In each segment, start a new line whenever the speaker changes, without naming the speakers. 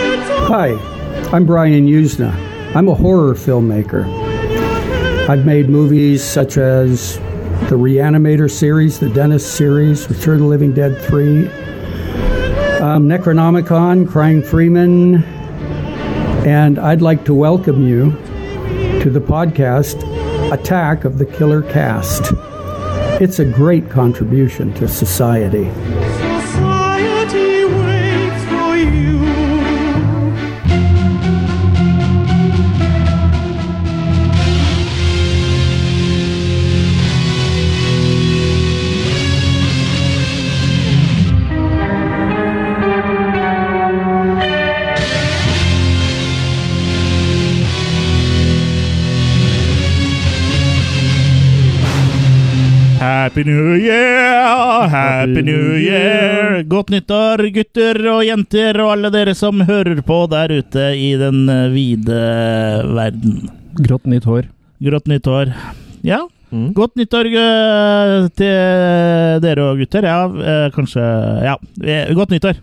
Hi, I'm Brian Usna. I'm a horror filmmaker. I've made movies such as the Reanimator series, the Dentist series, Return of the Living Dead 3, um, Necronomicon, Crying Freeman, and I'd like to welcome you to the podcast Attack of the Killer Cast. It's a great contribution to society.
Society waits for you.
Happy New Year! Happy New Year! Godt nyttår, gutter og jenter og alle dere som hører på der ute i den eh, vide verden.
Grått nytt hår.
Grått nyttår. Ja,
Mm.
godt nyttår eh, til dere og gutter. Ja, eh, kanskje Ja, eh, godt nyttår.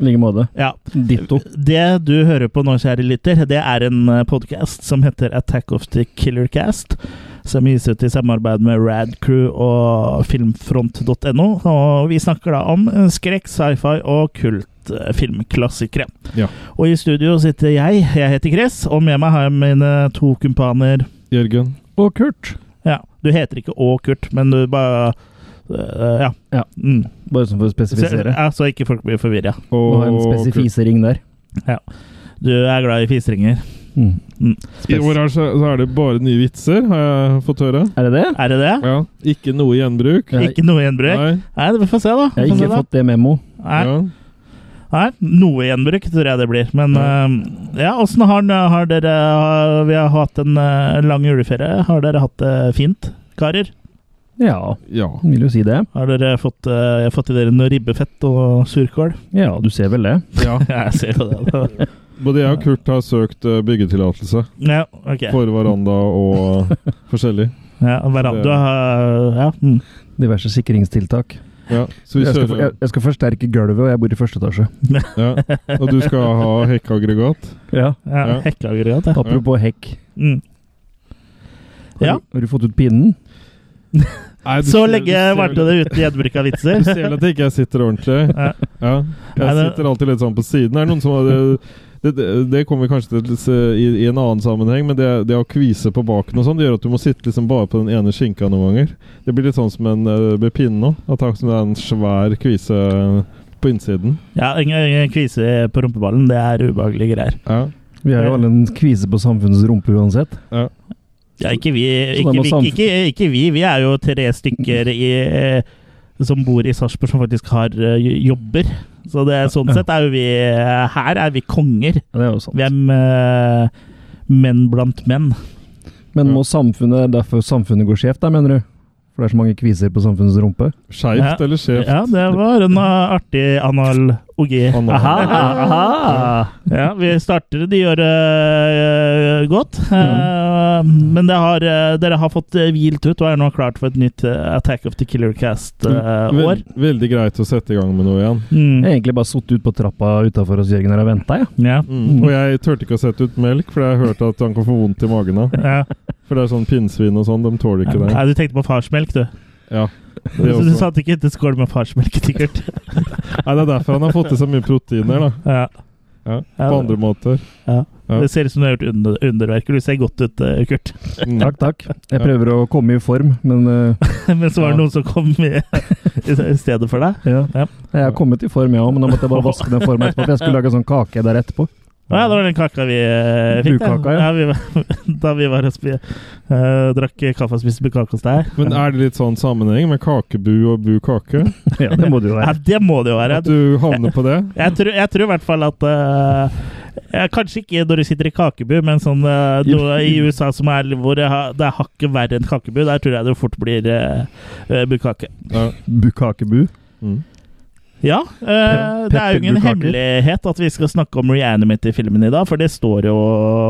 I like måte.
Ja.
Ditto.
Det du hører på nå, kjære lytter, det er en podkast som heter Attack of the Killer Cast. Som gis ut i samarbeid med Radcrew og filmfront.no. Og vi snakker da om eh, skrekk, sci-fi og kultfilmklassikere.
Ja.
Og i studio sitter jeg. Jeg heter Chris, og med meg har jeg mine to kumpaner.
Jørgen. Og Kurt.
Ja, du heter ikke Å, Kurt, men du bare øh, Ja.
Ja.
Mm.
Bare sånn for å
Så,
spesifisere.
ja, så ikke folk blir forvirra.
Og en spesifisering der.
Du er glad i fisringer.
Mm.
I år er, så, så er det bare nye vitser, har jeg fått høre.
Er det det?
Er det det?
Ja. Ikke noe gjenbruk.
Nei.
Ikke noe gjenbruk?
Nei.
Nei, vi får se, da. Vi
Jeg har
får se
ikke
da.
fått Sånn det memo.
Nei,
Ja.
nei, noe gjenbruk tror jeg det blir. Men eh, ja, åssen har, den- har dere har, Vi har hatt en eh, lang juleferie. Har dere hatt det fint, karer?
Ja,
ja.
vil jo si det.
Har dere fått, eh, fått i dere noe ribbefett og surkål?
Ja, du ser vel det.
ja.
Ja, jeg ser jo det.
Både jeg og Kurt har søkt eh, byggetillatelse
Ja, ok.
for veranda og eh, forskjellig.
Ja, veranda har- Ja. mm.
Diverse sikringstiltak.
Ja. Så vi
Jeg skal, jeg,
kjører
jeg skal forsterke gulvet, og jeg bor i første etasje.
ja. Og du skal ha hekkeaggregat.
Ja.
ja
Ja.
Hekkeaggregat, ja.
Apropos hekk.
Mm.
Har,
Ja.
du, har du fått ut pinnen?
Nei, du
Så
ser- du
lenge
ser
varte
vel-
det uten gjenbruk av vitser.
Du ser vel at jeg ikke sitter ordentlig.
Ja.
Ja.
Nei,
Jeg
det-
sitter alltid litt sånn på siden. Er det noen som har det, det, det kommer vi kanskje til å se i, i en annen sammenheng, men det, det å kvise på baken og sånn, det gjør at du må sitte liksom bare på den ene skinka noen ganger. Det blir litt sånn som en eh, med pinne nå. At det er som det er en svær kvise på innsiden.
Ja, ingen, ingen kvise på rumpeballen. Det er ubehagelige greier.
Ja.
Vi har jo alle en kvise på samfunnets rumpe uansett.
Ja, ikke vi.
Så
Ikke,
da må
vi,
samf-
ikke, ikke vi. Vi er jo tre stykker i, eh, som bor i Sarpsborg, som faktisk har eh, jobber. Så det, sånn sett er jo vi eh, Her er vi konger.
Ja, det er jo sant.
Vi er eh, menn blant menn.
Men må samfunnet derfor samfunnet går skjevt, da, mener du? For det er så mange kviser på samfunnets rumpe?
Skeivt
Ja.
eller skjevt?
Ja, det var en eh, artig analogi.
Anal.
Ja, vi starter det gjør eh, godt. Eh, men det har, eh, dere har fått eh, hvilt ut og er nå klart for et nytt eh, Attack of the Killer Cast-år.
Vel- veldig greit å sette i gang med noe igjen.
Jeg
mm.
har egentlig bare sittet ut på trappa utafor hos Jørgen her og venta, jeg.
Ja.
Mm. Og jeg turte ikke å sette ut melk, for jeg hørte at han kan få vondt i magen av.
Ja.
For det er sånn pinnsvin og sånn, de tåler ikke det.
Nei, du tenkte på farsmelk, du.
Ja.
Du,
Det
du
også.
satt ikke etter skål med farsmelk, sikkert.
Nei, det er derfor han har fått i seg mye proteiner, da.
Ja.
Ja,
Ja,
på andre måter. Ja.
Det ser ut som du har gjort under, underverker. Du ser godt ut, eh, Kurt.
Mm.
Takk, takk.
Ja.
Jeg prøver å komme i form, men eh,
Men så var det
Ja.
noen som kom i, i stedet for deg. Ja.
ja. jeg har kommet i form, jeg òg, men da måtte jeg bare vaske den formen etterpå. For jeg skulle lage sånn kake der etterpå.
Å ja, det var den kaka vi eh, fikk. da.
Bukaka, ja.
vi var, da vi var og spi, eh, drakk kaffe og spiste bukake hos deg.
Men er det litt sånn sammenheng med kakebu og bu kake?
Ja, det må det jo
Ja,
være.
det må det jo være.
At du havner på det?
Jeg tror, jeg tror i hvert fall at eh, ja, Kanskje ikke når du sitter i kakebu, men sånn eh, noe i USA som er hvor det har- det er hakket verre enn kakebu, der tror jeg det fort blir eh, eh, bukake.
Ja.
Bukakebu.
Mm.
Ja. eh,
Pe-
det er jo ingen
pepperbukake.
hemmelighet at vi skal snakke om Reanimator-filmen i dag, for det står jo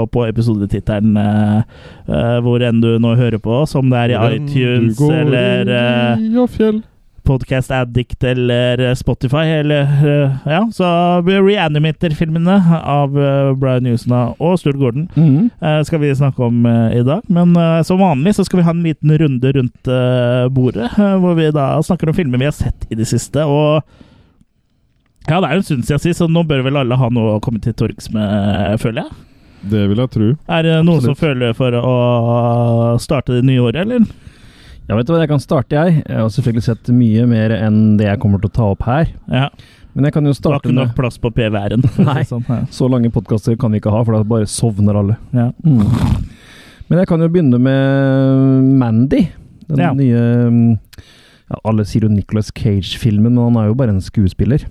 på episodetittelen eh, eh, hvor enn du nå hører på, oss, om det er i
Men Mm. du
iTunes
går
eller eh,
i- Ja, fjell.
Podcast Addict eller eh, Spotify. Eller, eh, ja, så Reanimator-filmene av eh, Brian Newsona og Stuart Gordon
Mhm.
eh, skal vi snakke om eh, i dag. Men eh, som vanlig så skal vi ha en liten runde rundt eh, bordet, eh, hvor vi da snakker om filmer vi har sett i det siste. Og ja, det er jo en stund siden sist, så nå bør vel alle ha noe å komme til torgs med, eh, føler jeg.
Det vil jeg tro.
Er det noen som
Absolutt.
føler for å starte det nye året, eller?
Ja, vet du hva, jeg kan starte, jeg. Jeg har selvfølgelig sett mye mer enn det jeg kommer til å ta opp her.
Ja.
Men jeg kan jo
Det var
starte
ikke nok
med
plass på PVR-en.
Nei.
Sånn, ja.
Så lange podkaster kan vi ikke ha, for da bare sovner alle.
Ja.
Mm. Men jeg kan jo begynne med Mandy. Den
Ja.
nye mm, ja, Alle sier jo Nicolas Cage-filmen, men han er jo bare en skuespiller.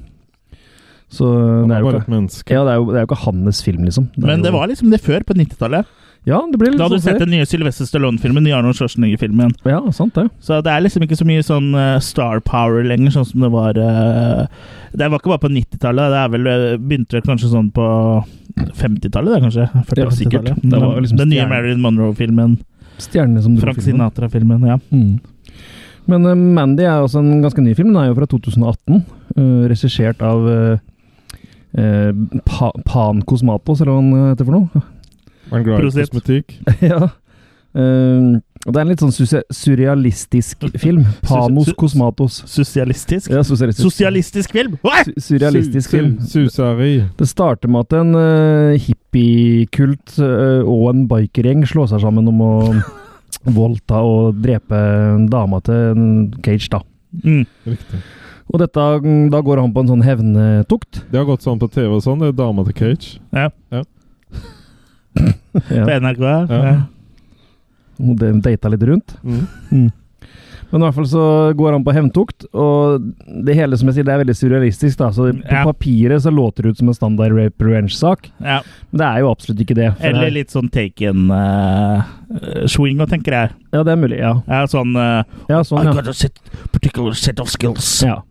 Så
Han
det,
er
er jo
bare
ikke,
et menneske.
ja, det, er jo, det er jo ikke hans film, liksom. er
Men det
jo-
var liksom det før, på 90-tallet.
Ja, det ble litt
Da hadde du
sånn
sett den nye Sylvester Stallone-filmen, nye Arnold Schwarzenegger-filmen.
før. Ja, sant det.
Så det er liksom ikke så mye sånn eh, star power lenger, sånn som det var eh, Det var ikke bare på 90-tallet, det er vel eh, begynte vel kanskje sånn på 50-tallet, det, kanskje? 40
Ja, sikkert.
50-tallet.
Det var liksom
Den nye
stjerne-
Marilyn Monroe-filmen.
Stjernene som dro
Frank
filmen.
Sinatra-filmen, ja.
Mm. Men eh, Mandy er også en ganske ny film. Den er jo fra 2018. eh, Regissert av eh, eh, pa Pan Kosmatos, eller hva han heter for noe.
Han er glad i
Prosit.
kosmetikk.
ja. Eh, og det er en litt sånn susi- surrealistisk film. Panos
Su- su-
Kosmatos.
Sosialistisk.
Ja, sosialistisk.
Sosialistisk film! Hva?
Su- Surrealistisk
Su-
film.
su- Suseri.
Det starter med at en eh, hippiekult eh, og en bikergjeng slår seg sammen om å voldta og drepe dama til en Cage, da.
Mm.
Riktig.
Og dette, mm, da går han på en sånn hevntukt.
Det har gått sånn på TV og sånn. Det er dama til Cage.
På
Ja.
NRK.
Ja.
Ja.
Og de data litt rundt.
Mm.
Men i hvert fall så går han på hevntukt, og det hele som jeg sier, det er veldig surrealistisk. da, Så på
Ja.
papiret så låter det ut som en standard rape revenge-sak,
Ja.
men det er jo absolutt ikke det. for
Eller
det
litt sånn taken-swing, tenker jeg.
er- Ja, det er mulig. Ja,
Ja, sånn eh,
ja sånn,
I
ja.
got a set, particular set of skills.
ja.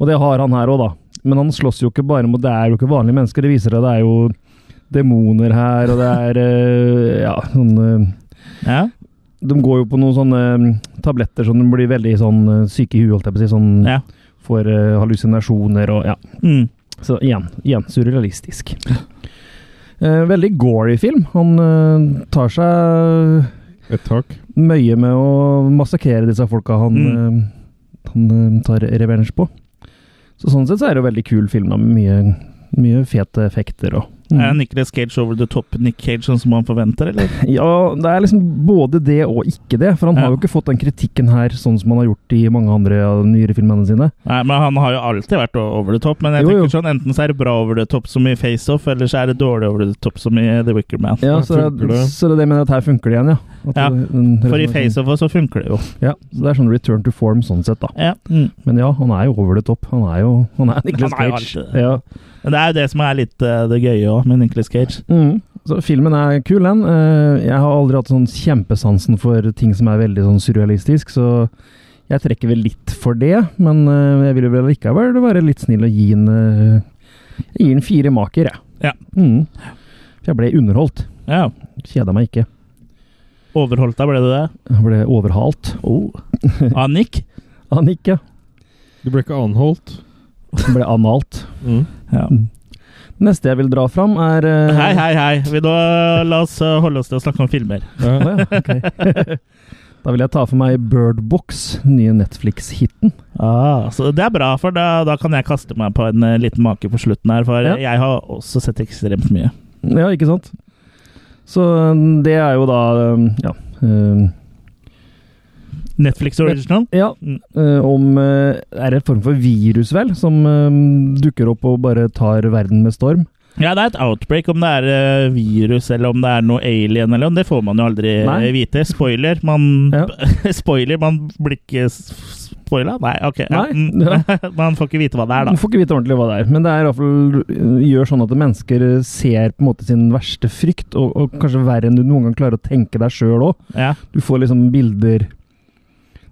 Og det har han her òg, da. Men han slåss jo ikke bare mot Det er jo ikke vanlige mennesker. Det viser seg det er jo demoner her, og det er eh, Ja, sånn eh,
Ja.
De går jo på noen sånne mm, tabletter som de blir veldig sånn eh, syke i huet, holdt jeg på å si. Sånn
Ja.
får eh, hallusinasjoner og ja.
Mm.
Så igjen, igjen surrealistisk. Eh, veldig gory film. Han eh, tar seg
Et tak.
møye med å massakrere disse folka han,
Mm.
eh, han eh, tar revenge på. Så sånn sett så er det jo veldig kul film da, med mye, mye fete effekter og Mm.
Er Nicolas Cage over the top Nick Cage, sånn som han forventer, eller?
Ja, det er liksom både det og ikke det. For han
Ja.
har jo ikke fått den kritikken her, sånn som han har gjort i mange andre av de nyere filmene sine.
Nei, men Han har jo alltid vært o- over the top, men jeg
Jo,
tenker
jo.
sånn enten så er det bra over the top som i Face Off, eller så er det dårlig over the top som i The Wicker Man.
Ja,
Her
så, det,
funker det.
så det er det jeg mener at her funker det igjen, ja. At
Ja,
det- den-
For i
den-
Face Off også så funker det jo.
Ja, så det er sånn return to form sånn sett, da.
Ja. Mm.
Men ja, han er jo over the top. Han er jo han er Nicolas
Han er jo
Cage.
alltid det.
Ja.
Men det er jo det som er litt eh, det gøye òg, med Nicolas Cage.
Mm. Så filmen er kul, den. Eh, Jeg har aldri hatt sånn kjempesansen for ting som er veldig sånn surrealistisk, så jeg trekker vel litt for det. Men eh, jeg vil vel likevel være litt snill og gi en eh, Jeg gir en fire maker, jeg.
Ja.
Mm. For Jeg ble underholdt.
Ja.
Kjeda meg ikke.
Overholdt deg, ble du det?
Jeg ble overhalt.
Oh. Av Nick?
Han ikke.
Du ble ikke anholdt.
Jeg ble analt.
Mm.
Ja.
Neste jeg vil dra fram, er eh,
Hei, hei, hei. Vi da, la oss eh, holde oss til å snakke om filmer.
Ja.
Å ja, ok. da vil jeg ta for meg Birdbox, nye Netflix-hiten.
Ah, så det er bra, for da, da kan jeg kaste meg på en eh, liten make på slutten her, for
Ja.
jeg har også sett ekstremt mye.
Ja, ikke sant? Så um, det er jo da um, Ja. um,
Netflix original?
ja
Mm.
uh, om uh, Er det en form for virus, vel? Som um, dukker opp og bare tar verden med storm?
Ja, det er et outbreak. Om det er eh, virus eller om det er noe alien eller om det får man jo aldri eh,
Nei.
vite. Spoiler. Man
Ja.
Spoiler, man blir ikke s- spoila? Nei, ok. Ja,
Nei,
mm. man får ikke vite hva det er,
Du
da.
får ikke vite ordentlig hva det er, men det er i hvert fall uh, gjør sånn at mennesker uh, ser på en måte sin verste frykt, og, og kanskje verre enn du noen gang klarer å tenke deg sjøl òg.
Ja.
Du får liksom bilder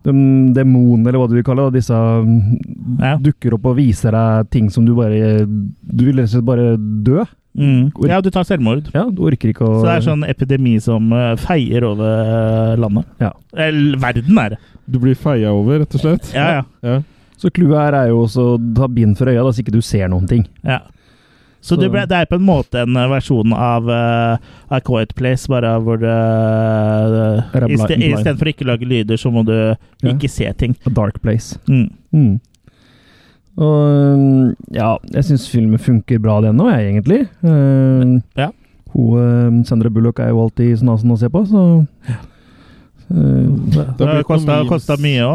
de Demonene, eller hva du vil kalle det, og disse mm,
Ja.
dukker opp og viser deg ting som du bare Du vil rett og slett bare dø.
Mm. Ja, du tar selvmord.
Ja, du orker ikke å
Så det er sånn epidemi som eh, feier over eh, landet.
Ja.
Eller verden, er det.
Du blir feia over, rett og slett?
Ja, ja.
Ja.
Så clouet her er jo også å ta bind for øya, da, så ikke du ser noen ting.
ja. Så det, ble, det er på en måte en eh, versjon av eh, A Quiet Place, bare hvor eh, det
Bare bli- blind.
Istedenfor ikke å lage lyder, så må du ikke se ting.
A dark place.
Mm.
Mm. Og øhm, ja, jeg syns filmen funker bra, den òg, jeg, egentlig. Øhm,
Ja.
Hun øhm, Sandra Bullock er jo alltid snasen å se på, så Um, Øhm,
Det,
Det har blitt noen
kosta,
memes.
kosta mye å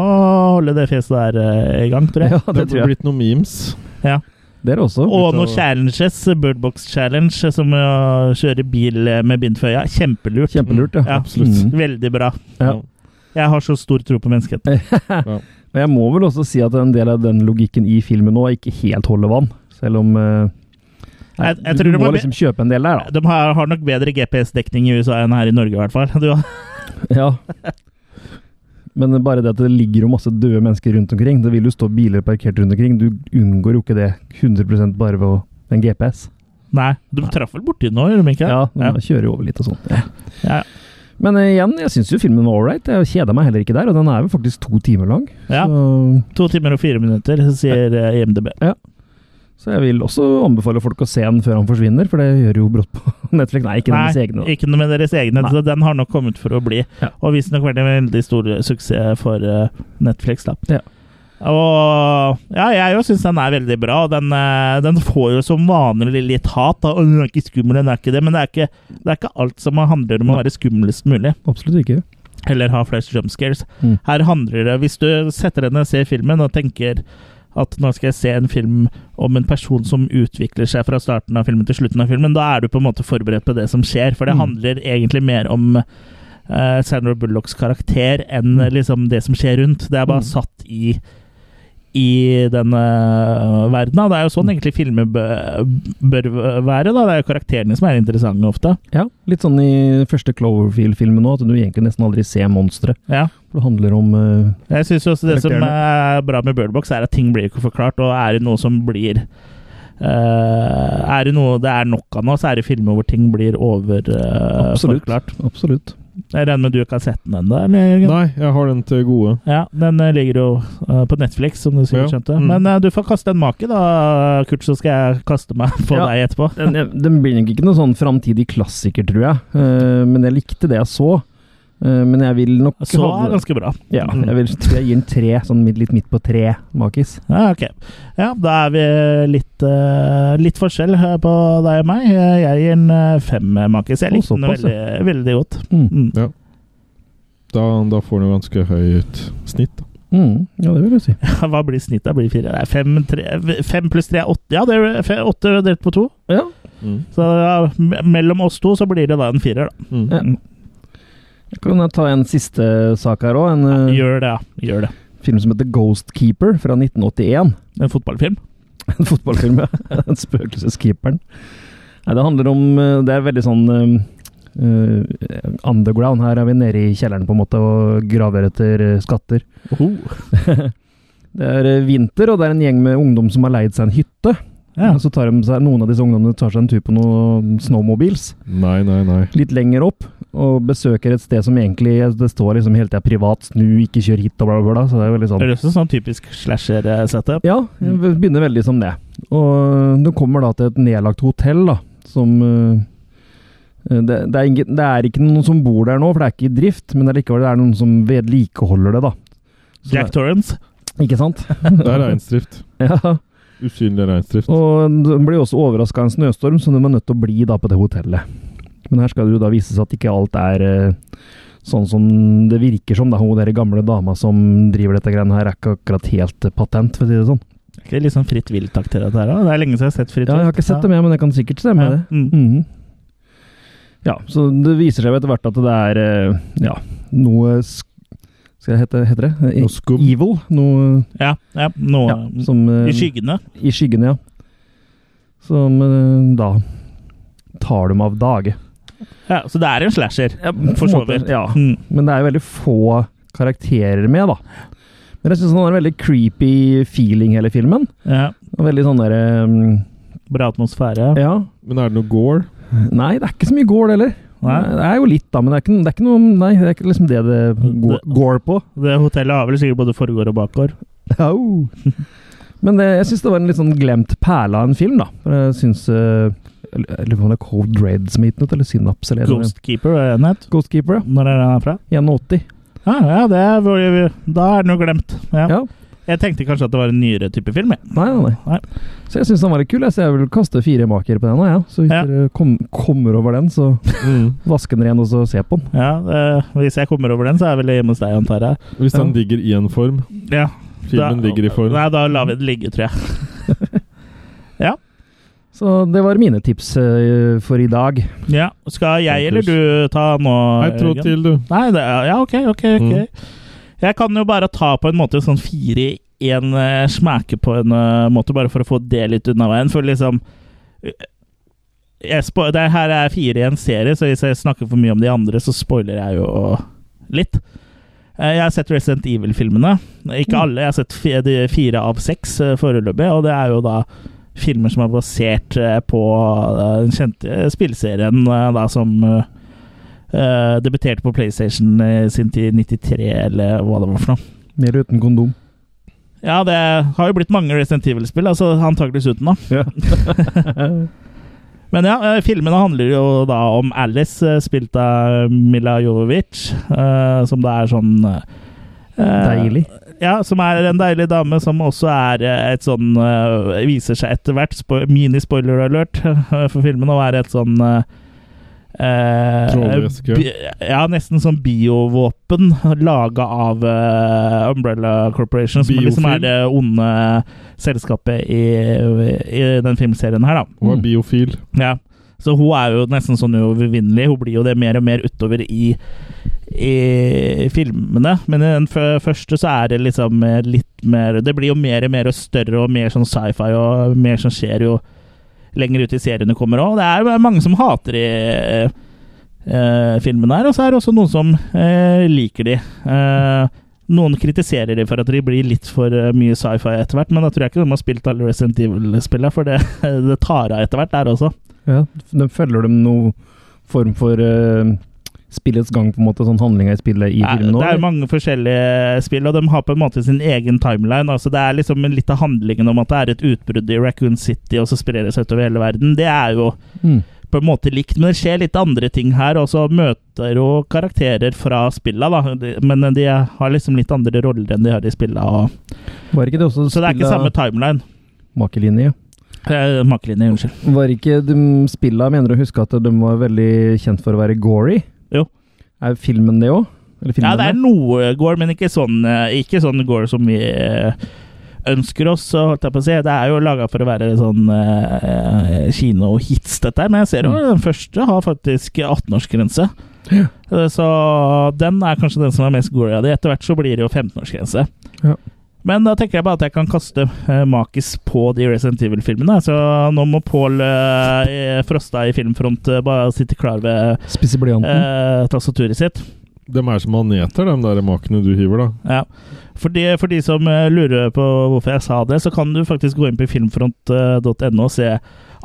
holde det fjeset der eh, i gang, tror jeg.
Ja,
Det
det
har
tror jeg.
blitt noen memes.
Dere også.
Og noen
Ut av-
challenges. Birdbox Challenge, som å kjøre bil eh, med bind for øya. Kjempelurt.
Kjempelurt, ja.
Ja.
Absolutt.
Mm.
Veldig bra.
Ja.
Jeg har så stor tro på menneskeheten.
Men jeg må vel også si at en del av den logikken i filmen nå ikke helt holder vann. Selv om eh, nei,
Jeg- jeg
du-
tror det
Du må
må bli-
liksom kjøpe en del der, da.
De har, har nok bedre GPS-dekning i USA enn her i Norge, i hvert fall. Du,
Ja. Men bare det at det ligger jo masse døde mennesker rundt omkring. Det vil jo stå biler parkert rundt omkring. Du unngår jo ikke det 100 bare ved å- en GPS.
nei, de traff vel borti nå, gjorde de ikke?
Ja,
Ja.
man kjører jo over litt og sånn. Ja.
Ja.
Men eh, igjen, jeg syns jo filmen var ålreit. Jeg kjeda meg heller ikke der, og den er jo faktisk to timer lang.
Ja.
Så,
To timer og fire minutter, sier eh, IMDb.
så jeg vil også anbefale folk å se den før han forsvinner, for det gjør jo brått på Netflix. Nei, ikke
Nei,
deres egne. da.
ikke noe med deres egne.
Nei.
Så den har nok kommet for å bli.
Ja.
Og visstnok vært en veldig stor suksess for eh, Netflix. da.
Ja.
Og ja, jeg òg syns den er veldig bra. og Den, eh, den får jo som vanlig litt hat. da. «Å, Den er ikke skummel, den er ikke det. Men det er ikke, det er ikke alt som handler om å være skumlest mulig.
Absolutt ikke.
Eller ha flest jump scares.
Mm.
Her handler det Hvis du setter deg ned og ser filmen og tenker at nå skal jeg se en film om en person som utvikler seg fra starten av filmen til slutten av filmen, da er du på en måte forberedt på det som skjer. For det
Mm.
handler egentlig mer om eh, Sandra Bullocks karakter enn eh, liksom det som skjer rundt. Det er bare
Mm.
satt i i denne verden. da. Det er jo
Mm.
sånn egentlig filmer bø- bør være. da. Det er jo karakterene som er interessante ofte.
Ja, litt sånn i første Cloverfield-filmen nå, at du egentlig nesten aldri ser monstre.
Ja.
For det handler om eh,
Jeg synes jo også det som
Karakterene.
er bra med Birdbox, er at ting blir ikke forklart, og er det noe som blir eh, Er det noe det er nok av nå, så er det filmer hvor ting blir
Absolutt.
overforklart.
Absolutt.
jeg regner med du ikke har sett den ennå? eller, Jørgen?
Nei, jeg har den til gode.
Ja, den eh, ligger jo eh, på Netflix, som du sikkert
Ja.
skjønte.
Mm.
Men eh, du får kaste en make, da, Kurt, så skal jeg kaste meg på
Ja.
deg etterpå.
Den, den blir nok ikke noen sånn framtidig klassiker, tror jeg. Eh, men jeg likte det jeg så. Eh, men jeg Mm. vil nok
Så er
ha-
det ganske bra. Mm.
ja, jeg vil tror jeg gir en tre, sånn midt, litt midt på tre, Makis.
Ja, ok. Ja, da er vi litt, eh, litt forskjell eh, på deg og meg. Eh, Jeg gir en eh, fem, eh, Makis. Jeg
Å,
likte den
såpass, ja.
veldig, veldig godt.
Mm.
Mm.
Da, da får den jo ganske høyt snitt. da.
Mm, ja, det vil jeg si.
Hva blir snittet? Blir fire? Nei, fem, tre, fem pluss tre er åtte. Ja, det er fe- åtte delt på to.
Ja.
Så ja, me- mellom oss to så blir det da en firer. Da.
Mm.
Ja. Kan jeg ta en siste sak her òg? En eh,
Gjør det, ja. Gjør det.
film som heter Ghost Keeper fra 1981.
En fotballfilm.
En fotballfilm, ja. Den spøkelseskeeperen. Nei, det handler om eh, Det er veldig sånn eh, eh, underground. Her er vi nede i kjelleren på en måte og graver etter eh, skatter. det er eh, vinter, og det er en gjeng med ungdom som har leid seg en hytte.
Ja.
Og Så tar de seg, Noen av disse ungdommene tar seg en tur på noen snowmobiles
Nei, nei, nei.
litt lenger opp og besøker et sted som egentlig Det står liksom hele tida 'privat, snu, ikke kjør hit' og bla, bla, bla. Så det er veldig sånn
Det er også sånn typisk eh, slasher-setup.
ja, det begynner veldig som det. Og øh, du kommer da til et nedlagt hotell, da, som eh, det, det, er ingen, det er ikke noen som bor der nå, for det er ikke i drift, men allikevel det er noen som vedlikeholder det, da. Så
Jack
det,
Torrance.
ikke sant?
Det er reinsdrift.
Ja.
Usynlig reinsdrift.
Og du blir også overraska av en snøstorm, så du må nødt til å bli da på det hotellet. Men her skal det jo da vise seg at ikke alt er eh, sånn som det virker som. da, Hun der gamle dama som driver dette greiene her, er ikke akkurat helt eh, patent, for å si det sånn.
Ikke litt sånn Fritt Vilt-takk til dette her da. Det er lenge siden jeg har sett Fritt
Ja, jeg har ikke sett det med, men jeg kan sikkert stemme med det.
Mm.
Mhm. Ja, så det viser seg jo etter hvert at det er eh, ja, noe sk Skal jeg hete heter det?
Noe skum.
Evil? Noe
Ja, ja, noe
ja, som, eh,
I skyggene.
I skyggene, ja. Som eh, da tar dem av dage.
Ja, så det er en slasher, for
på en
så
måte,
vidt.
Ja,
Mm.
men det er jo veldig få karakterer med, da. Men jeg syns han har en veldig creepy feeling, hele filmen.
Ja.
Og veldig sånn derre
Bra atmosfære.
Ja.
Men er det noe gore?
Nei, det er ikke så mye gål heller.
Nei,
Nei, Det er jo litt, da, men det er ikke, det er ikke noe Nei, det er ikke liksom det det går, går på.
det hotellet har vel sikkert både forgård og bakgård.
Au. Men det, jeg syns det var en litt sånn glemt perle av en film, da. For jeg syns eh, eller- Jeg lurer på om det er Cold Red som er gitt den ut, eller Synaps, eller
Ghostkeeper, hva er den het?
Ghostkeeper, ja.
Når er den herfra?
81.
Ja, ja, det er, hvor- da er den jo glemt. Ja.
Ja.
Jeg tenkte kanskje at det var en nyere type film. jeg.
Nei, nei, nei.
Nei.
Så jeg syns den var litt kul. jeg, Så jeg vil kaste fire makere på den. nå, Ja. Så hvis
Ja.
dere kom, kommer over den, så
Mm.
vask den ren og så se på den.
Ja, eh, Hvis jeg kommer over den, så er jeg vel hjemme hos deg, antar jeg.
Hvis den
Ja.
ligger i en form.
Ja,
Filmen
da,
ligger i form.
Nei, da lar vi den ligge, tror jeg.
Så det var mine tips eh, for i dag.
Ja, Skal jeg eller du ta nå?
Nei, trå
Jørgen?
til, du.
Nei, det er, ja, ok, ok, ok. Jeg kan jo bare ta på en måte sånn fire i en eh, smæke på en eh, måte, bare for å få det litt unna veien. For liksom eh, jeg spo det Her er fire i en serie, så hvis jeg snakker for mye om de andre, så spoiler jeg jo litt. Eh, Jeg har sett Resident Evil-filmene. Ikke alle. Jeg har sett fi- de fire av seks eh, foreløpig, og det er jo da filmer som er basert eh, på eh, den kjente spillserien eh, da, som eh, Eh, debuterte på PlayStation eh, sin tid 93, eller hva det var for noe.
Mer uten kondom.
Ja, det har jo blitt mange Resident Evil-spill, altså antakeligvis uten, da.
Ja.
Men ja, eh, filmene handler jo da om Alice, eh, spilt av Mila Jovovic, eh, som da er sånn eh,
Deilig.
Ja, som er en deilig dame som også er eh, et sånn eh, Viser seg etter hvert, spo mini-spoiler alert eh, for filmen, å være et sånn eh, eh,
Trollveske.
bi- Ja, nesten sånn biovåpen laga av eh, Umbrella Corporation, som liksom
Biofil.
er det onde selskapet i, i den filmserien her, da.
Hun er
Mm.
biofil.
Ja, så hun er jo nesten sånn uovervinnelig. Hun blir jo det mer og mer utover i, i filmene. Men i den fø- første så er det liksom eh, litt mer Det blir jo mer og mer og større og mer sånn sci-fi og mer som skjer jo lenger ut i seriene kommer òg. Det er jo mange som hater de eh, filmene her, og så er det også noen som eh, liker de. Eh, noen kritiserer de for at de blir litt for eh, mye sci-fi etter hvert, men da tror jeg ikke de har spilt alle Resident Evil-spillene, for det, det tar av etter hvert der også.
Ja, de følger dem noe form for eh, spillets gang, på en måte, sånn handlinga i spillet i
Nei,
filmen nå?
Det er
eller?
mange forskjellige spill, og de har på en måte sin egen timeline. Altså, det er liksom litt av handlingen om at det er et utbrudd i Raccoon City, og så sprer det seg utover hele verden. Det er jo
Mm.
på en måte likt, men det skjer litt andre ting her. Og så møter jo karakterer fra spilla, da. De- Men de har liksom litt andre roller enn de har i spilla. og-
Var ikke det også
Så det er ikke samme timeline.
makelinje?
Eh, Makelinje, unnskyld.
Var ikke de spilla Mener du å huske at de var veldig kjent for å være gory?
Jo.
Er filmen det òg?
Ja, det er noe gore, men ikke sånn, eh, ikke sånn gore som vi eh, ønsker oss, så holdt jeg på å si. Det er jo laga for å være sånn eh, kinohits, dette her. Men jeg ser jo den første har faktisk 18-årsgrense. Eh, Så den er kanskje den som er mest gory av de. Etter hvert så blir det jo 15-årsgrense.
Ja.
Men da tenker jeg bare at jeg kan kaste eh, makis på de Resident Evil-filmene. Så nå må Pål eh, Frosta i Filmfront eh, bare sitte klar ved
Spisse blyanten.
eh, tastaturet sitt.
De er som maneter, de der makene du hiver, da.
Ja. For de, for de som eh, lurer på hvorfor jeg sa det, så kan du faktisk gå inn på eh, filmfront.no og se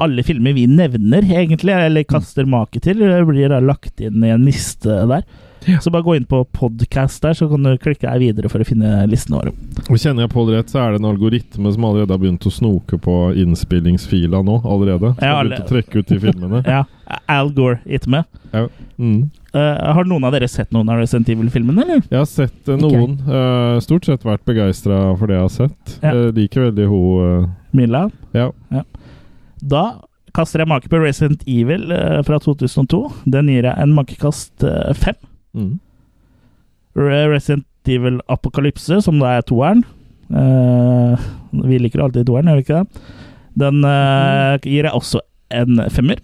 alle filmer vi nevner, egentlig, eller kaster make til. Det blir da lagt inn i en liste der.
Ja.
Så bare gå inn på podcast der, så kan du klikke deg videre for å finne listen vår.
Og Kjenner jeg Pål rett, så er det en algoritme som allerede har begynt å snoke på innspillingsfila nå. allerede. Som
Ja,
har begynt å trekke ut de filmene.
Ja, Al Gore hit med.
Mm.
Eh, har noen av dere sett noen av Resident Evil-filmene, eller?
Jeg har sett eh, noen. eh, stort sett vært begeistra for det jeg har sett.
Ja.
Eh, liker veldig hun
Milla?
eh, Ja.
Da kaster jeg make på Resident Evil eh, fra 2002. Den gir jeg en makekast eh, fem.
Mm.
Re- Resident Evil Apokalypse, som da er toeren. Eh, vi liker alltid toeren, gjør vi ikke det? Den eh, gir jeg også en femmer.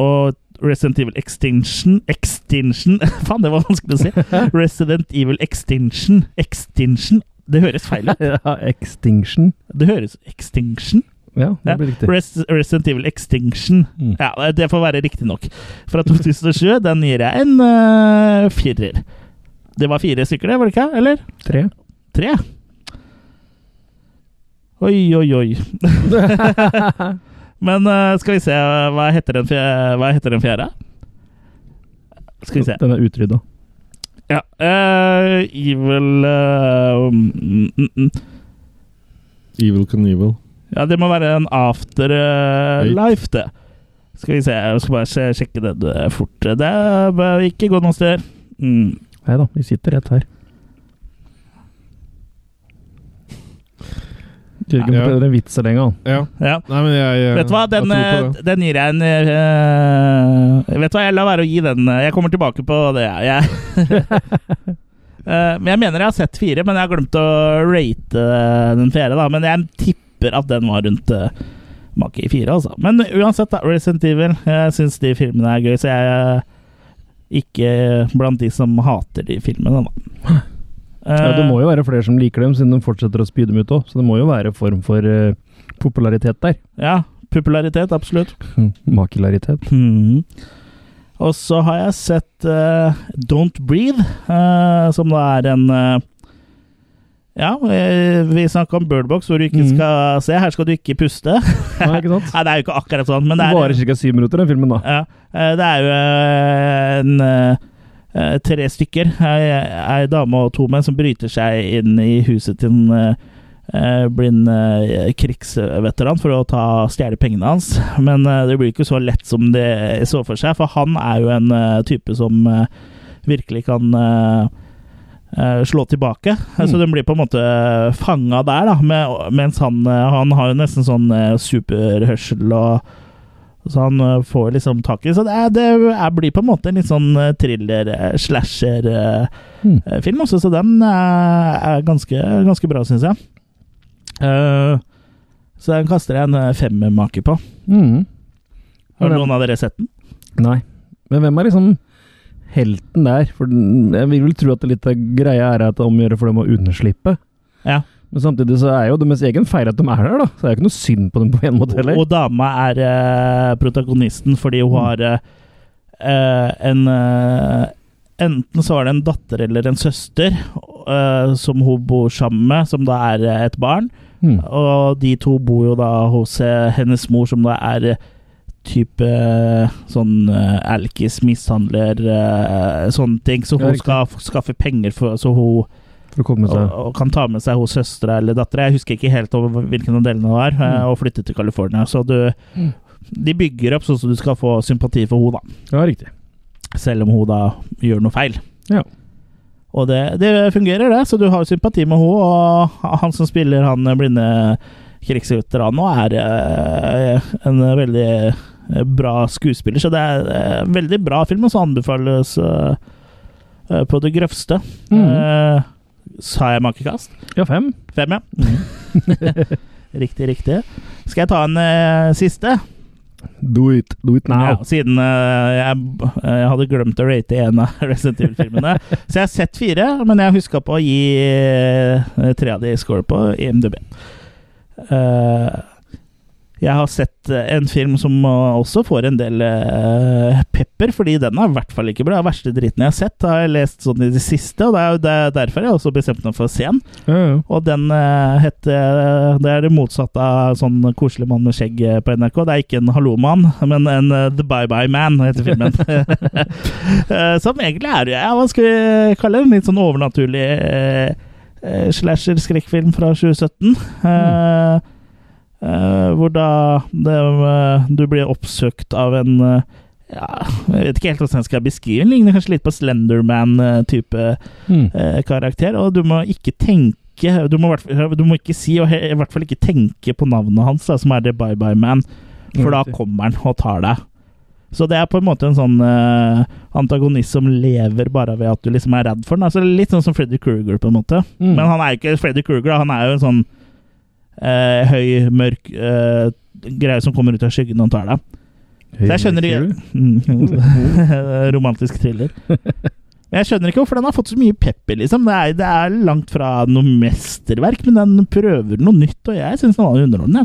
Og Resident Evil Extinction Extinction Faen, det var vanskelig å si! Resident Evil Extinction Extinction Det høres feil ut.
Ja, Extinction.
Det høres Extinction?
Ja, det
Ja.
blir riktig.
Res, Resident Evil Extinction.
Mm.
Ja, det får være riktig nok. Fra 2007, den gir jeg en eh, firer. Det var fire stykker, det, var det ikke? Eller?
Tre.
Tre. Oi, oi, oi. Men eh, skal vi se Hva heter den, fje- hva heter den fjerde? Skal vi se.
Den er utrydda.
Ja. eh, evil eh, mm, mm, mm.
Evil Knievel.
Ja, det må være en afterlife, det. Skal vi se, jeg skal bare sj- sjekke det eh, fort. Det bør ikke gå noen steder. Mm.
Nei da, vi sitter rett her. Jørgen
Ja.
forteller en vits så lenge, han.
Ja.
Ja.
Nei, men jeg, eh, jeg
Vet du hva, den,
jeg tror på
eh, den gir jeg en eh, Vet du hva, jeg lar være å gi den eh, Jeg kommer tilbake på det, jeg. jeg. Eh, men jeg mener jeg har sett fire, men jeg har glemt å rate eh, den fjerde. da Men jeg tipper at den var rundt eh, make i fire, altså. Men uansett, da. Resident Evil. Jeg syns de filmene er gøy, så jeg er ikke blant de som hater de filmene, da.
Ja, det må jo være flere som liker dem, siden de fortsetter å spy dem ut òg. Så det må jo være en form for eh, popularitet der.
Eh, Ja, popularitet, absolutt.
Mm. Makularitet.
Mhm. Og så har jeg sett eh, Don't Breathe, eh, som da er en eh, Ja, eh, vi snakka om birdbox, hvor du ikke
Mhm.
skal se. Her skal du ikke puste.
Nei, ikke
Nei,
sant?
det er jo ikke akkurat sånn, men
Det
det
varer
er,
ca. syv minutter, den filmen, da.
ja, eh, det er jo eh, en eh, tre stykker, ei ei dame og to menn, som bryter seg inn i huset til en eh, eh, blind eh, krigsveteran for å ta stjele pengene hans. Men eh, det blir ikke så lett som det så for seg, for han er jo en eh, type som eh, virkelig kan eh, eh, slå tilbake. Så den blir på en måte fanga der, da, med, mens han, eh, han har jo nesten sånn eh, superhørsel og så han eh, får liksom tak i Så det, er, det er, blir på en måte en litt sånn eh, thriller-slasher-film
Mm.
også, så den er, er ganske, ganske bra, syns jeg. Eh, så den kaster jeg en eh, femmermaker på.
Mhm.
Har
Ja,
noen av dere sett den?
Nei. Men hvem er liksom helten der? For den- jeg vil vel tro at det litt av greia er at det er om å gjøre for dem å unnslippe.
Ja.
Men samtidig så er jo deres egen feil at de er der, da. Så det er jo ikke noe synd på dem på en måte heller.
Og dama er eh, protagonisten fordi hun
Mm.
har eh, eh, en eh, Enten så var det en datter eller en søster eh, som hun bor sammen med, som da er eh, et barn.
Mm.
Og de to bor jo da hos eh, hennes mor, som da er eh, type eh, sånn eh, alkis, mishandler, eh, sånne ting. Så
Ja,
hun
riktig.
skal f- skaffe penger for, så hun
For å komme
og,
seg
og kan ta med seg hos søstera eller dattera. Jeg husker ikke helt over hvilken av delene det var, eh,
Mm.
og flytte til California. Så du
Mm.
De bygger opp sånn at du skal få sympati for henne, da.
Ja, riktig.
Selv om hun da gjør noe feil.
Ja.
Og det, det fungerer, det. Så du har sympati med henne, og han som spiller han blinde krigsveteranen nå, er eh, en veldig eh, bra skuespiller. Så det er eh, en veldig bra film, og så anbefales eh, eh, på det grøvste.
Mhm.
Eh, sa jeg makekast?
Ja, fem.
Fem, ja. Mm. riktig, riktig. Skal jeg ta en eh, siste?
Do it. Do it now.
Ja, siden eh, jeg, jeg hadde glemt å rate en av Resident Evil-filmene. Så jeg har sett fire, men jeg huska på å gi eh, tre av de score på IMDb. Eh, jeg har sett eh, en film som eh, også får en del eh, pepper, fordi den er i hvert fall ikke bra. Den verste driten jeg har sett, har jeg lest sånn i det siste, og det er jo det- derfor jeg også bestemte meg for å se den.
Ja, ja.
Og den eh, het eh, Det er det motsatte av sånn koselig mann med skjegg eh, på NRK. Det er ikke en Hallo-mann, men en eh, The Bye Bye Man heter filmen. Eh, Som egentlig er ja, hva skal vi kalle det? En litt sånn overnaturlig eh, eh, slasher-skrekkfilm fra 2017. Eh, eh, hvor da det, eh, du blir oppsøkt av en eh, ja, Jeg vet ikke helt hvordan jeg skal beskrive den. Ligner kanskje litt på eh, Slenderman-type
Mm.
eh, karakter, og du må ikke tenke Du må, i hvert fall- du må ikke si, og he- i hvert fall ikke tenke på navnet hans, da, som er The Bye Bye Man, for da
Riktig.
kommer han og tar deg. Så det er på en måte en sånn eh, antagonist som lever bare ved at du liksom er redd for den. Altså litt sånn som Freddy Krueger på en måte.
Mm.
Men han er jo ikke Freddy Krueger, da. han er jo en sånn eh, høy, mørk eh, greie som kommer ut av skyggen og tar deg. Så jeg skjønner ikke Romantisk thriller. Men jeg skjønner ikke hvorfor den har fått så mye pepper, liksom. Det er, det er langt fra noe mesterverk, men den prøver noe nytt, og jeg syns den var underholdende.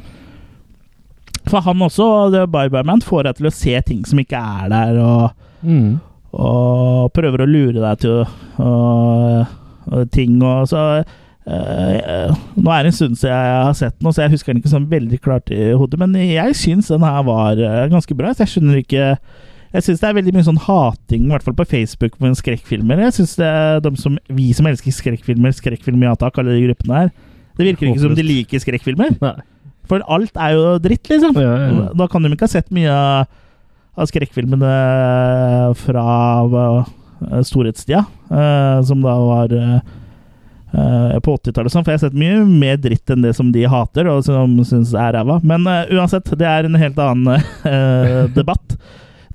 For han også, The Bye Bye Man, får deg til å se ting som ikke er der, og,
Mm.
og prøver å lure deg til å- og, og ting og så eh, Nå er det en stund siden jeg har sett den, så jeg husker den ikke sånn veldig klart i hodet, men jeg syns den her var eh, ganske bra. Så jeg skjønner ikke Jeg syns det er veldig mye sånn hating, i hvert fall på Facebook, med skrekkfilmer. Jeg synes det er de som, Vi som elsker skrekkfilmer, skrekkfilm ja takk, alle de gruppene her. Det virker ikke som de liker skrekkfilmer,
Nei.
for alt er jo dritt, liksom.
Ja, ja, ja.
Da kan de ikke ha sett mye av- av skrekkfilmene fra eh, storhetstida, eh, som da var eh, eh, på 80-tallet, og sånn, for jeg har sett mye mer dritt enn det som de hater, og som syns er ræva. Men eh, uansett, det er en helt annen eh, debatt.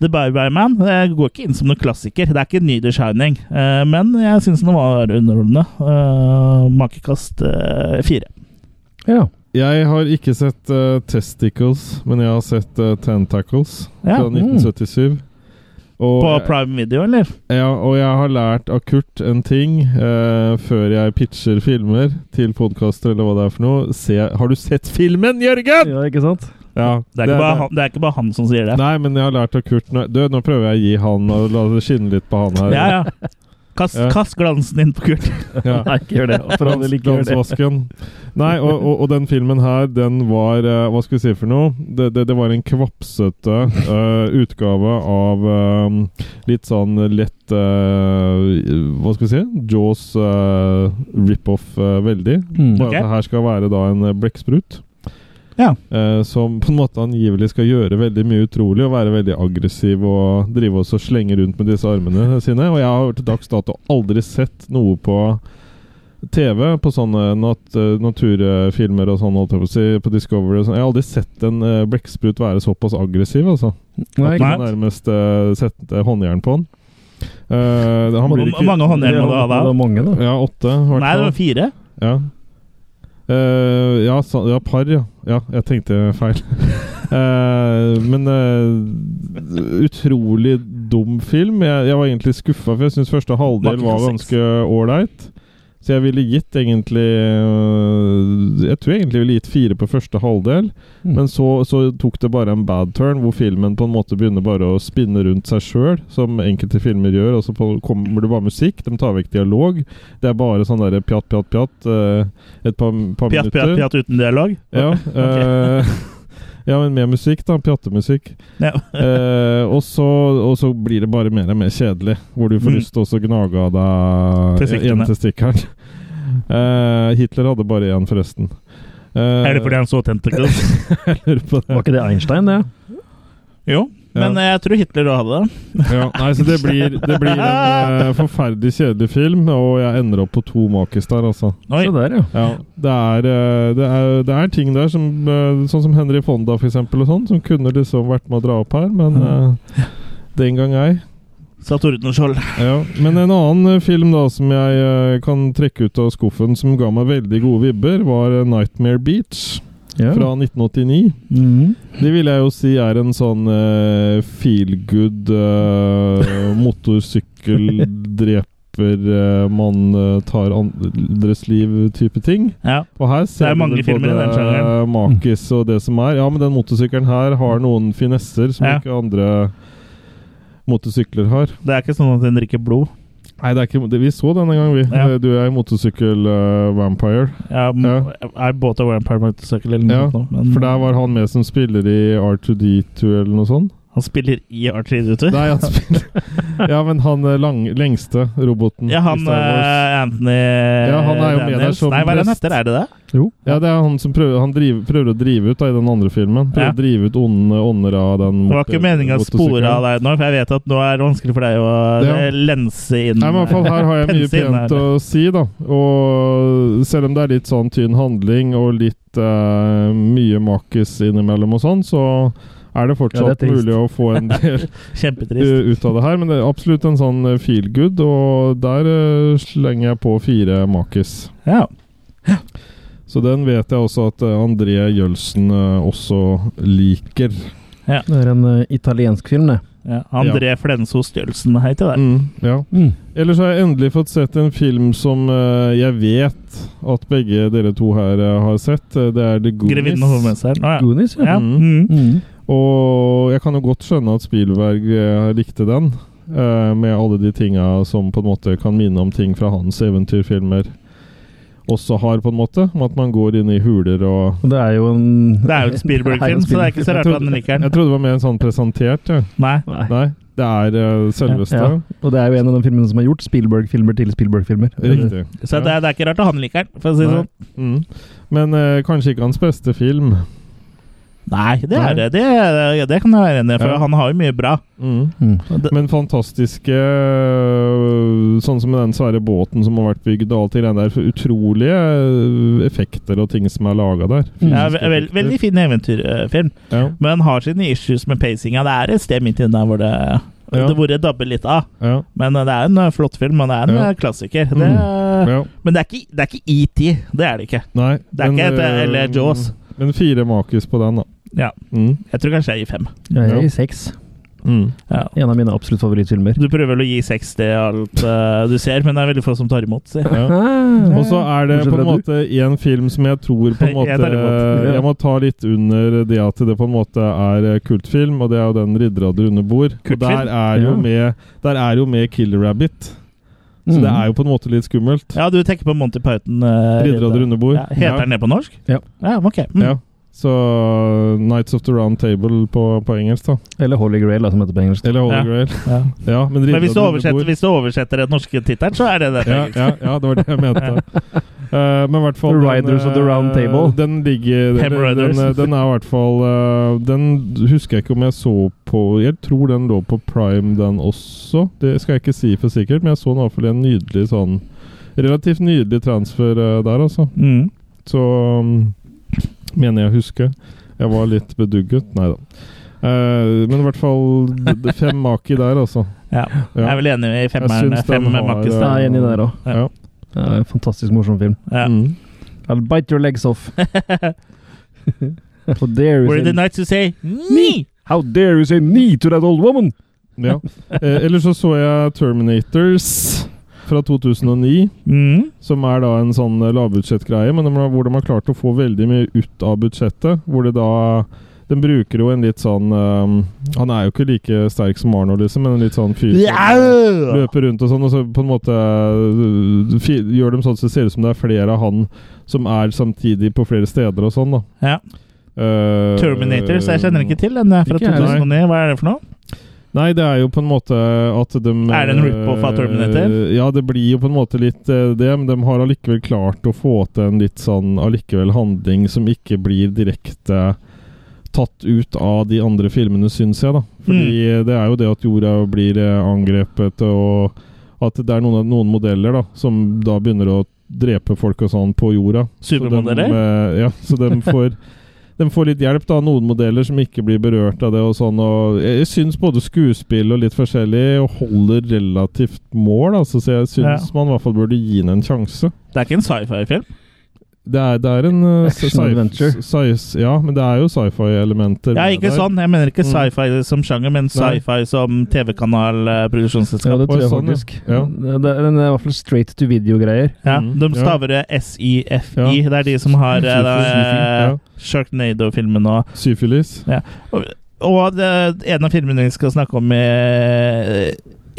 The Bye Bye Man eh, går ikke inn som noen klassiker. Det er ikke en ny The Shining, eh, men jeg syns den var underholdende. Eh, Makekast eh, fire.
Ja.
Jeg har ikke sett eh, Testicles, men jeg har sett eh, Tentacles
Ja.
fra
Mm.
1977. Og, eh,
På prime video, eller?
ja, og jeg har lært av Kurt en ting eh, før jeg pitcher filmer til podkaster eller hva det er for noe. Se, har du sett filmen, Jørgen?!
ja, ikke sant?
Ja,
Det er, ikke bare han, det er ikke bare han som sier det.
Nei, men jeg har lært av Kurt nå- Du, nå prøver jeg å gi han og la det skinne litt på han her.
Ja, ja. Kast,
Ja.
kast glansen inn på Kurt.
Ja.
Nei, ikke gjør det. For all del, ikke gjør det.
Glansvasken. Nei, og, og, og den filmen her, den var eh, Hva skal vi si for noe? Det, det, det var en kvapsete eh, utgave av eh, litt sånn lett eh, Hva skal vi si? Jaws eh, rip-off eh, veldig.
Mm.
Bare
Ok.
at det her skal være da en eh, blekksprut.
Ja.
Eh, som på en måte angivelig skal gjøre veldig mye utrolig og være veldig aggressiv og drive oss og slenge rundt med disse armene sine. Og jeg har til dags dato aldri sett noe på TV, på sånne nat eh, naturfilmer og sånn, holdt jeg på å si, på Discovery og sånn. Jeg har aldri sett en eh, blekksprut være såpass aggressiv, altså.
Nei,
At
Nei.
ikke
man nærmest eh, setter håndjern på han. Eh, han blir
Hvor
ikke
mange håndjern må du ha da?
Det var mange, da.
Ja, åtte, i hvert
Nei, det
fall.
var fire.
Ja. Eh, ja, sa, ja, par, ja. Ja, jeg tenkte feil. Eh, men eh, utrolig dum film. Jeg, jeg var egentlig skuffa, for jeg syns første halvdel
Maken
var
til sex.
ganske ålreit. Så jeg ville gitt egentlig eh, Jeg tror jeg egentlig ville gitt fire på første halvdel.
Mm.
Men så, så tok det bare en bad turn, hvor filmen på en måte begynner bare å spinne rundt seg sjøl, som enkelte filmer gjør. Og så på- kommer det bare musikk. De tar vekk dialog. Det er bare sånn derre pjatt, pjatt, pjatt eh, et par, par
Pjatt, pjatt,
minutter.
pjatt uten dialog.
Ja, eh, ja, men med musikk, da. Pjattemusikk.
Ja.
Eh, og, så, og så blir det bare mer og mer kjedelig, hvor du får
Mm.
lyst til å også gnage av deg
Testiklene.
én testikkel. Eh, Hitler hadde bare én, forresten. Eh,
Er det fordi han så Tentacles?
jeg lurer på det.
Var ikke det Einstein, det?
Jo. Men eh, jeg tror Hitler òg hadde det.
Ja, nei, så det blir, det blir en eh, forferdelig kjedelig film, og jeg ender opp på to makis der, altså.
Oi.
Se der, ja.
Ja, det er, eh, det er, det er ting der som eh, Sånn som Henry Fonda, for eksempel, og sånn, som kunne liksom vært med å dra opp her, men eh, den gang ei.
Sa Tordenskjold.
Ja. Men en annen eh, film da som jeg eh, kan trekke ut av skuffen som ga meg veldig gode vibber, var eh, 'Nightmare Beach'
ja.
fra 1989.
Mhm.
Det vil jeg jo si er en sånn eh, feel good eh, motorsykkel dreper eh, man eh, tar andres liv-type ting.
Ja.
Og her ser
er mange
du
filmer i den
både eh,
sjangeren.
Makis og det som er. Ja, men den motorsykkelen her har noen finesser som
Ja.
ikke andre motorsykler har.
Det er ikke sånn at den drikker blod.
Nei, det er ikke, det, vi så den en gang, vi.
Ja.
Du er eh, motorsykkel-vampire.
Ja, m- Er båt av Vampire Motorcycle eller noe
Ja,
sånt. nå, men-
For der var han med som spiller i R2D2 eller noe sånt.
Han spiller i R3D2.
Nei, han spiller Ja, men han eh, lang, lengste roboten
Ja,
i
han
Star Wars.
eh, Anthony ja,
han er jo med der som
Nei, hva er han
prest.
heter? Er det det?
Ja, det er han som prøver, han driver, prøver å drive ut da, i den andre filmen. Prøver
Ja.
å drive ut onde ånder av den
Det var ikke meninga å spore av
det.
deg nå, for jeg vet at nå er det vanskelig for deg å eh,
Ja.
lense inn
Nei, men i hvert fall Her har jeg mye
pense inn her.
pent å si, da. Og selv om det er litt sånn tynn handling og litt eh, mye makis innimellom og sånn, så er det
Ja,
fortsatt
det er trist.
mulig å få en del eh,
Kjempetrist.
ut av det her. Men det er absolutt en sånn eh, feel good, og der eh, slenger jeg på fire makis.
Ja.
Så den vet jeg også at eh, André Jølsen eh, også liker.
Det er en eh, italiensk film, det.
Ja. André Flensos Stjølsen, hei til deg.
Mm, ja. Ellers har jeg endelig fått sett en film som eh, jeg vet at begge dere to her eh, har sett. Eh, Det er The
Grevinnen og
Goonies.
hovmesteren. Å,
Goonies,
ja.
ja.
ja.
Mm.
Mm.
Mhm.
Og jeg kan jo godt skjønne at Spielberg eh, likte den. eh, med alle de tinga som på en måte kan minne om ting fra hans eventyrfilmer. også har, på en måte. Om at man går inn i huler og
Og det er jo en
Det er jo en Spielberg-film, så det er ikke så rart at han liker
Jeg
den.
trodde det var mer en sånn presentert, ja.
Nei.
Nei.
Nei, det er eh, selveste.
Ja, Og det er jo en av de filmene som har gjort Spielberg-filmer til Spielberg-filmer.
Riktig.
Så det, er- det er ikke rart at han liker den, for å si
Nei.
det sånn.
Mm. Men eh, kanskje ikke hans beste film.
Nei, det
Nei.
er det. Det, ja, det kan jeg være enig i, for
Ja.
han har jo mye bra.
Mm.
Mm.
Det,
Men fantastiske øh, Sånn som med den svære båten som har vært bygd, og alt det greiene der. for Utrolige øh, effekter og ting som er laga der.
Mm.
ja, ve veld, veldig fin eventyrfilm,
Ja,
men han har sine issues med pacinga. Det er et sted midt inne der hvor det,
Ja.
det, hvor det dabber litt av.
ja,
Men eh, det er en eh, flott film, og det er en
Ja. Mm.
eh, klassiker. Det, eh,
ja.
Men det er ikke det er ikke ET. Det er det ikke.
Nei.
Det er ikke et,
øh,
eller Jaws.
Men fire makis på den, da.
Ja.
Mm.
Jeg tror kanskje jeg gir fem.
Jeg er
Ja.
i seks.
Mm.
Ja.
En av mine absolutt favorittfilmer.
Du prøver vel å gi seks til alt eh, du ser, men det er veldig få som tar imot. Si.
Ja.
Ah,
Og så er det på en måte en film som jeg tror på en måte
Mm. Jeg tar imot.
Jeg må ta litt under det at det på en måte er eh, kultfilm, og det er jo den 'Ridderradder under bord'. Og
Kultfilm?
der er jo
Ja.
med Der er jo med 'Killer Rabbit'. Så det
Mm.
er jo på en måte litt skummelt.
Ja, du tenker på Monty Python. eh,
Ridder av det runde bord.
Ja, heter den det på norsk?
Ja.
ja ok. Mm.
Ja. Så Nights of the Round Table på, på engelsk, da.
Mm. Eller Holy Grail, da, som heter på engelsk.
Eller Holy
Ja.
Grail.
Ja.
Ja, men
Men
Ridder
hvis du,
av det runde
oversetter,
bord.
hvis du oversetter den norske tittelen, så er det det.
ja, ja, ja, det var det jeg mente. Eh, men i hvert fall
The
den,
Riders of the
eh,
Round Table.
Den ligger
Hem
Den,
Riders.
den, eh, den er i hvert fall eh, Den husker jeg ikke om jeg så på Jeg tror den lå på Prime, den også. Det skal jeg ikke si for sikkert, men jeg så den i hvert fall i en nydelig sånn Relativt nydelig transfer eh, der, altså.
Mm.
Så um, mener jeg å huske. Jeg var litt bedugget. Nei da. Eh, men i hvert fall d- d- fem maki der, altså.
Ja. Jeg er vel enig i femmeren.
syns den
Fem med
har- eh,
Makkis.
Ja, jeg er enig der òg.
Ja.
Ja, en fantastisk morsom film.
Ja.
Mm.
I'll bite your legs off. How dare
Were
you
the
say,
nights you say me?
how dare you say knee to that old woman?
ja. Eh, Eller så så jeg Terminators fra 2009.
Mm.
Som er da en sånn eh, lavbudsjettgreie, men de har- hvor de har klart å få veldig mye ut av budsjettet. Hvor det da Den bruker jo en litt sånn um, Han er jo ikke like sterk som Arnold, liksom, men en litt sånn fyr som løper rundt og sånn, og så på en måte øh, fi- gjør dem sånn så det ser ut som det er flere av han som er samtidig på flere steder og sånn, da.
Ja.
Eh,
Terminators, jeg kjenner ikke til den. er Fra
Ikke jeg,
2009, hva er det for noe?
Nei, det er jo på en måte at de
Er det en rip-off av Terminator?
Eh, Ja, det blir jo på en måte litt eh, det, men de har allikevel klart å få til en litt sånn allikevel handling som ikke blir direkte tatt ut av de andre filmene, syns jeg, da. Fordi
Mm.
det er jo det at jorda blir eh, angrepet, og at det er noen, noen modeller da, som da begynner å drepe folk og sånn på jorda. Så
Supermodeller?
dem, eh, ja, så de får, dem får litt hjelp, da. Noen modeller som ikke blir berørt av det. og sånn, og Jeg, jeg syns både skuespill og litt forskjellig holder relativt mål, altså, så jeg syns
Ja.
man i hvert fall burde gi den en sjanse.
Det er ikke en sci-fi-film?
Det er, det er en eh,
Action
sci-
adventure.
sci- ja, men det er jo sci-fi-elementer.
Ja,
med
ikke
der.
sånn. Jeg mener ikke
Mm.
sci-fi som sjanger, men sci-fi som TV-kanal, eh,
Ja,
produksjonsselskap.
det tror jeg
sånn, ja.
faktisk.
Ja.
Det, det, den er eh, i hvert fall straight to video-greier.
Ja,
Mm.
de
Ja.
staver eh, det SIFI.
Ja.
Det er de som har eh, da,
Ja.
eh, Sharknado-filmen og
Syfilis.
Og det, en av filmene vi skal snakke om i,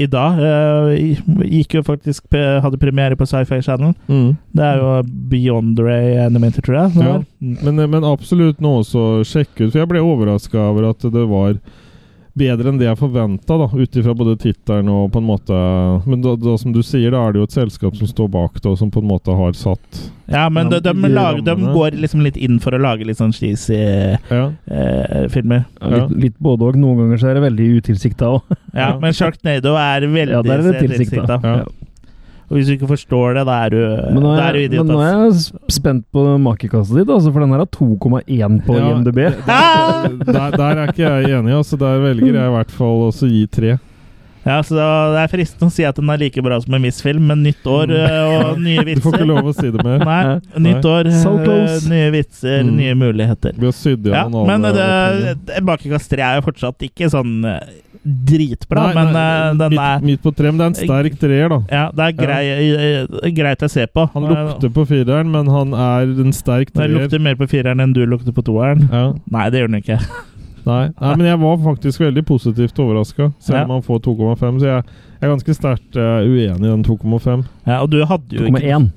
i dag, eh, gikk jo faktisk pre- hadde premiere på Sci-Fi Channel.
Mm.
Det er jo Beyond Ray Animator, tror jeg.
Ja.
Mm.
Men, eh, men absolutt noe også å sjekke ut. For jeg ble overraska over at det var bedre enn det jeg forventa, ut ifra både tittelen og på en måte Men da, da, som du sier, da er det jo et selskap som står bak det, og som på en måte har satt
Ja, men de, de,
Ja, de
lager, de
rammene.
går liksom litt inn for å lage litt sånn cheesy
Ja.
eh, filmer.
Ja.
Litt, litt både og. Noen ganger så er det veldig utilsikta òg.
Ja,
Ja.
men Sharknado er veldig
Ja, der er det tilsiktet.
tilsiktet.
Ja.
Og hvis du ikke forstår det, da er du,
Men nå
da er
er,
du
men
idiot.
nå
ass.
er jeg sp- spent på makekastet ditt, altså, for den her har 2,1 på
Ja,
IMDb.
Ah!
Der, der er ikke jeg enig, altså. Der velger jeg i hvert fall også å gi tre.
Ja, så da- Det er fristende å si at den er like bra som en viss film, men nytt år eh, og nye
Du får ikke
vitser.
lov å si det mer.
Nei,
Nei.
nytt år,
So
eh,
close.
nye vitser,
Mm.
nye muligheter.
Vi har sydd
Ja,
igjen
men eh,
alle
det-
åpninger.
det- Bakekast 3 er jo fortsatt ikke sånn eh, dritbra,
Nei,
men
nei,
eh, den
midt,
er
midt på tre, men det er en sterk treer, da.
ja, det er grei, eh, greit å se på.
Han lukter på fireren, men han er en sterk
Den
treer.
lukter mer på fireren enn du lukter på toeren.
Ja.
Nei, det gjør den ikke.
Nei. Nei, men jeg var faktisk veldig positivt overraska, selv om han får 2,5. Så jeg jeg er ganske sterkt eh, uenig i den 2,5.
Ja, og du hadde jo ikke
2,1.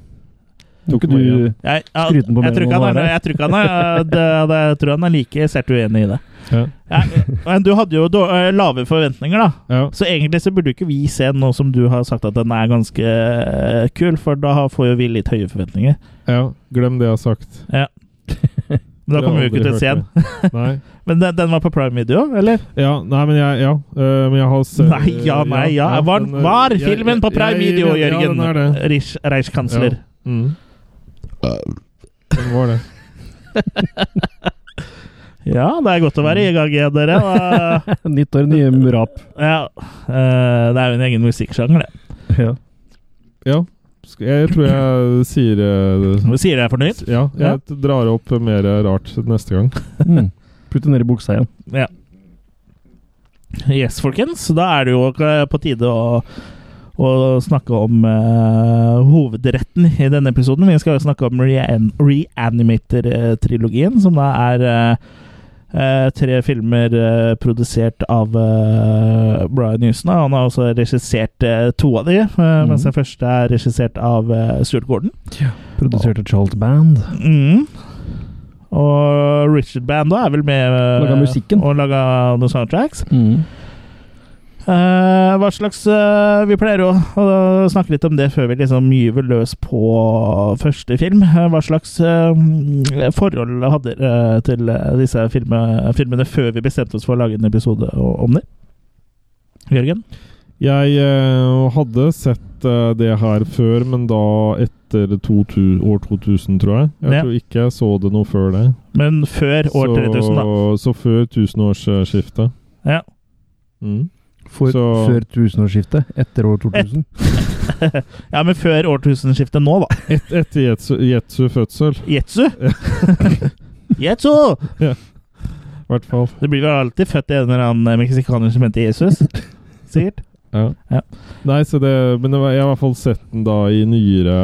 Tok
du
du
Jeg, jeg, jeg,
Skryten på mer
tror
enn
ikke
han
han
var
er-
her.
jeg tror ikke han er det- det- Jeg tror han er like sært uenig i det.
Ja.
Ja, men du hadde jo då- eh, lave forventninger, da.
Ja.
Så egentlig så burde jo ikke vi se noe som du har sagt at den er ganske eh, kul, for da har- får jo vi litt høye forventninger.
ja. Glem det jeg har sagt.
Men da
Det har
kommer vi jo
aldri
ikke til å se den.
hørt det. Nei.
Men den, den var på prime video, eller?
Ja, nei, men jeg Ja. øh, men jeg har sett
Nei, ja, nei, ja. Var,
men, øh,
var
jeg-
filmen
jeg-
på prime
jeg-
video,
Ja, den er
Jørgen?
det.
Reich- Reichskansler.
Ja. Mm. Den var det.
Ja, det er godt å være i E gang igjen, dere. Og,
Nytt år, nye rap.
ja, eh, det er jo en egen musikksjanger, det.
Ja.
Ja. Skal- Jeg tror jeg sier øh,
Nå sier jeg for nytt.
Ja,
Ja.
jeg drar opp mer rart neste gang.
Mm. Putt det ned i buksa igjen.
Ja. Yes, folkens. Da er det jo eh, på tide å, å snakke om eh, hovedretten i denne episoden. Vi skal jo snakke om rean Reanimator-trilogien, som da er eh, eh, tre filmer eh, produsert av eh, Brian Houston. da. Han har også regissert eh, to av de, eh, mens den første er regissert av eh, Stuart Gordon.
Produsert av Charles Band.
Mm. Og Richard Band da er vel med eh,
Laga musikken.
og laga noen soundtracks. Eh, hva slags eh, Vi pleier jo å snakke litt om det før vi liksom gyver løs på første film. Eh, hva slags eh, forhold hadde dere til eh, disse filme, filmene før vi bestemte oss for å lage en episode o- om dem? Jørgen?
Jeg eh, hadde sett eh, det her før, men da etter 2000, år 2000, tror jeg. Jeg
Ja.
tror ikke jeg så det noe før det.
Men før år 3000, da.
Så, så før tusenårsskiftet.
Ja.
Mm.
For,
Så-
Før tusenårsskiftet. Etter år 2000.
Ja, men før årtusenskiftet nå, da.
Et, etter Jetsu, Jetsu fødsel,
Jetsu! Jetsu!
i hvert fall.
Det blir vel alltid født en eller annen eh, meksikaner som heter Jesus. Sikkert.
Ja.
Ja.
Nei, så det, men det var, jeg har i hvert fall sett den da i nyere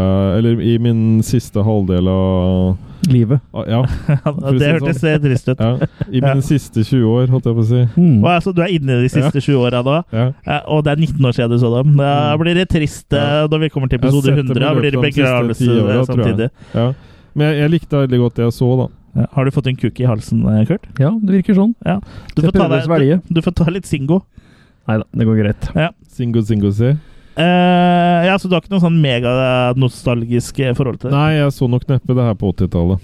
Eller i min siste halvdel av
Livet.
av- Ja. å si
Det
det sånn.
hørtes trist ut.
ja. I
Ja.
mine siste 20 år, holdt jeg på å si.
Mm.
Og altså, du er inne i de siste sju åra nå,
Ja.
Ja, og det er 19 år siden du så dem. Da
Mm.
blir det trist eh,
Ja.
når vi kommer til
Jeg har
episode
sett dem i
100. Da
løpet
blir det
av de siste
begravelse
ti åra, tror
eh,
jeg.
samtidig.
ja. Men jeg, jeg likte veldig godt det jeg så, da.
Ja. Har du fått en kuk i halsen, eh, Kurt?
Ja, det virker sånn.
Du
Jeg
får, ta
prøver å
deg,
svelge.
du, du får ta litt Singo.
Nei da, det går greit.
Singo, singo, si.
Eh, ja, Så du har ikke noe sånn meganostalgisk eh, forhold til det?
Nei, jeg så nok neppe det her på 80-tallet.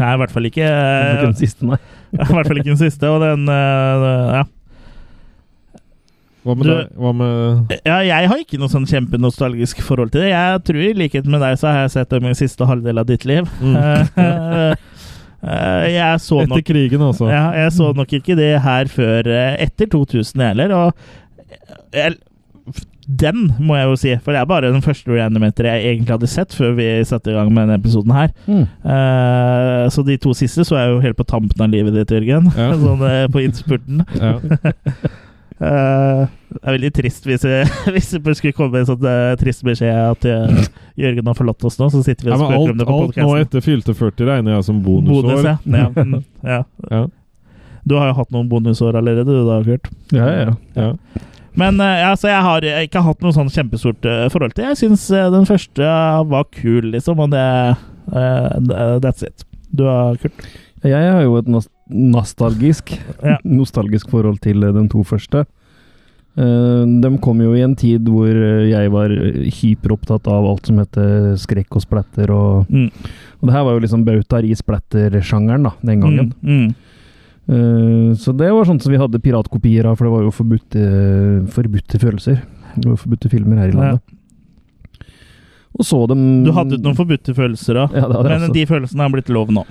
Nei, i hvert fall ikke.
Det var
eh,
ikke den siste, nei.
I hvert fall ikke den siste. Og den eh, ja.
Hva med
Du-
deg? Hva med
Ja, jeg har ikke noe sånn kjempenostalgisk forhold til det. Jeg tror i likhet med deg så har jeg sett dem i siste halvdel av ditt liv.
Mm.
Eh, eh, jeg så nok
Etter krigen, altså.
ja, Jeg så nok ikke det her før eh, etter 2000 heller, og jeg, den må jeg jo si, for det er bare den første reanimator jeg egentlig hadde sett før vi satte i gang med denne episoden her.
Mm.
Eh, så de to siste så jeg jo helt på tampen av livet ditt, Jørgen.
Ja.
sånn eh, på innspurten.
Ja.
Eh, det er veldig trist hvis, jeg, hvis det bare skulle komme en sånn eh, trist beskjed at eh, Jørgen har forlatt oss nå, så sitter vi
Ja,
og
men alt,
spøker om det på
alt nå
podkasten.
etter fylte 40 regner jeg som bonusår.
Bonus, ja. Ja, mm, ja.
Ja.
Du har jo hatt noen bonusår allerede, du da, Kurt.
Ja, ja, ja.
Ja.
Men eh, ja, så jeg har eh, ikke hatt noe sånn kjempestort eh, forhold til. Jeg syns den første eh, var kul, liksom, og det eh, d- That's it. Du har Kurt?
Jeg har jo et nos- nostalgisk,
Ja.
nostalgisk forhold til eh, de to første. Eh, De kom jo i en tid hvor eh, jeg var eh, hyperopptatt av alt som heter skrekk og splatter. Og,
Mm.
og det her var jo liksom bautaer i splatter-sjangeren da, den gangen.
Mm, mm.
Eh, Så det var sånt som vi hadde piratkopier av, for det var jo forbudte, forbudte følelser. Det var forbudte filmer her i landet. Og så dem
Du hadde noen forbudte følelser da,
Mm. Ja, det hadde jeg
men
også.
de følelsene har blitt lov nå.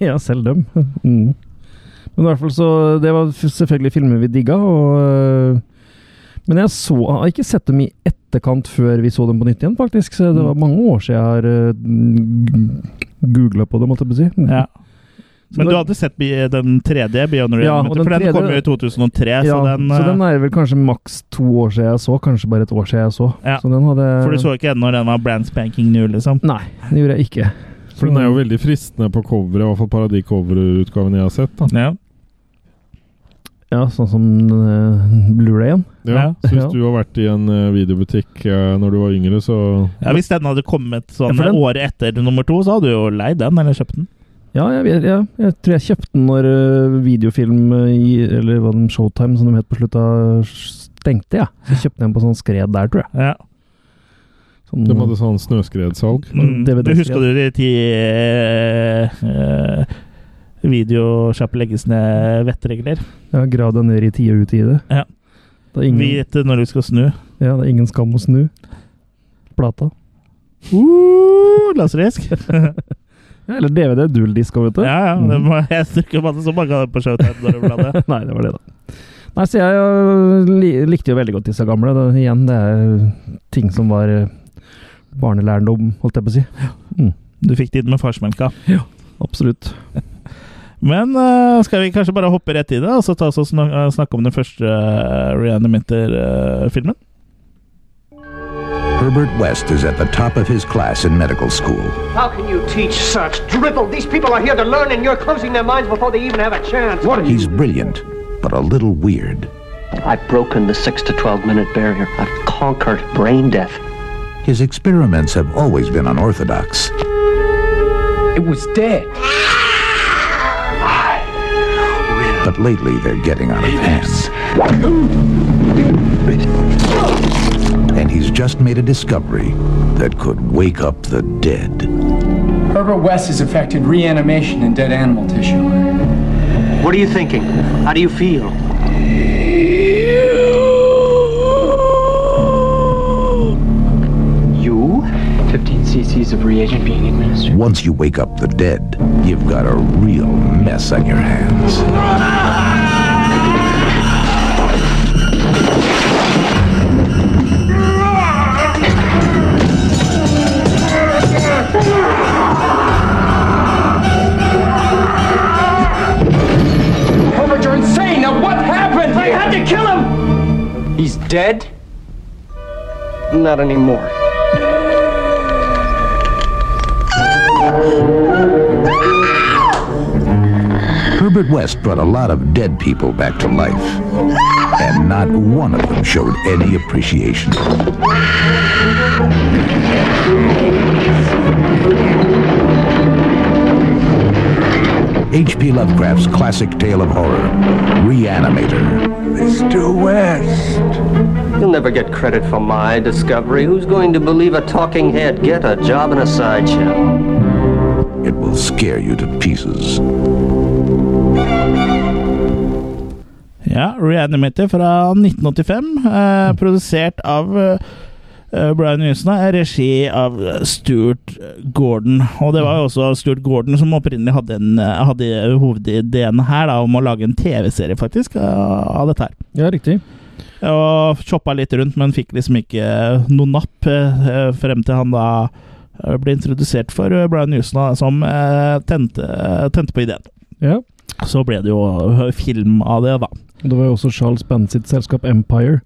Ja, selv dem. Mm. Men i hvert fall så Det var f- selvfølgelig filmer vi digga, og øh, Men jeg så Jeg har ikke sett dem i etterkant før vi så dem på nytt igjen, faktisk. Så det
Mm.
var mange år siden jeg har googla på dem, holdt jeg på å si. Mm.
Ja.
Så
Men
det-
du hadde sett bi- den tredje, Beyond Real,
Ja, og den
for den
tredje-
kom jo i 2003,
ja,
så den, eh,
er vel kanskje maks to år siden jeg så, kanskje bare et år siden jeg så.
Ja.
Så den hadde
For du så ikke ennå den var brand spanking new, liksom?
Nei, det gjorde jeg ikke.
For den er jo veldig fristende på coveret, i hvert fall Paradis-coverutgaven jeg har sett. da.
Ja.
Ja, sånn som uh, Blu-rayen.
Ja,
Ja.
så hvis
Ja.
du har vært i en eh, videobutikk eh, når du var yngre, så
Ja, Hvis den hadde kommet sånn
Ja, for den-
året etter nummer to, så hadde du jo leid den, eller kjøpt den.
Ja, jeg, vet- ja, jeg tror jeg kjøpte den når eh, videofilm eh, i- Eller hva den Showtime, som de het på slutta, stengte, ja. Så kjøpte jeg den på sånn skred der, tror jeg.
Ja.
Sånn,
De hadde sånn snøskredsalg.
Mm.
DVD
Du husker du de ti eh, eh, videokjapp legges ned vettregler?
Ja, Grav deg ned i tide og utide.
Ja.
Det er ingen,
Vit eh, når du skal snu.
ja, det er ingen skam å snu. Plata.
Uh, Laserisk.
Ja, eller DVD, dual-disk, vet du.
Ja, ja. Det må, jeg tror ikke så mange av dem på Showtime når de bladet.
Nei, det var det, da. Nei, så jeg øh, li likte jo veldig godt disse gamle. Da, igjen, det er øh, ting som var øh, barnelærdom, holdt jeg på å si.
Du fikk tid med farsmelka.
Absolutt.
Men eh, skal vi kanskje bare hoppe rett i det, og så ta oss og snak eh, snakke om den første eh, uh, Reanimator-filmen?
Herbert West is at the top of his class in medical school.
How can you teach such dribble? These people are here to learn, and you're closing their minds before they even have a chance. What
He's brilliant, but a little weird.
I've broken the six to twelve minute barrier. I've conquered brain death.
His experiments have always been unorthodox.
It was dead.
But lately, they're getting out of hand. And he's just made a discovery that could wake up the dead.
Herbert West has affected reanimation in dead animal tissue.
What are you thinking? How do you feel? You?
15 cc's of reagent being administered.
Once you wake up the dead, you've got a real mess on your hands.
Herbert, you're insane! Now what happened? I had to kill him! He's dead?
Not anymore.
Herbert West brought a lot of dead people back to life, and not one of them showed any appreciation. H.P. Lovecraft's classic tale of horror, Reanimator. Mr. West.
You'll never get credit for my discovery. Who's going to believe a talking head? Get a job in a sideshow.
It will scare you to pieces.
Ja, Reanimator fra 1985, eh, produsert av eh, Brian Nysna, regi av eh, Stuart Gordon. Og det var jo også Stuart Gordon som opprinnelig hadde, en, eh, hadde hovedideen her da, om å lage en TV-serie, faktisk, eh, av dette her.
Ja, riktig.
Og shoppa litt rundt, men fikk liksom ikke noe napp eh, frem til han da eh, ble introdusert for eh, Brian Nysna, som eh, tente, tente på ideen.
Ja.
Så ble det jo eh, film av det, da.
Det var jo også Charles Band sitt selskap Empire,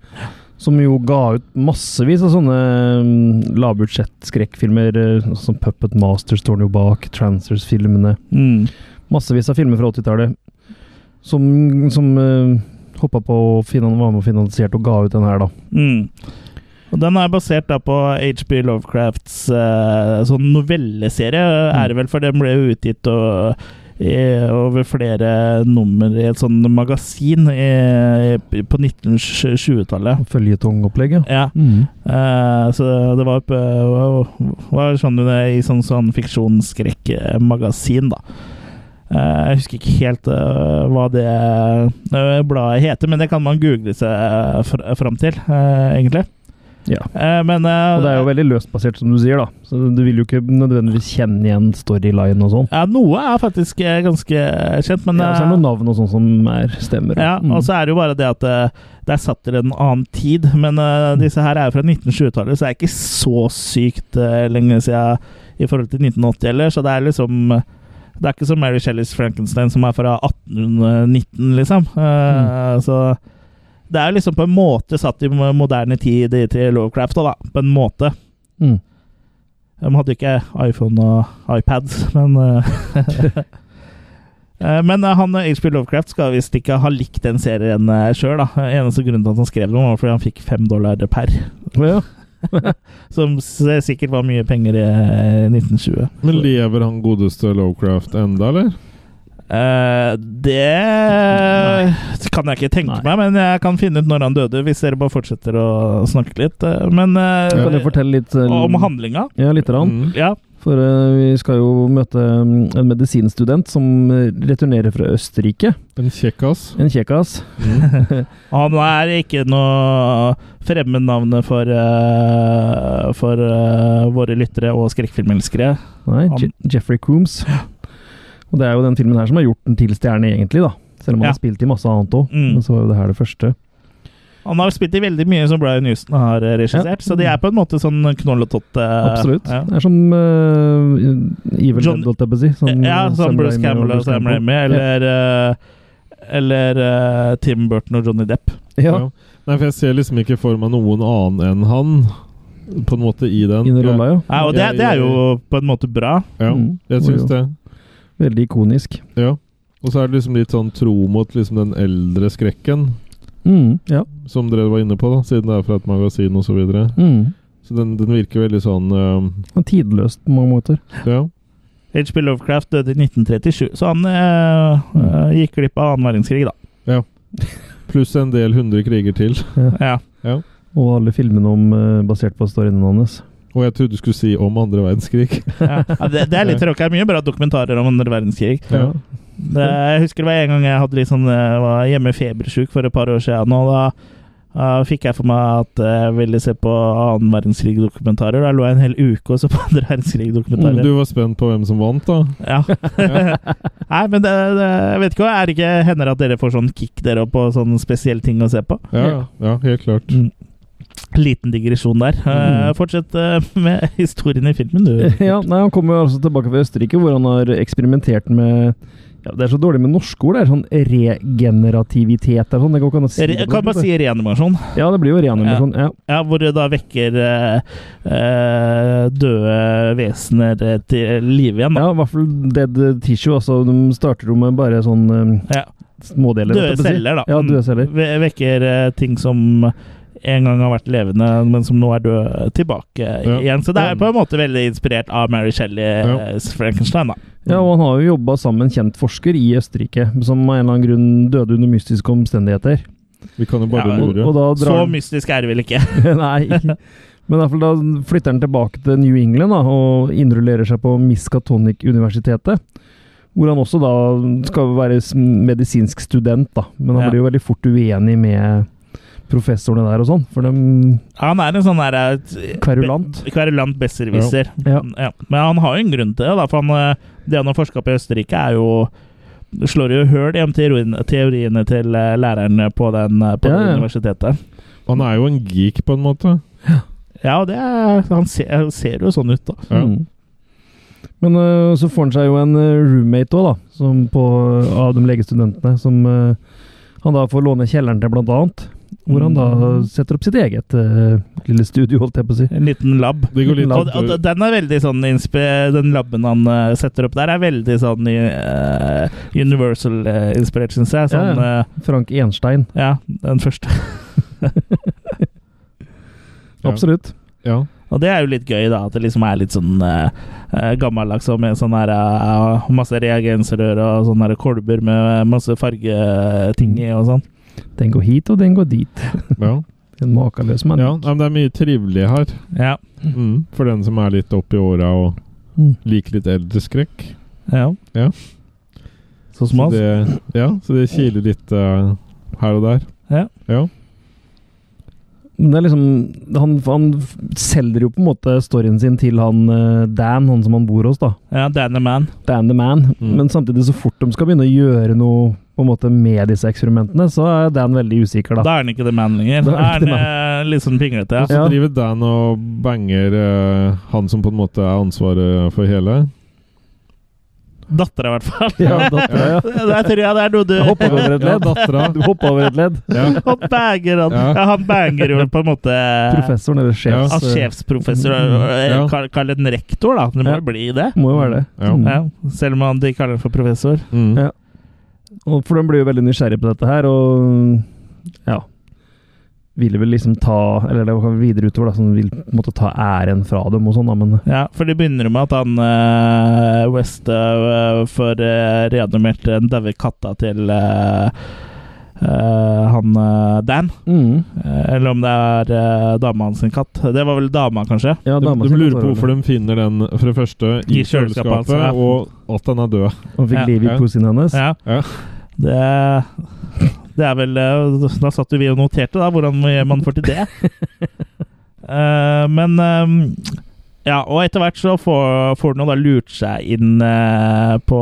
som jo ga ut massevis av sånne mm, lavbudsjett-skrekkfilmer, eh, som Puppet Master står han jo bak, Transfers-filmene
Mm.
Massevis av filmer fra 80-tallet som, som eh, hoppa på og finan, var med og finansierte og ga ut den her, da.
Mm. Og den er basert da på HB Lovecrafts eh, sånn novelleserie, er det vel, for den ble jo utgitt og, i, over flere nummer i et sånn magasin i, på 1920-tallet.
Føljetongopplegget.
Ja,
Mm.
eh, så det var, på, var sånn det i sånn, sånn fiksjonsskrekkmagasin, da. Eh, jeg husker ikke helt eh, hva det eh, bladet heter, men det kan man google seg eh, fr fram til, eh, egentlig.
Ja.
Eh, men eh,
Og det er jo veldig løsbasert, som du sier, da. Så du vil jo ikke nødvendigvis kjenne igjen storyline og sånn.
ja, noe er faktisk eh, ganske kjent, men eh,
Ja, og så er det noen navn og sånn som er stemmer.
ja, altså-
Mm.
og så er det jo bare det at eh, det er satt til en annen tid. Men eh, disse her er jo fra 1920-tallet, så det er ikke så sykt eh, lenge siden i forhold til 1980 heller. Så det er liksom Det er ikke som Mary Shelleys Frankenstein, som er fra 1819, liksom. Eh, Så det er liksom på en måte satt i moderne tid i- til Lovecraft, da, da. På en måte.
Mm.
De hadde ikke iPhone og iPads, men eh, Eh, Men eh, han eh, H.P. Lovecraft skal visst ikke ha likt den serien eh, sjøl. Eneste grunnen til at han skrev den, var fordi han fikk fem dollar per.
Ja.
Som s- sikkert var mye penger i eh, 1920.
Men lever han godeste Lovecraft enda, eller?
Eh, det kan jeg ikke tenke
Nei.
meg, men jeg kan finne ut når han døde, hvis dere bare fortsetter å snakke litt. Eh, Men eh,
Kan du fortelle litt eh,
om handlinga?
Ja, lite grann.
Mm.
Ja.
For eh, vi skal jo møte mm, en medisinstudent som eh, returnerer fra Østerrike.
En kjekkas.
En kjekkas.
Han er ikke noe fremmed navn for, eh, for eh, våre lyttere og skrekkfilmelskere.
Nei,
Han-
Je Jeffrey Coombs. Og det er jo den filmen her som har gjort den til stjerne, egentlig, da. Selv om han
Ja.
har spilt i masse annet òg.
Mm.
Men så var jo det her det første.
Han har spilt i veldig mye som Brian Houston har eh, regissert,
Ja.
så de er på en måte sånn knoll og tott. eh,
Absolutt.
Ja.
Det er som eh, Evil
John-
Dead, holdt jeg på å si. Som,
ja, som
Sånn Sam
Bruce
Raimi
Campbell og Sam Ramy, eller, eh, eller eh, Tim Burton og Johnny Depp.
Ja.
Ja. Nei, for jeg ser liksom ikke for meg noen annen enn han, på en måte, i den.
I den rolla, ja.
Ja, og det, det er jo på en måte bra.
Ja, ja.
Mm.
jeg syns det.
Veldig ikonisk.
Ja. Og så er det liksom litt sånn tro mot liksom den eldre skrekken,
Mm, ja.
som dere var inne på, da, siden det er fra et magasin osv. Så, videre.
Mm.
så den, den virker veldig sånn øhm,
Og Tidløst på mange måter.
Ja.
H.P. Lovecraft døde i 1937, så han eh, eh, gikk glipp av annen verdenskrig, da.
Pluss en del hundre kriger til.
Ja.
Og alle filmene om, eh, basert på storyene hans.
Og jeg trodde du skulle si om andre verdenskrig.
Ja. Ja, det, det er litt råk. Det er mye bra dokumentarer om andre verdenskrig.
Ja.
Det, jeg husker det var en gang jeg hadde litt sånn, eh, var hjemme febersjuk for et par år siden. Og da eh, fikk jeg for meg at eh, jeg ville se på annen verdenskrig-dokumentarer. Da lå jeg en hel uke og så på andre
Mm,
verdenskrig-dokumentarer.
Du var spent på hvem som vant, da?
Ja. Nei, men det, det, jeg vet ikke hva. Er det ikke hender at dere får sånn kick dere opp på sånne spesielle ting å se på?
Ja, ja. ja helt klart.
Liten digresjon der. Eh,
Mm.
Fortsett eh, med historien i filmen, du.
ja, nei, Han kommer jo altså tilbake fra Østerrike, hvor han har eksperimentert med ja, Det er så dårlig med norske ord. Det er sånn regenerativitet. Det, er sånn, det går ikke an å si
Re-
det på
Kan
norsk,
man si reanimasjon?
det. Ja, det blir jo reanimasjon. Ja.
Ja, hvor det da vekker eh, eh, døde vesener eh, til live igjen.
ja,
Da.
i hvert fall dead tissue. Altså, de starter jo med bare sånn eh,
Ja.
smådeler.
Døde
holdt jeg på å si.
celler, da. Mm.
Ja, døde celler.
Ve vekker eh, ting som en gang har vært levende, men som nå er døde, tilbake
Ja.
igjen. Så det
Mm.
er på en måte veldig inspirert av Mary Shelley's Frankenstein, da.
Ja, og Han har jo jobba sammen med en kjent forsker i Østerrike, som av en eller annen grunn døde under mystiske omstendigheter.
Vi kan jo bare
Ja,
Og,
lure.
og da
Så
drar
mystisk er det vel ikke.
Nei. ikke. Men i hvert fall da flytter han tilbake til New England da, og innrullerer seg på Miskatonic-universitetet. Hvor han også da skal være s- medisinsk student, da. Men han
Ja.
blir jo veldig fort uenig med professorene der og sånn, for de
Han er en sånn der eh,
Kverulant.
be- Kverulant besserwisser.
Ja.
Mm, Ja. Men han har jo en grunn til det, da, for han, eh, det han har forska på i Østerrike, er jo Slår jo høl hjem teorien, teoriene til eh, læreren på, den, eh, på
Ja,
det
ja.
universitetet.
Han er jo en geek, på en måte.
Ja, og det er, han ser, ser jo sånn ut, da.
Ja.
Mm. Men øh, så får han seg jo en øh, roommate òg, da, som på, eh, av de legestudentene. Som øh, han da får låne kjelleren til, blant annet. Hvor han da
Mm.
setter opp sitt eget øh, lille studio, holdt jeg på å si.
En liten lab.
Det går litt
Og, og d- den er veldig sånn inspi- Den labben han eh, setter opp der, er veldig sånn eh, Universal-inspirert, syns jeg. Sånn,
Ja, Frank Enstein.
eh, ja, den første.
Ja.
Absolutt.
Ja.
Og det er jo litt gøy, da. At det liksom er litt sånn eh, eh, gammeldags og med sånn her eh, masse reagensrør og sånne her kolber med eh, masse fargeting i og sånn.
Den går hit, og den går dit.
ja.
En makeløs mann.
ja. Nei, men det er mye trivelig her.
Ja.
Mm. For den som er litt oppi åra og
Mm.
liker litt eldre skrekk.
ja.
Ja.
Så
Så
smalt.
det, ja, så det kiler litt eh, her og der.
Ja.
ja.
Men det er liksom Han, han f- selger jo på en måte storyen sin til han øh, Dan, han som han bor hos, da.
Ja, Dan the Man.
Dan the Man.
Mm.
Men samtidig, så fort de skal begynne å gjøre noe på en måte med disse eksperimentene, så er Dan veldig usikker,
Da
da.
er han ikke The Man lenger. Da
Da er han
er
ikke
han eh, litt sånn pinglete.
Og
Ja.
så
Ja.
driver Dan og banger eh, han som på en måte er ansvaret for hele.
Dattera, i hvert fall.
Ja, dattera, ja.
Der tror jeg det er noe du
Jeg hoppa over et
Ja,
ledd.
dattera.
Du hoppa over et ledd.
Ja.
Han banger, han.
Ja.
Ja, han banger jo på en måte
Professoren eller
Ja.
sjefs...
Ja, sjefsprofessor. eh,
Ja.
Kall kall det en rektor, da. Det må
Ja.
jo bli det.
eh, Må jo være det.
Ja.
Mm.
Ja, selv om han de kaller ham for professor.
Mm.
Ja. Og for de blir jo veldig nysgjerrig på dette her, og ja Ville vel liksom ta Eller det var videre utover, da, som vil på en måte ta æren fra dem og sånn, da, men
Ja, for de begynner med at han eh, West eh, får eh, reanimert den daue katta til eh, eh, han eh, Dan.
mm.
Eh, eller om det er eh, dama hans sin katt. Det var vel dama, kanskje?
Ja,
De,
dama
de
sin
lurer
katt
på
var
hvorfor de finner den, for det første, i,
I kjøleskapet,
kjøleskapet,
altså, ja.
og at den er død.
veldig- Og fikk
Ja,
liv i
ja.
pussyen hennes.
Ja.
Ja.
Det, det er vel eh, Da satt jo vi og noterte, da, hvordan man får til det. Eh, men eh, Ja, og etter hvert så får, får den jo da lurt seg inn eh, på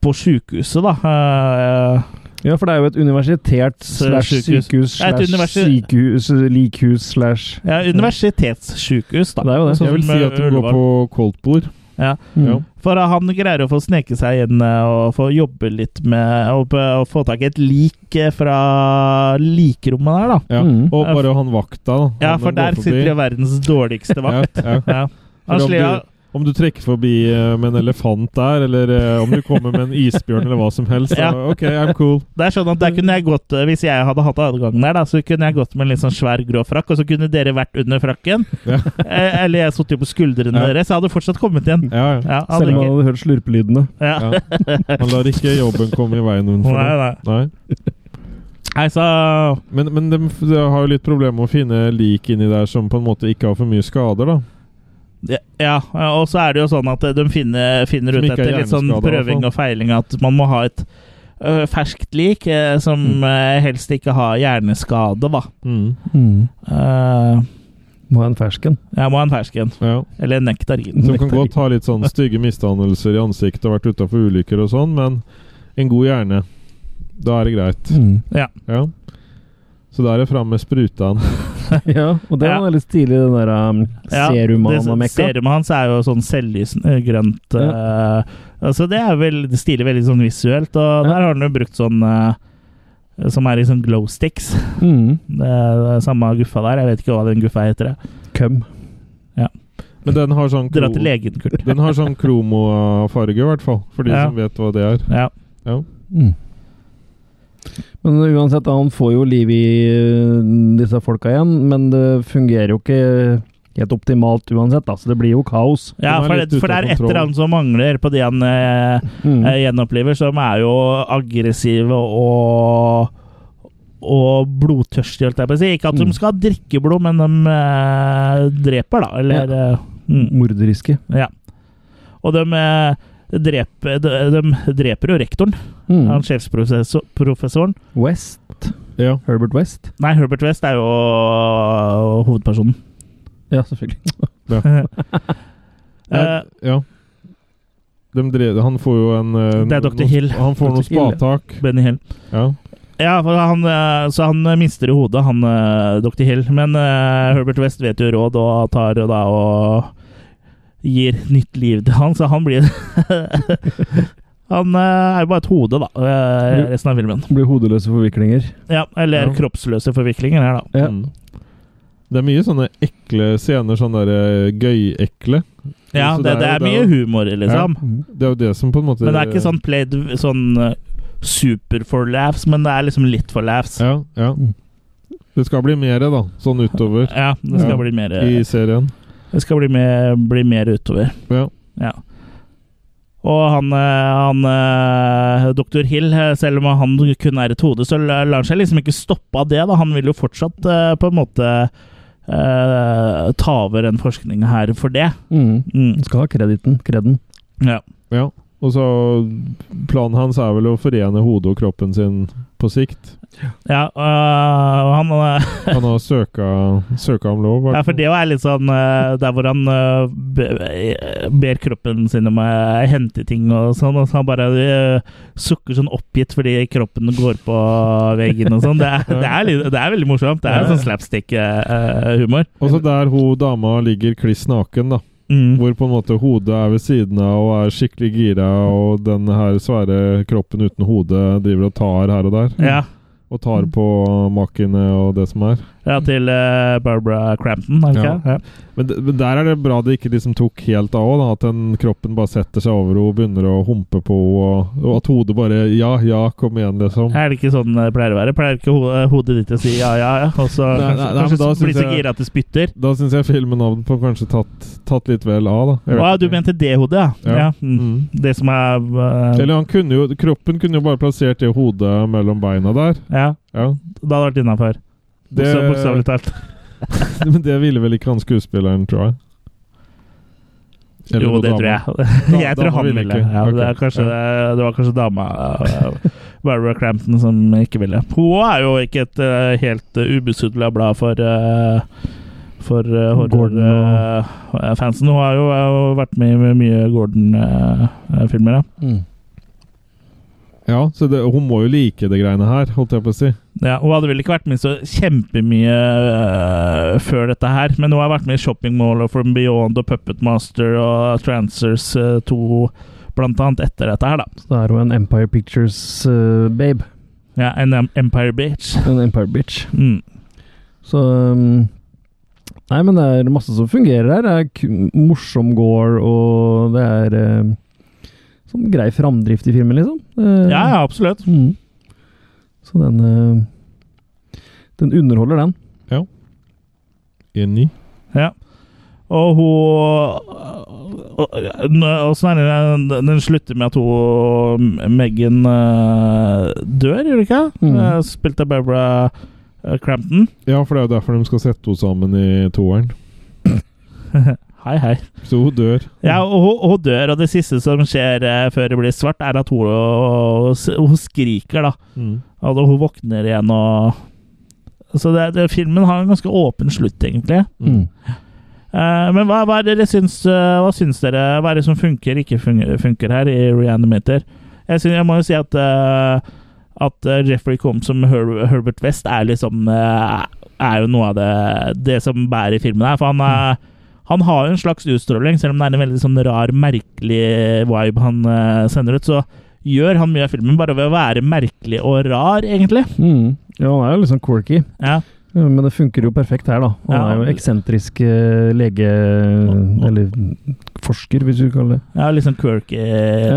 på sjukehuset, da. Eh,
Ja, for det er jo et universitet slash
sykehus.
sykehus
Ja, et
slash
universi-
sykehus likhus slash
ja, universitetssjukehus, da.
Det er jo det.
Sånn
Jeg vil
som,
si
eh,
at de går
Ullevål.
på koldtbord. Ja.
mm.
For eh, han greier å få sneke seg inn eh, og få jobbe litt med Og, og få tak i et lik eh, fra likrommet der, da.
Ja.
Mm.
Og bare han vakta, da.
Ja,
Han
for
går
der
forbi.
sitter jo verdens dårligste vakt.
Ja, ja.
Ja. Han
Eller om
slår
du- Om du trekker forbi eh, med en elefant der, eller eh, om du kommer med en isbjørn eller hva som helst, da
Ja.
OK, I'm cool.
Det er sånn at der kunne jeg gått eh, Hvis jeg hadde hatt adgangen der, da, så kunne jeg gått med en litt sånn svær grå frakk, og så kunne dere vært under frakken.
Ja.
Eh, Eller jeg sittet jo på skuldrene
Ja.
deres. Jeg hadde fortsatt kommet igjen.
Ja, ja.
Ja, hadde
Selv om
ikke-
man hadde hørt slurpelydene.
ja.
ja. Man lar ikke jobben komme i veien for
Nei,
det.
nei.
Nei.
Nei, så
Men, men de, f- de har jo litt problemer med å finne lik inni der som på en måte ikke har for mye skader, da.
Ja, og så er det jo sånn at eh, de finner, finner
Som
ut
ikke er
etter litt sånn
hjerneskada, i hvert
prøving
fall.
og feiling at man må ha et ø, ferskt lik eh, som eh, helst ikke har hjerneskade, da.
Mm.
Mm.
Eh,
Må ha en fersken.
jeg må ha en fersken.
Ja.
Eller en nektarin.
Som kan godt ha litt sånn stygge misdannelser i ansiktet og vært utafor ulykker og sånn, men en god hjerne, da er det greit.
Mm.
Ja. Så da er det fram med sprutaen.
Ja, og det
Ja.
var veldig stilig, den der um, serumet han har mekka.
Serumet hans er jo sånn selvlysende grønt. eh, altså det er vel det stilig veldig sånn visuelt, og
Ja.
der har han jo brukt sånn eh, som er i sånn glow sticks.
Mm.
Det er det samme guffa der. Jeg vet ikke hva den guffa heter. jeg.
Køm.
Men den har sånn
Dra
kro-
til legen, Kurt.
Den har sånn kromofarge, i hvert fall. For de
Ja.
som vet hva det er.
Ja.
Mm. Men uansett, da, han får jo liv i eh, disse folka igjen, men det fungerer jo ikke helt optimalt uansett, da, så det blir jo kaos.
Den
Ja,
er
for,
litt
det, for
ute av
det er et
kontroll.
eller annet som mangler på de han eh,
Mm.
eh, gjenoppliver, som er jo aggressive og og blodtørstige, holdt jeg på å si. Ikke at
Mm.
de skal drikke blod, men de eh, dreper, da. Eller eh, mm.
Morderiske.
Ja. Og de, eh, dreper, de, de dreper jo rektoren,
Mm.
han sjefsprofessoren.
West.
Ja.
Herbert West.
Nei, Herbert West er jo hovedpersonen.
Ja, selvfølgelig.
Eh,
ja. De drev, han får jo en eh,
Det er Dr.
noen-
Hill.
Han får
Dr.
noen
Hill, ja.
spadetak.
Benny Hill.
Ja.
Ja, for han, eh, så han mister i hodet, han eh, dr. Hill. Men eh, Herbert West vet jo råd og tar jo da og gir nytt liv til han, så han blir Han eh, er jo bare et hode, da, eh, resten av filmen.
Blir hodeløse forviklinger.
Ja, Eller
Ja.
kroppsløse forviklinger her, da.
Ja.
Mm. Det er mye sånne ekle scener, sånne der, eh, gøyekle.
Ja,
Så
det, det
jo-
er mye
jo-
humor, liksom.
Mm.
Det er jo det som på en måte
Men det er ikke sånn played sånn uh, super for laughs, men det er liksom litt for laughs. Ja,
Ja, ja.
Mm.
Det skal bli mer, da. Sånn utover
det skal
Ja.
bli mer eh,
i serien.
Det skal bli mer, bli mer utover.
Ja.
Ja. Og han, eh, han eh, Dr. Hill, eh, selv om han kun er et hode, så la- lar han seg liksom ikke stoppe av det. da Han vil jo fortsatt eh, på en måte eh, ta over den forskninga her for det.
Mm.
Mm.
Skal ha krediten. Kreden.
Ja.
ja. Og så Planen hans er vel å forene hodet og kroppen sin på sikt.
ja øh, han eh,
Han har søka, søka om lov.
Ja, for det er litt sånn eh, Der hvor han eh, be- ber kroppen sin om å hente ting og sånn, og så han bare eh, sukker sånn oppgitt fordi kroppen går på veggen og sånn. Det, er- det, er litt- det er veldig morsomt. Det er jo sånn eh, slapstick-humor.
Og så der hun dama ligger kliss naken, da.
Mm.
Hvor på en måte hodet er ved siden av og er skikkelig gira, og den her svære kroppen uten hode driver og tar her og der.
Ja.
Og tar på makkene og det som er.
Ja, til eh, Barbara Crampton, er det ikke?
Ja.
Ja.
Men, d- men der er det bra det ikke liksom tok helt av, da, at den kroppen bare setter seg over henne, begynner å humpe på henne, og, og at hodet bare Ja, ja, kom igjen, liksom.
Er det ikke sånn det pleier å være? Pleier ikke ho hodet ditt å si ja, ja, ja, og så
Nei, nei,
kanskje,
nei, men da
kanskje
synes
blir så
jeg-
gira at det spytter?
Da syns jeg filmnavnet på kanskje tatt, tatt litt vel av, da. Jeg vet
Å, ja, du
ikke.
mente det hodet, ja.
Ja.
ja. Mm.
Mm.
Det som er eh,
Eller han kunne jo, kroppen kunne jo bare plassert det hodet mellom beina der.
Ja,
Ja.
da hadde det vært innafor.
Det-
Bokstavelig talt.
Men det ville vel ikke han skuespilleren, tror jeg. Eller
Jo,
noe
det
dame.
tror jeg. Jeg tror
dama
han
ville
ville.
ikke.
Ja, det, er
Ok,
kanskje, det var kanskje dama eh, Barbara Crampton som ikke ville. Hun er jo ikke et eh, helt uh, ubesudla blad for eh, for eh, horror
Gordon og-
eh, fansen. Hun har jo eh, vært med i mye Gordon-filmer. ja.
Mm.
Ja, så det, hun må jo like det greiene her, holdt jeg på å si.
Ja, hun hadde vel ikke vært med så kjempemye øh, før dette her, men hun har vært med i Shopping Mall og From Beyond og Puppet Master og Transers øh, 2, blant annet etter dette her, da.
Så da er hun en Empire Pictures-babe.
Ja, en em- Empire Beach.
en Empire Bitch.
Mm.
Så um, Nei, men det er masse som fungerer her. Det er ku- morsom gore, og det er eh, sånn grei framdrift i filmen, liksom. Eh,
Ja, ja, absolutt.
Mm. Så den eh, Den underholder, den.
Enig.
Ja. Og hun eh, og- og- Åssen er det den- Den slutter med at hun eh, Megan øh, dør, gjør det ikke?
Mm.
Eh, Spilt av Barbara øh, Crampton.
Ja, for det er jo derfor de skal sette henne sammen i toeren.
Hei, hei.
Så hun dør.
Ja, og hun, hun dør, og det siste som skjer eh, før det blir svart, er at hun, hun skriker, da.
Mm.
Og hun våkner igjen og Så det, det, filmen har en ganske åpen slutt, egentlig.
Mm.
Eh, men hva, hva er det dere syns, eh, hva syns dere Hva er det som funker, ikke fun funker her i Reanimator? Jeg, syns- jeg må jo si at eh, At eh, Jeffrey Combs som Her Herbert West er liksom eh, Er jo noe av det, det som bærer filmen her. For han, eh, han har jo en slags utstråling, selv om det er en veldig sånn rar, merkelig vibe han eh, sender ut. Så gjør han mye av filmen bare ved å være merkelig og rar, egentlig.
Mm. Ja, han er jo litt sånn quirky,
Ja.
eh, men det funker jo perfekt her, da. Han
Ja.
er jo eksentrisk eh, lege Eller forsker, hvis du kaller det.
Ja, litt sånn quirky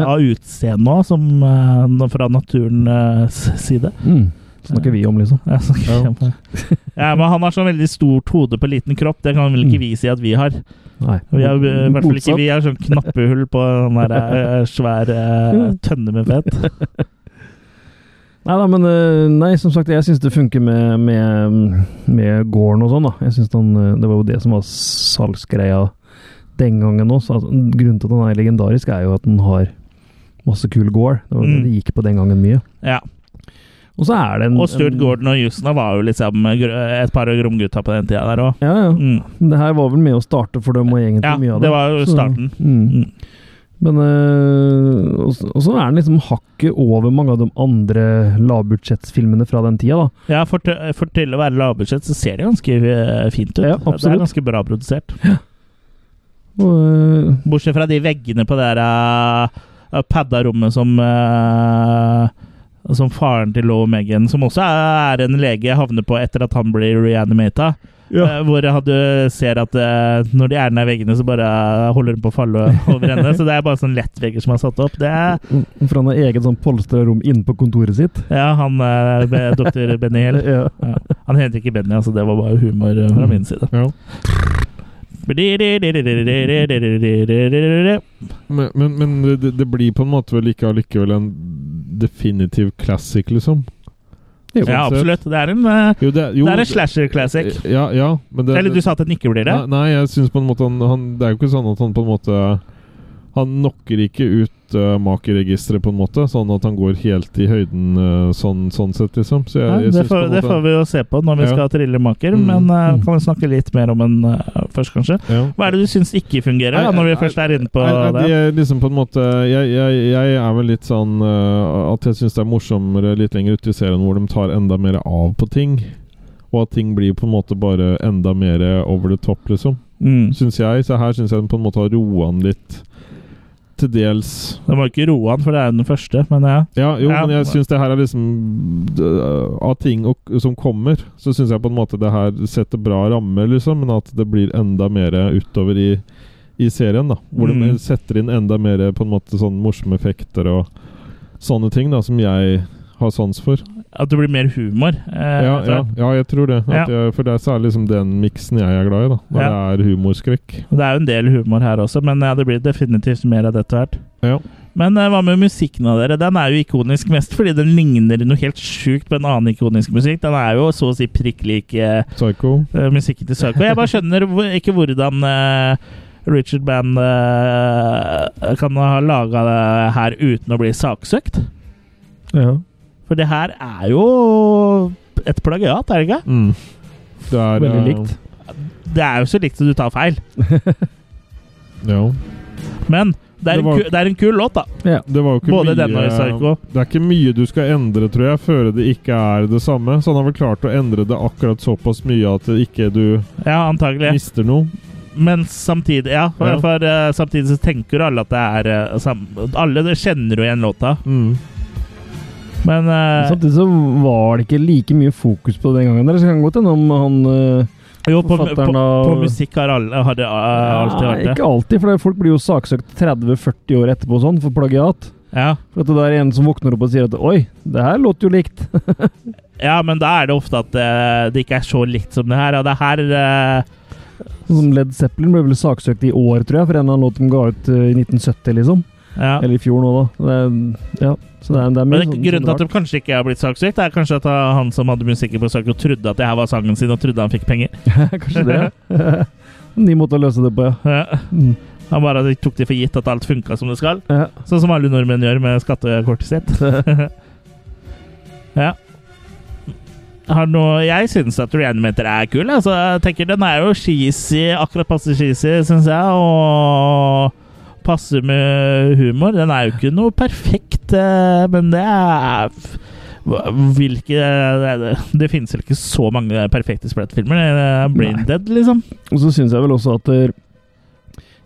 av utseende òg, som eh, fra naturens eh, side.
Mm. Snakker vi om, liksom.
Ja, så- ja, men han har sånn veldig stort hode på liten kropp. Det kan vel ikke vi si at vi har.
Nei.
Vi har eh, i hvert fall ikke
Mm. Motsatt.
vi har sånn knappehull på en der, eh, svær eh, tønne med fett.
Nei da, men øh, nei, som sagt, jeg syns det funker med, med, med gården og sånn, da. Jeg synes den, øh, Det var jo det som var salgsgreia den gangen òg. Altså, grunnen til at den er legendarisk, er jo at den har masse kul gård. Det var
Mm.
det det gikk på den gangen mye.
Ja.
Og så er det en
Og Stuart
en-
Gordon og Justna var jo liksom gr- et par av gromgutta på den tida der òg.
Ja, ja.
Mm.
Men Det her var vel med å starte for dem, og egentlig
Ja,
mye av det.
det var jo
Så-
starten.
Mm.
Mm.
Men øh, og så- og så er den liksom hakket over mange av de andre lavbudsjettsfilmene fra den tida, da.
Ja, for, til- for til å være lavbudsjett så ser det ganske eh, fint ut.
Ja,
det er
absolutt.
ganske bra produsert.
Og, øh,
Bortsett fra de veggene på det der eh, padda rommet som eh, Som faren til Lo Megan, som også er en lege, havner på etter at han blir reanimata.
Ja.
Eh, Hvor han- du ser at eh, når de er nær veggene, så bare holder hun på å falle over ende. Så det er bare sånn lettvegger som er satt opp. Det er
For han har eget sånn polstra rom inne på kontoret sitt.
ja, han eh, be- doktor Benny Hill.
Ja.
Ja. Han heter ikke Benny, altså. Det var bare humor eh, fra min side.
Ja. Men, men, men det, det blir på en måte vel ikke allikevel en definitiv classic, liksom?
Ja, absolutt. Det er en, eh,
Jo, det, Eh, jo,
det er en slasher-classic.
Ja, ja, men det,
Eller du sa at den ikke blir det?
Nei, nei, jeg syns på en måte han, han Det er jo ikke sånn at han på en måte Han knocker ikke ut uh, makerregisteret, på en måte. Sånn at han går helt i høyden eh, sånn, sånn sett, liksom. Så jeg,
Nei,
jeg
det,
synes på
får,
en
det
måte-
får vi jo se på når vi
Ja.
skal trille maker,
Mm.
men eh,
Mm.
kan vi snakke litt mer om den eh, først, kanskje?
ja.
Hva er det du syns ikke fungerer, da,
Nei,
når vi
nei,
først er inne på
Nei, nei,
det?
de er liksom på en måte Jeg, jeg, jeg er vel litt sånn øh, at jeg syns det er morsommere litt lenger ute i serien hvor de tar enda mer av på ting. Og at ting blir på en måte bare enda mer over the top, liksom.
Mm.
Syns jeg. Så her syns jeg de på en måte har roa den litt. til dels
Det må ikke roe han, for det er jo den første, men ja.
Ja, jo,
Ja.
men jeg syns det her er liksom øh, Av ting og, som kommer, så syns jeg på en måte det her setter bra rammer, liksom, men at det blir enda mer utover i, i serien, da. Hvor
Mm.
de setter inn enda mer på en måte sånn morsomme effekter og sånne ting, da, som jeg har sans for.
At det blir mer humor. Eh,
Ja,
etter
ja,
hvert.
ja jeg tror det. At jeg, for det er særlig liksom den miksen jeg er glad i, da. Når
Ja.
det er humorskrekk.
Og Det er jo en del humor her også, men ja, det blir definitivt mer av dette hvert.
Ja.
Men eh, hva med musikken av dere? Den er jo ikonisk mest fordi den ligner noe helt sjukt på en annen ikonisk musikk. Den er jo så å si prikk lik eh,
Psycho.
eh, musikken til Psycho. Jeg bare skjønner hvor- ikke hvordan eh, Richard Band eh, kan ha laga det her uten å bli saksøkt.
Ja.
For det her er jo et plagiat, er det ikke?
Mm. Det er
Veldig
eh,
likt.
Det er jo så likt som du tar feil.
eh, Ja.
Men det er,
Det var- eh,
en, ku, det er en kul låt, da.
Det var jo ikke mye,
Både den og Psycho.
Det er ikke mye du skal endre, tror jeg, før det ikke er det samme. Så han har vel klart å endre det akkurat såpass mye at det ikke du
Ja, antagelig.
mister noe.
Men samtidig Ja, for,
Ja.
for eh, samtidig så tenker jo alle at det er eh, sam Alle det kjenner jo igjen låta,
Mm.
men eh,
Samtidig så var det ikke like mye fokus på det den gangen. der, så Det kan godt hende om han eh,
Jo, på, på,
forfatteren
på,
av-
musikk har, alle, har det eh, alltid
Nei,
vært det.
Ikke alltid, for det er- folk blir jo saksøkt 30-40 år etterpå og sånn for plagiat.
Ja.
For at det der er en som våkner opp og sier at 'oi, det her låter jo likt'.
ja, men da er det ofte at eh, det ikke er så likt som det her. Og det her eh,
Sånn som Led Zeppelin ble vel saksøkt i år, tror jeg, for en eller annen låt de ga ut eh, i 1970, liksom.
ja.
Eller i fjor nå, da. Det er, ja, så det er, det er mye
Men det,
sånn-
grunnen til at
sånn
de kanskje ikke har blitt saksøkt, er kanskje at eh, han som hadde musikken på saken, trodde at det her var sangen sin, og trodde han fikk penger.
rart. Kanskje det. ja. Ny måte å løse det på, ja.
Ja.
Mm.
Han bare tok det for gitt at alt funka som det skal.
Ja.
Sånn som alle nordmenn gjør med skattekortet sitt. ja. Har noe, jeg syns at Reanimator er kul. Altså, jeg tenker Den er jo cheesy, akkurat passe cheesy, syns jeg. Og passer med humor. Den er jo ikke noe perfekt, eh, men det er hva- Hvilke Det, det, det finnes vel ikke så mange perfekte Splat-filmer. Det er Brain
Nei.
Dead, liksom.
Og så syns jeg vel også at eh,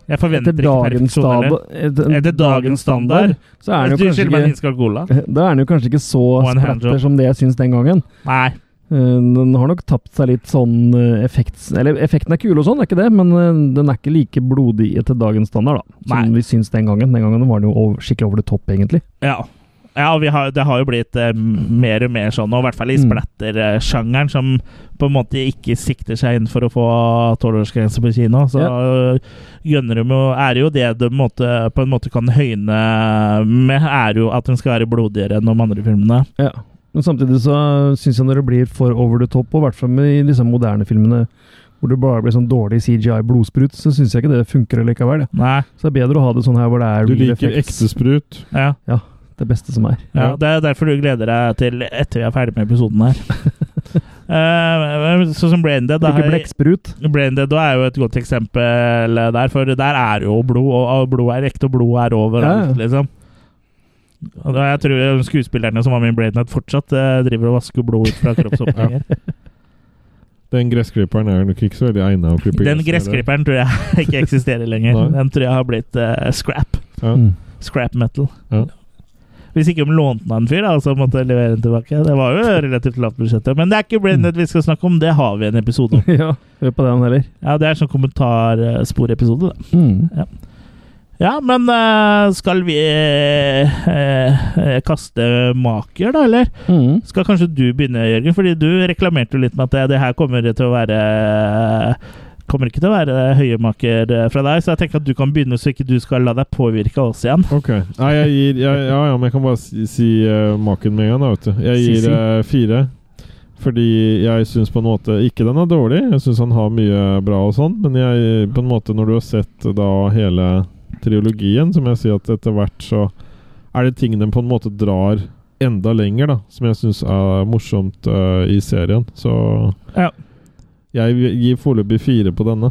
Jeg forventer
etter
ikke
dagens,
perfeksjon.
standa-
heller.
etter,
Etter dagens standard
så er den jo
Du
kanskje
skylder meg en
ikke
finsk cola.
da er den jo kanskje ikke så
One hand
splatter
job.
som det jeg syns den gangen.
Nei.
Eh, Den har nok tapt seg litt sånn eh, effekt Eller effekten er kul og sånn, det er ikke det, men eh, den er ikke like blodig etter dagens standard, da. Som
Nei.
vi syns den gangen. Den gangen var den jo over, skikkelig over det topp, egentlig.
Ja. Ja, og vi har, Det har jo blitt eh, mer og mer sånn, og i hvert fall i
Mm.
splatter-sjangeren, som på en måte ikke sikter seg inn for å få tolvårsgrense på kino. Så gønner de jo Er det jo det de måte, på en måte kan høyne med, er jo at den skal være blodigere enn de andre filmene.
Ja. Men samtidig så syns jeg når det blir for over the top, og i hvert fall med i disse moderne filmene hvor det bare blir sånn dårlig CGI-blodsprut, så syns jeg ikke det funker likevel. Ja.
Nei.
Så det er bedre å ha det sånn her hvor det er
Du
real
liker
effects.
ekte sprut.
Ja.
Det beste som er.
Ja,
Ja.
Det er derfor du gleder deg til etter vi er ferdig med episoden her. Eh, sånn som Brain Dead. da
Ikke
har jeg-
blekksprut.
Brain Dead er jo et godt eksempel eh, der, for der er jo blod, og- og blod er ekte, og blod er overalt,
Ja,
liksom. Og da, jeg tror eh, skuespillerne som var med i Brain Dead, fortsatt eh, driver og vasker blod ut fra kroppsåpninger.
Den gressklipperen er nok ikke så veldig egna å klippe
Den
gress med, det.
gressklipperen tror jeg ikke eksisterer lenger.
Nei.
Den tror jeg har blitt eh, scrap.
Ja.
Mm.
Scrap metal.
Ja.
Hvis ikke om lånte den av en fyr, da, og så måtte jeg levere den tilbake. Det var jo relativt lavt budsjett. Men det er ikke Brain Dead vi skal snakke om, det har vi en
Mm.
episode om.
ja, hør på den heller.
Ja, Det er sånn kommentarsporepisode, da.
Mm.
Ja, men eh, skal vi eh, eh, kaste maker, da, eller?
Mm.
Skal kanskje du begynne, Jørgen? Fordi du reklamerte jo litt med at det, det her kommer til å være Kommer ikke til å være høyemaker eh, fra deg, så jeg tenker at du kan begynne, så ikke du skal la deg påvirke av oss igjen.
Ok. Nei, jeg gir jeg, Ja ja, men jeg kan bare si, si eh, maken med en gang, da, vet du. Jeg
Si,
gir
si.
eh, fire. Fordi jeg syns på en måte ikke den er dårlig. Jeg syns han har mye bra og sånn, men jeg på en måte når du har sett da hele trilogien, så må jeg si at etter hvert så er det ting den på en måte drar enda lenger, da. Som jeg syns er morsomt eh, i serien. Så
Ja.
jeg gir foreløpig fire på denne.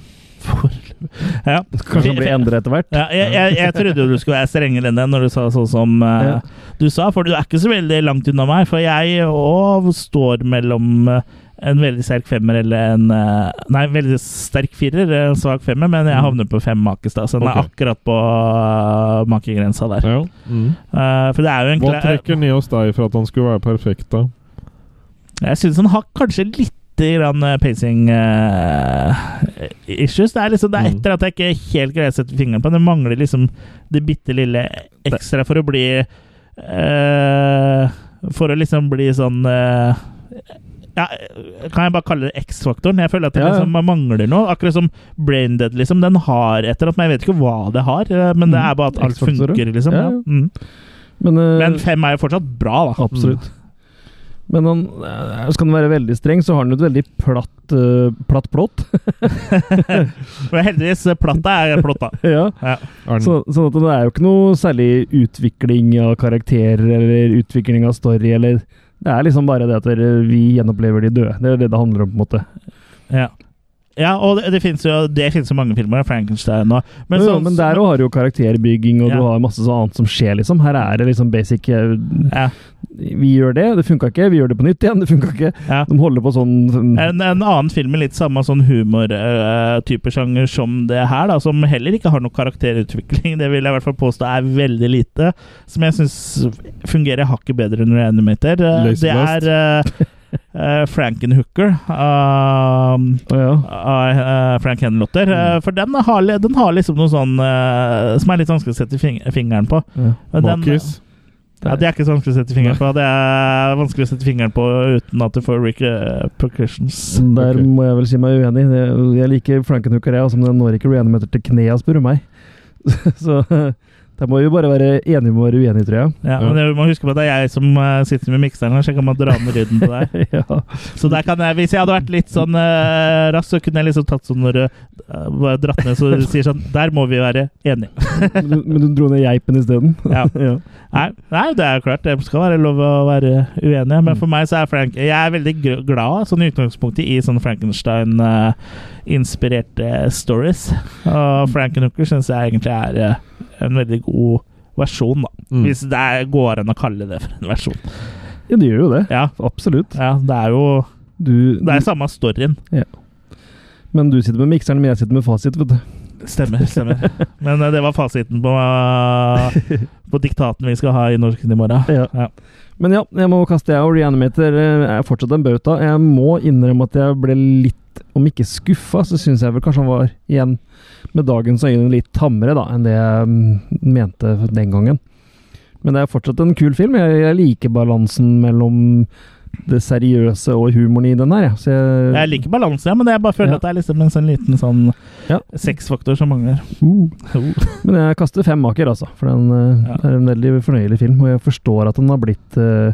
Ja.
Kanskje den blir endret etter hvert.
Ja, jeg, jeg, jeg trodde jo du skulle være strengere enn det når du sa sånn som eh,
Ja.
du sa, for du er ikke så veldig langt unna meg. For jeg òg står mellom eh, en veldig sterk femmer eller en eh, Nei, en veldig sterk firer, eh, en svak femmer, men jeg havner på fem makis, da. Så den er
Mm. Ok.
akkurat på eh, makegrensa der.
Ja. Mm.
Eh, for det er jo en
Hva
klar-
trekker ned hos deg for at han skulle være perfekt, da?
Jeg syns han har kanskje litt grann eh, pacing eh, issues. Det er liksom det er
Mm.
etter at jeg ikke helt greier å sette fingeren på. Det mangler liksom det bitte lille ekstra for å bli eh, For å liksom bli sånn eh, ja, kan jeg bare kalle det X-faktoren? Jeg føler at det
Ja, ja.
liksom mangler noe. Akkurat som Braindead, liksom. Den har et eller annet, men jeg vet ikke hva det har. eh, Men det
Mm.
er bare at alt
X-faktorer.
funker, liksom.
Ja,
Ja.
ja.
Mm.
Men, eh,
Men fem er jo fortsatt bra, da.
Absolutt. Men han, eh, skal han være veldig streng, så har han jo et veldig platt, eh, platt plott.
Men heldigvis, eh, platta er plotta.
ja.
Ja.
Er den,
så, sånn at det er jo ikke noe særlig utvikling av karakterer eller utvikling av story. eller Det er liksom bare det at dere- vi gjenopplever de døde. Det er det det handler om. på en måte.
Ja. Ja, og det, det finnes jo det finnes jo mange filmer. Frankenstein og
Men,
sånn-
men der òg har du jo karakterbygging, og
Ja.
du har masse sånn annet som skjer. liksom. Her er det liksom basic eh,
Ja.
Vi gjør det, det funka ikke. Vi gjør det på nytt igjen, det funka ikke.
Ja.
De holder på sånn
En, en annen film med litt samme sånn humortype sjanger som det her, da, som heller ikke har noe karakterutvikling, det vil jeg i hvert fall påstå er veldig lite, som jeg syns fungerer hakket bedre under Animator. Eh, Det
Laserblast.
er eh, eh, Frankenhooker av-
Å ja.
av eh, Frank Henlotter. Eh,
Mm.
For den har, li- den har liksom noe sånn eh, som er litt vanskelig å sette fing- fingeren på.
Ja.
Men den-
Makis?
Ja, Det er ikke så vanskelig å sette fingeren på. Det er vanskelig å sette fingeren på uten at du får eh, repercussions.
Der
Ok.
må jeg vel si meg uenig. Jeg- Jeg liker Frankenhooker, jeg, også, men den når ikke reanimator til knea, spør du meg. Så der må vi jo bare være enige om å være uenige, tror
Ja, men du må huske på at det er jeg som eh, sitter med mikseren her, så jeg kan bare dra med lyden på deg.
jeg. Ja.
Så der kan jeg, hvis jeg hadde vært litt sånn uh, rask, så kunne jeg liksom tatt sånn når du eh, bare dratt ned, så du sier sånn Der må vi være enige.
Men, du, men du dro ned geipen isteden?
Ja.
ja.
Nei, nei, det er jo klart. Det skal være lov å være uenige. Men for meg så er Frank Jeg er veldig gr- glad sånn i utgangspunktet i sånne Frankenstein-inspirerte stories. Og Frankenhooker syns jeg egentlig er eh, en veldig god versjon, da.
Mm.
Hvis det er, går an å kalle det for en versjon.
ja, det gjør jo det.
Ja,
Absolutt.
ja det er jo
Du,
Det er samme storyen.
men du sitter med mikseren, men jeg sitter med fasit, vet du.
Stemmer. stemmer Men eh, det var fasiten på, eh, på diktaten vi skal ha i norsken i morgen.
Ja.
Ja.
Men ja, jeg må kaste jeg og reanimator eh, er fortsatt en bauta. Jeg må innrømme at jeg ble litt, om ikke skuffa, så syns jeg vel kanskje han var, igjen med dagens øyne, litt tammere da, enn det jeg mm, mente den gangen. Men det er fortsatt en kul film. Jeg, jeg liker balansen mellom det seriøse og humoren i den her, jeg. Så jeg,
Jeg liker balanse, ja, men jeg bare føler
Ja.
at det er liksom en sånn liten sånn
Ja.
sexfaktor som mangler.
Uh. Men jeg kaster fem maker, altså. For den eh,
Ja.
er en veldig fornøyelig film. Og jeg forstår at den har blitt eh,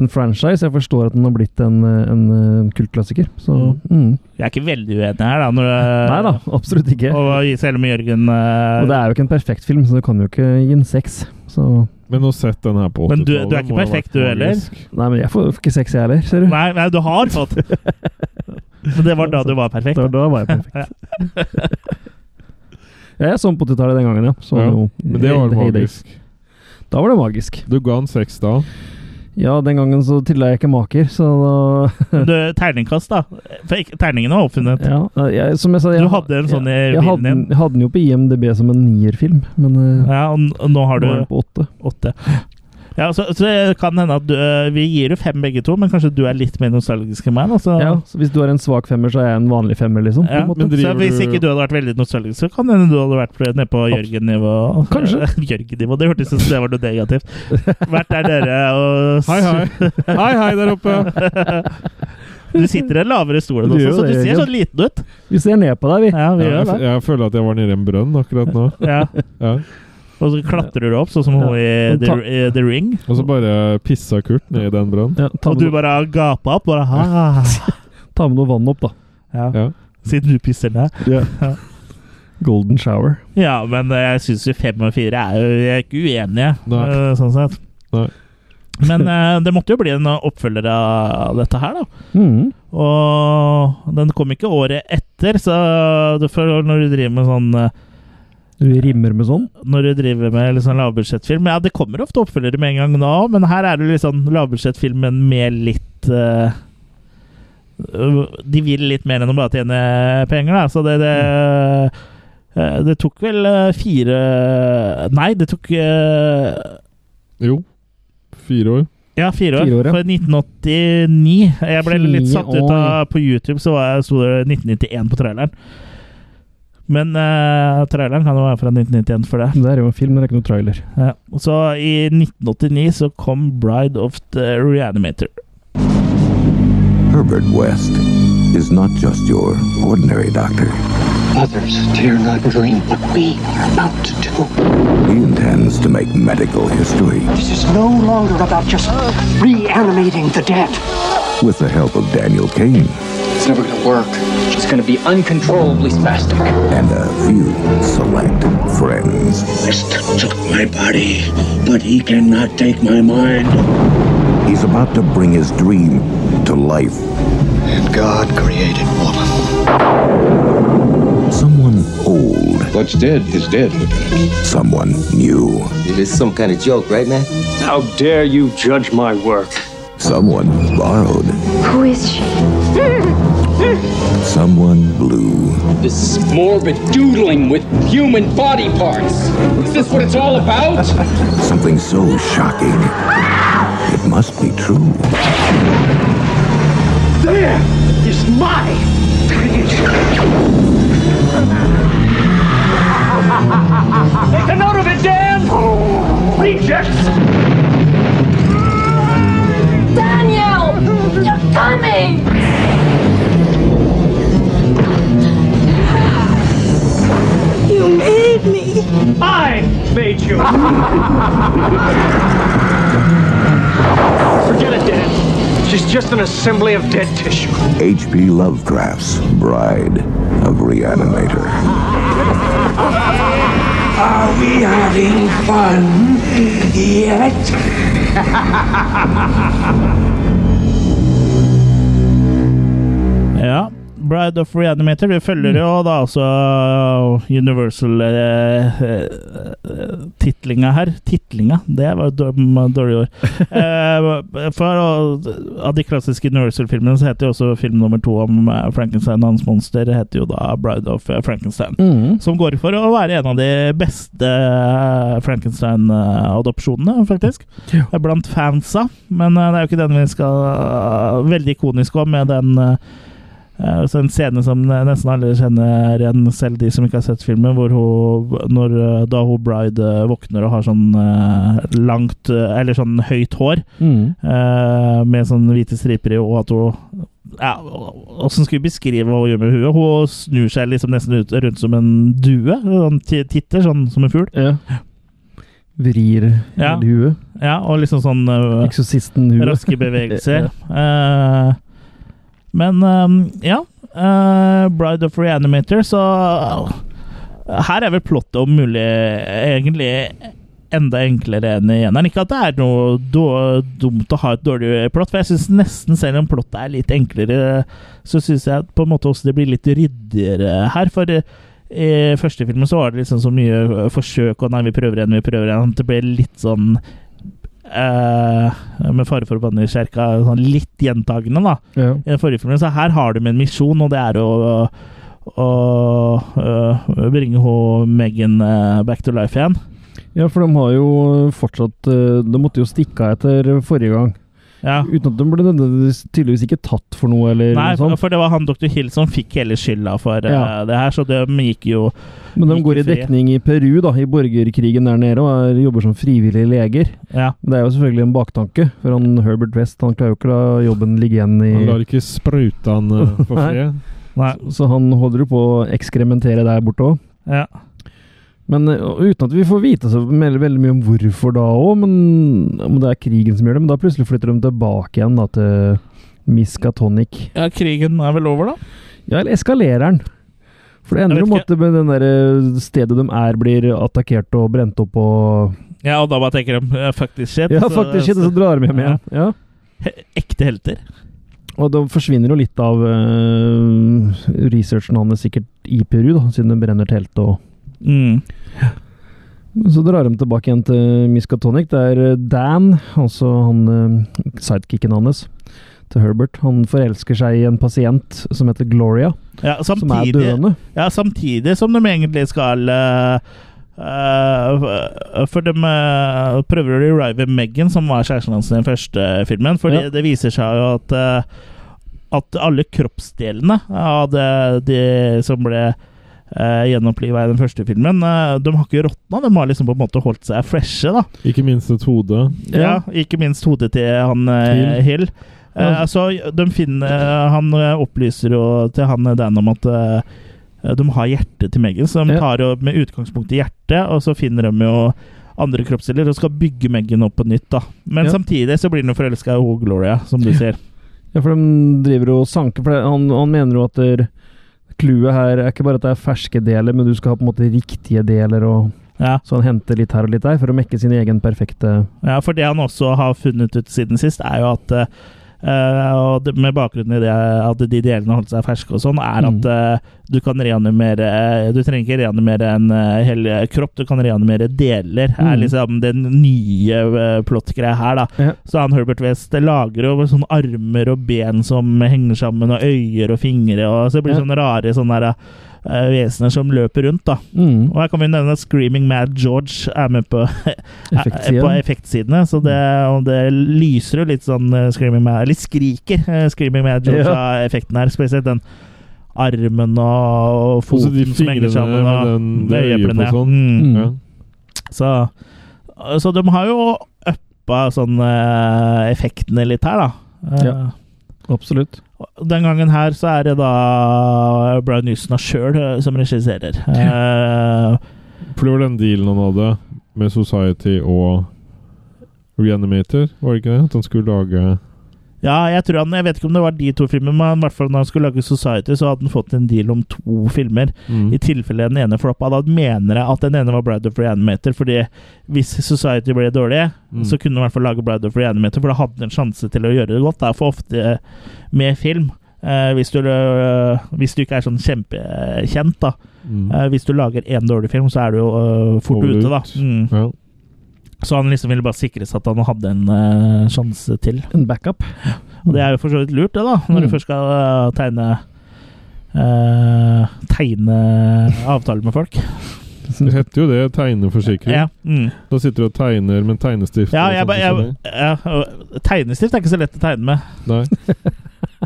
en franchise. Jeg forstår at den har blitt en, eh, en eh, kultklassiker. Så mm.
Jeg er ikke veldig uenig her, da. Når,
Nei da, absolutt ikke.
Eh, Og selv om Jørgen eh,
Og det er jo ikke en perfekt film, så det kan jo ikke gi en seks. Så
Men nå sett den her på
Men
80-tallet.
du- du er ikke
må ha vært
perfekt, du heller?
magisk.
Nei, men jeg får får ikke seks, jeg heller, ser du.
nei, nei, du har fått! Men det var da du var perfekt.
Da, da var jeg perfekt. ja, jeg så den på 80-tallet den gangen, ja. Så
Ja,
jo-
Men det var
hey- hey days.
magisk.
Da var det magisk.
Du ga han seks da.
Ja, den gangen så trilla jeg ikke maker, så da
Men Du, terningkast, da. For ikke, terningene var oppfunnet.
ja, jeg, Som jeg sa jeg,
Du hadde en sånn i
jeg, jeg
bilen
hadde, den-
din.
jeg hadde den jo på IMDb som en nierfilm, men eh,
Ja, og, n- og nå har du
nå er den på åtte.
åtte. Ja, så, så det kan hende at du, eh, vi gir jo fem begge to, men kanskje du er litt mer nostalgisk enn meg. Da, så,
Ja, så hvis du er en svak femmer, så er jeg en vanlig femmer, liksom. på en
Ja,
måte.
men
så
driver
hvis
du-
ikke du hadde vært veldig nostalgisk, så kan det hende du hadde vært på- nede på Jørgen-nivå.
Kanskje.
Jørgen-nivå, Det hørtes ut som det var noe negativt. Vært der dere og
Hei, hei. Hei, hei der oppe.
Du sitter i en lavere stol enn
Du
oss,
gjør
så
det,
du ser
Jørgen.
sånn liten ut.
Vi ser ned på deg, vi.
Ja, vi
Ja,
gjør
jeg,
det.
jeg føler at jeg var nede i en brønn akkurat nå.
Ja.
Ja.
Og så klatrer du opp, sånn som hun i
Men
The,
ta-
i the Ring.
Og så bare pissa Kurt ned i den brønnen.
Ja, ta,
Og du
med noe,
bare gapa opp. Bare, ah.
ta med noe vann opp, da.
ja.
Ja.
Siden du pisser ned.
Golden shower.
Ja, men eh, jeg syns jo fem og fire er jo Jeg er ikke uenige,
Nei.
eh, sånn sett.
Nei.
Men eh, det måtte jo bli en oppfølger av dette her, da.
Mm.
Og den kom ikke året etter, så du får, når du driver med sånn eh,
Du rimmer med sånn?
Når du driver med litt sånn lavbudsjettfilm Ja, det kommer ofte oppfølgere med en gang nå, men her er det litt sånn lavbudsjettfilmen med litt eh, øh, De vil litt mer enn å bare tjene penger, da. Så det, det øh, Det tok vel øh, fire Nei, det tok øh,
Jo. Fire år.
ja, fire år.
Fire år, ja.
For 1989. Jeg ble litt
Fire
satt ut av På YouTube så var jeg, sto det 1991 på traileren. Men øh, traileren kan jo være fra 1991 for det.
Det er jo en film, det er ikke noen trailer.
Ja. Og Så i 1989 så kom Bride of the Reanimator.
Herbert West is not just your ordinary doctor.
Others dare not dream what we are about to do.
He intends to make medical history
This is no longer about just reanimating the dead.
with the help of Daniel Kane
It's never gonna work. It's gonna be uncontrollably spastic.
and a few select friends.
West took my body, but he cannot take my mind.
He's about to bring his dream to life.
And God created woman.
Someone old,
What's dead is dead, Lieutenant.
someone new,
It is some kind of joke, right, man?
How dare you judge my work?
someone borrowed,
Who is she?
someone blue.
This morbid doodling with human body parts. Is this what it's all about?
Something so shocking. It must be true.
There is my creation. Make a note of it, Dan! Rejects!
Daniel! You're coming! You made me!
I made you! Forget it, Dan. She's just an assembly of dead tissue.
H.P. Lovecraft's Bride of Reanimator.
Are we having fun yet?
Ja. Bride of Reanimator. Du følger jo da uh, altså Universal-titlinga her. uh, Titlinga, det var et dår- dårlig ord. Eh, For å- av de klassiske Universal-filmene så heter jo også film nummer to om eh, Frankenstein og hans monster heter jo da Bride of eh, Frankenstein.
Mm.
Som går for å være en av de beste eh, Frankenstein-adopsjonene, faktisk. Eh, Blant fansa. Men eh, det er jo ikke den vi skal eh, Veldig ikonisk òg, med den eh, Eh, og så en scene som nesten alle kjenner igjen, selv de som ikke har sett filmen, hvor hun, når, eh, da hun Bride eh, våkner og har sånn eh, langt, eh, eller sånn høyt hår,
Mm.
eh, med sånne hvite striper i, og at hun ja, Åssen skulle vi beskrive hva hun gjør med huet? Hun snur seg liksom nesten ut, rundt som en due. Sånn ti- titter, sånn som en fugl.
Ja. Vrir
Ja.
hele huet.
Ja, og liksom sånn eh,
Eksorsisten-huet.
Raske bevegelser. Eh, men eh, ja eh, Bride of Reanimator, så eh, Her er vel plottet om mulig egentlig enda enklere enn i eneren. Ikke at det er noe då- dumt å ha et dårlig plott, for jeg syns nesten selv om plottet er litt enklere, så syns jeg at på en måte også det blir litt ryddigere her. for eh, i første filmen så var det liksom så mye eh, forsøk og 'nei, vi prøver igjen, vi prøver igjen'. at Det ble litt sånn eh, med fare for å banne i kjerka, sånn litt gjentagende, da.
Ja.
I den forrige filmen, så her har de en misjon, og det er å å øh, bringe hun Megan eh, back to life igjen.
ja, for de har jo fortsatt eh, De måtte jo stikke av etter forrige gang.
Ja.
Uten at de ble nødvendigvis tydeligvis ikke tatt for noe, eller
Nei,
noe sånt.
for det var han dr. Hill som fikk hele skylda for eh,
Ja.
det her, så de gikk jo
Men de
Ikke
går i
fri.
dekning i Peru, da, i borgerkrigen der nede, og er, jobber som frivillige leger.
Ja.
Men Det er jo selvfølgelig en baktanke, for han Herbert West han klarer jo ikke å la jobben ligge igjen i
Han lar ikke sprute han eh, for
Nei.
fred.
Nei.
Så han holder jo på å ekskrementere der borte òg.
Ja.
Men eh, og uten at vi får vite så veldig, veldig mye om hvorfor da òg, men om det er krigen som gjør det. Men da plutselig flytter de tilbake igjen da til Miskatonic.
ja, krigen er vel over, da?
Ja, eller eskalerer den? For det ender
Jeg
jo
vet
med at den der eh, stedet de er, blir attakkert og brent opp og
Ja, og da bare tenker de eh, fuck this shit.
Ja,
så-
faktisk, shit, og så drar de hjem igjen. Ja.
he- Ekte helter.
Og da forsvinner jo litt av eh, researchen hans sikkert i Peru, da, siden det brenner telt og
Mm.
Så drar de tilbake igjen til Miskatonic, der Dan, altså han eh, sidekicken hans, til Herbert. Han forelsker seg i en pasient som heter Gloria,
Ja,
som er
samtidig,
døende.
ja, samtidig som de egentlig skal eh, eh, For de eh, prøver å revive Megan, som var kjæresten hans i den første filmen. For
Ja.
det viser seg jo at eh, At alle kroppsdelene av det, de som ble uh, gjenoppliva i den første filmen, eh, de har ikke råtna. De har liksom på en måte holdt seg freshe, da.
Ikke minst et hode.
Ja, ikke minst hodet til han eh, Hill. Eh,
Ja.
altså, de finner, eh, han eh, opplyser jo til han eh, Dan om at eh, de har hjertet til Megan, så de
Ja.
tar jo med utgangspunkt i hjertet, og så finner de jo andre kroppsdeler og skal bygge Megan opp på nytt. da. Men
Ja.
samtidig så blir han jo forelska i hun Gloria, som du ser.
Ja, for de driver og sanker for det. Han, han mener jo at der- clouet her er ikke bare at det er ferske deler, men du skal ha på en måte riktige deler, og
Ja.
så han henter litt her og litt der for å mekke sin egen perfekte
Ja, for det han også har funnet ut siden sist, er jo at eh, og det- med bakgrunn i det at de delene holdt seg ferske og sånn, er
Mm.
at eh, du kan reanimere eh, Du trenger ikke reanimere en eh, hel kropp, du kan reanimere deler. er
Mm.
liksom den nye eh, plott-greia her, da.
Ja.
Så han Herbert West lager jo sånne armer og ben som henger sammen, og øyer og fingre, og så blir det
Ja.
sånne rare sånne der, eh, vesener som løper rundt, da.
mm,
Og her kan vi nevne at Screaming Mad George er med på, er på
effektsiden. Mm.
effektsidene. Så det, og det lyser jo litt sånn eh, Screaming Mad Eller skriker eh, Screaming Mad George
Ja.
av effekten her. Spesielt den armen og
Også de
foten som henger
fingrene
sammen.
med
Og
den-
med
det øyet på
øyeeplene, ja.
sånn.
Mm.
Ja.
Så, så de har jo uppa sånn eh, effektene litt her, da. Eh,
Ja. Absolutt.
og Den gangen her så er det da Brian Newsona sjøl som regisserer. Eh,
For det var den dealen han hadde med Society og Reanimator, var det ikke det? At han skulle lage
Ja, jeg tror han, jeg vet ikke om det var de to filmene, men i hvert fall når han skulle lage Society, så hadde han fått en deal om to filmer.
Mm.
I tilfelle den ene floppa. Da mener jeg at den ene var Bride of Reanimator, fordi hvis Society ble dårlig,
Mm.
så kunne han i hvert fall lage Bride of Reanimator, for da hadde han en sjanse til å gjøre det godt. Det er for ofte eh, med film. eh, hvis, du, eh, hvis du ikke er sånn kjempekjent, da.
Mm.
Eh, hvis du lager én dårlig film, så er du jo eh, fort
Over
ute, da.
ut.
Mm.
Ja.
Så han liksom ville bare sikre seg at han hadde en eh, sjanse til.
En backup.
Og det er jo for så vidt lurt, det, da. Når du
Mm.
først skal øh, tegne øh, Tegne avtaler med folk.
Det heter jo det, tegneforsikring.
Ja, mm.
Da sitter du og tegner med en tegnestift. sånn,
ja
og
jeg,
sånt
ba- jeg,
forskjellig.
ja, og Tegnestift er ikke så lett å tegne med,
Nei.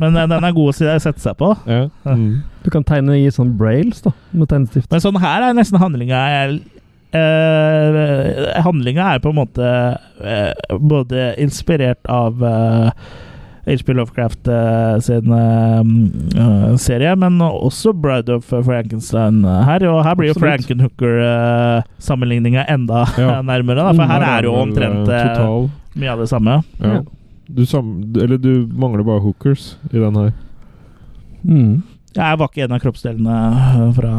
men øh, den er god å si- sette seg på.
Ja. Mm.
Du kan tegne i sånn brails, da, med tegnestift.
Men sånn her er nesten handlinga uh, Handlinga er på en måte øh, både inspirert av øh, H.P. Lovecraft eh, sin eh, eh, serie, men også Bride of Frankenstein eh, her. Og her blir jo
Absolutt.
Frankenhooker-sammenligninga enda
Ja.
nærmere, da, for her er jo
Vel,
omtrent
eh,
eh,
Total.
mye av det samme.
Ja.
Ja.
Du sam eller du mangler bare hookers i den her.
Mm.
Jeg var ikke en av kroppsdelene eh, fra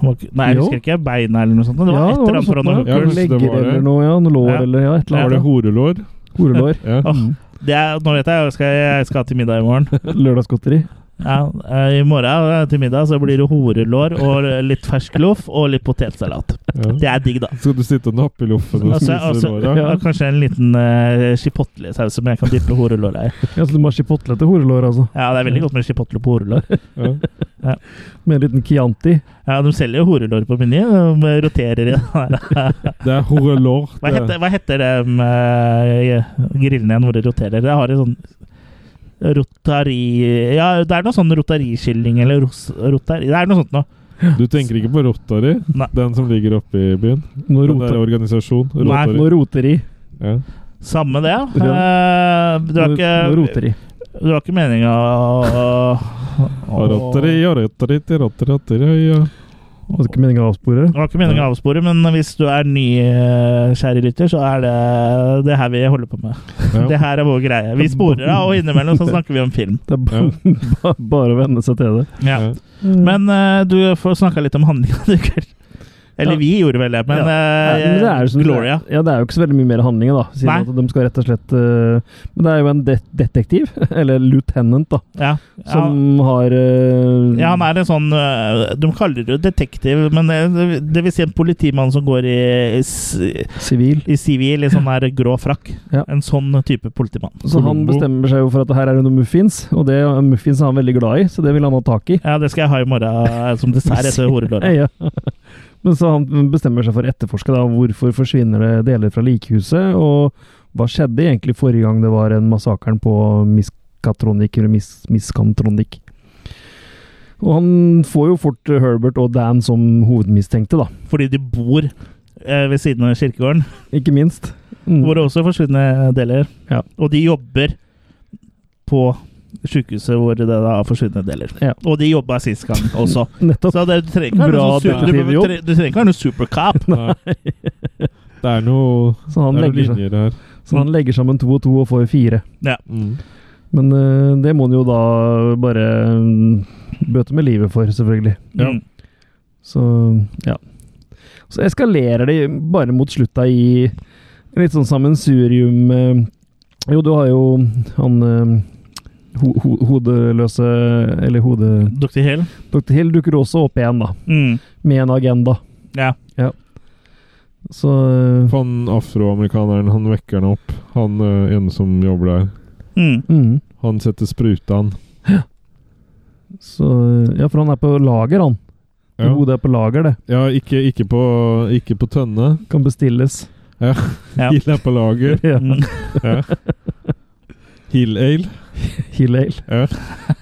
var ikke- Nei, jeg
Jo.
husker ikke. Beina eller noe sånt. Det var
Ja,
et eller annet fra noen
sånt,
Ja,
ja.
hookers.
det var
Legger
det.
eller noe, ja. Noe lår
Ja.
eller ja, et
Var
eller
det
annet.
horelår?
Horelår.
Ja.
Åh. Det er, nå vet jeg, jeg skal, jeg skal til middag i morgen.
Lørdagsgodteri.
Ja, eh, I morgen eh, til middag så blir det horelår og litt fersk loff og litt potetsalat.
Ja.
Det er digg, da.
Skal du sitte og nappe i loffen og
Altså,
spise
altså,
låra?
ja. Kanskje en liten uh, chipotle-saus som jeg kan dyppe horelåra i.
Ja, så du må ha chipotle til horelår, altså.
Ja, det er veldig godt med chipotle på horelår.
Ja.
Med en liten Chianti.
Ja, De selger jo horelår på Meny. De roterer i
Det er horelår.
Hva heter, hva heter det um, med grillene igjen hvor det roterer? Det har en sånn Rotari Ja, det er noe sånn rotarikylling eller ros, rotari Det er noe sånt noe.
Du tenker ikke på Rotary?
Nei.
Den som ligger oppe i byen?
Noe
Den der
roter,
organisasjonen?
Nei,
Rotary.
noe roteri.
Ja.
Samme det.
Ja.
Eh, det var
Noe
ikke,
roteri.
det var ikke meninga å, å,
Og Rotary, ja, Rotary, til Rotary, Rotary, ja.
Det var ikke meningen å avspore.
Det var ikke meningen å avspore, men hvis du er ny, eh, kjære lytter, så er det det her vi holder på med. Det
ja.
her er vår greie. Vi sporer av, og innimellom så snakker vi om film.
Det er ba, ba, bare å venne seg til det.
Ja. Men eh, du får snakka litt om handlinga, du, Kurt. Eller vi gjorde vel det, men, eh,
men det er jo som-
Gloria.
Ja, det er jo ikke så veldig mye mer handling, da. Siden
Nei.
at de skal rett og slett eh, Men det er jo en det detektiv, eller lieutenant, da,
Ja.
som har eh,
Ja, han er en sånn øh, De kaller det jo detektiv, men det, det vil si en politimann som går i, i, s-
sivil.
i sivil, i sånn her grå frakk.
Ja.
En sånn type politimann.
Så han
Columbo.
bestemmer seg jo for at her er det noen muffins, og det muffins er han veldig glad i, så det vil han ha tak i.
Ja, det skal jeg ha i morgen eh, som dessert etter horelåret.
Ja. Men så han bestemmer seg for å etterforske da, hvorfor forsvinner det deler fra likhuset, og hva skjedde egentlig forrige gang det var en massakren på Miskatronik, eller Mis Miskantronik. Og han får jo fort Herbert og Dan som hovedmistenkte, da.
Fordi de bor eh, ved siden av kirkegården,
Ikke minst. Mm.
hvor det også forsvunne deler.
Ja.
Og de jobber på sykehuset hvor det da er forsvunne deler.
Ja.
Og de jobba sist gang også.
Nettopp.
Så det, du trenger ikke være
Bra
noe sånn super- du-
detektivjobb.
du- du trenger ikke være noe supercop.
Nei. Det er noe,
Så
det
han,
er noen
legger, seg-
linjer her.
så han legger sammen to og to og får fire.
Mm.
Men eh, det må han jo da bare mm, bøte med livet for, selvfølgelig.
Ja.
Så ja. Så eskalerer det bare mot slutta i en litt sånn sammensurium eh, Jo, du har jo han eh, ho ho hodeløse Eller hode...
Dr. Hill.
Dr. Hill dukker også opp igjen, da.
Mm.
Med en agenda.
Ja.
Så eh,
Han afroamerikaneren, han vekker han opp. Han eh, ene som jobber der.
Mm.
mm,
Han setter spruta, han.
Så eh, Ja, for han er på lager, han.
Ja,
Hodet er på lager, det.
ja ikke, ikke, på, ikke på tønne.
Kan bestilles.
Ja.
Hill er på lager.
Ja.
Mm.
Ja. Hill ale.
Hill-ale.
Ja.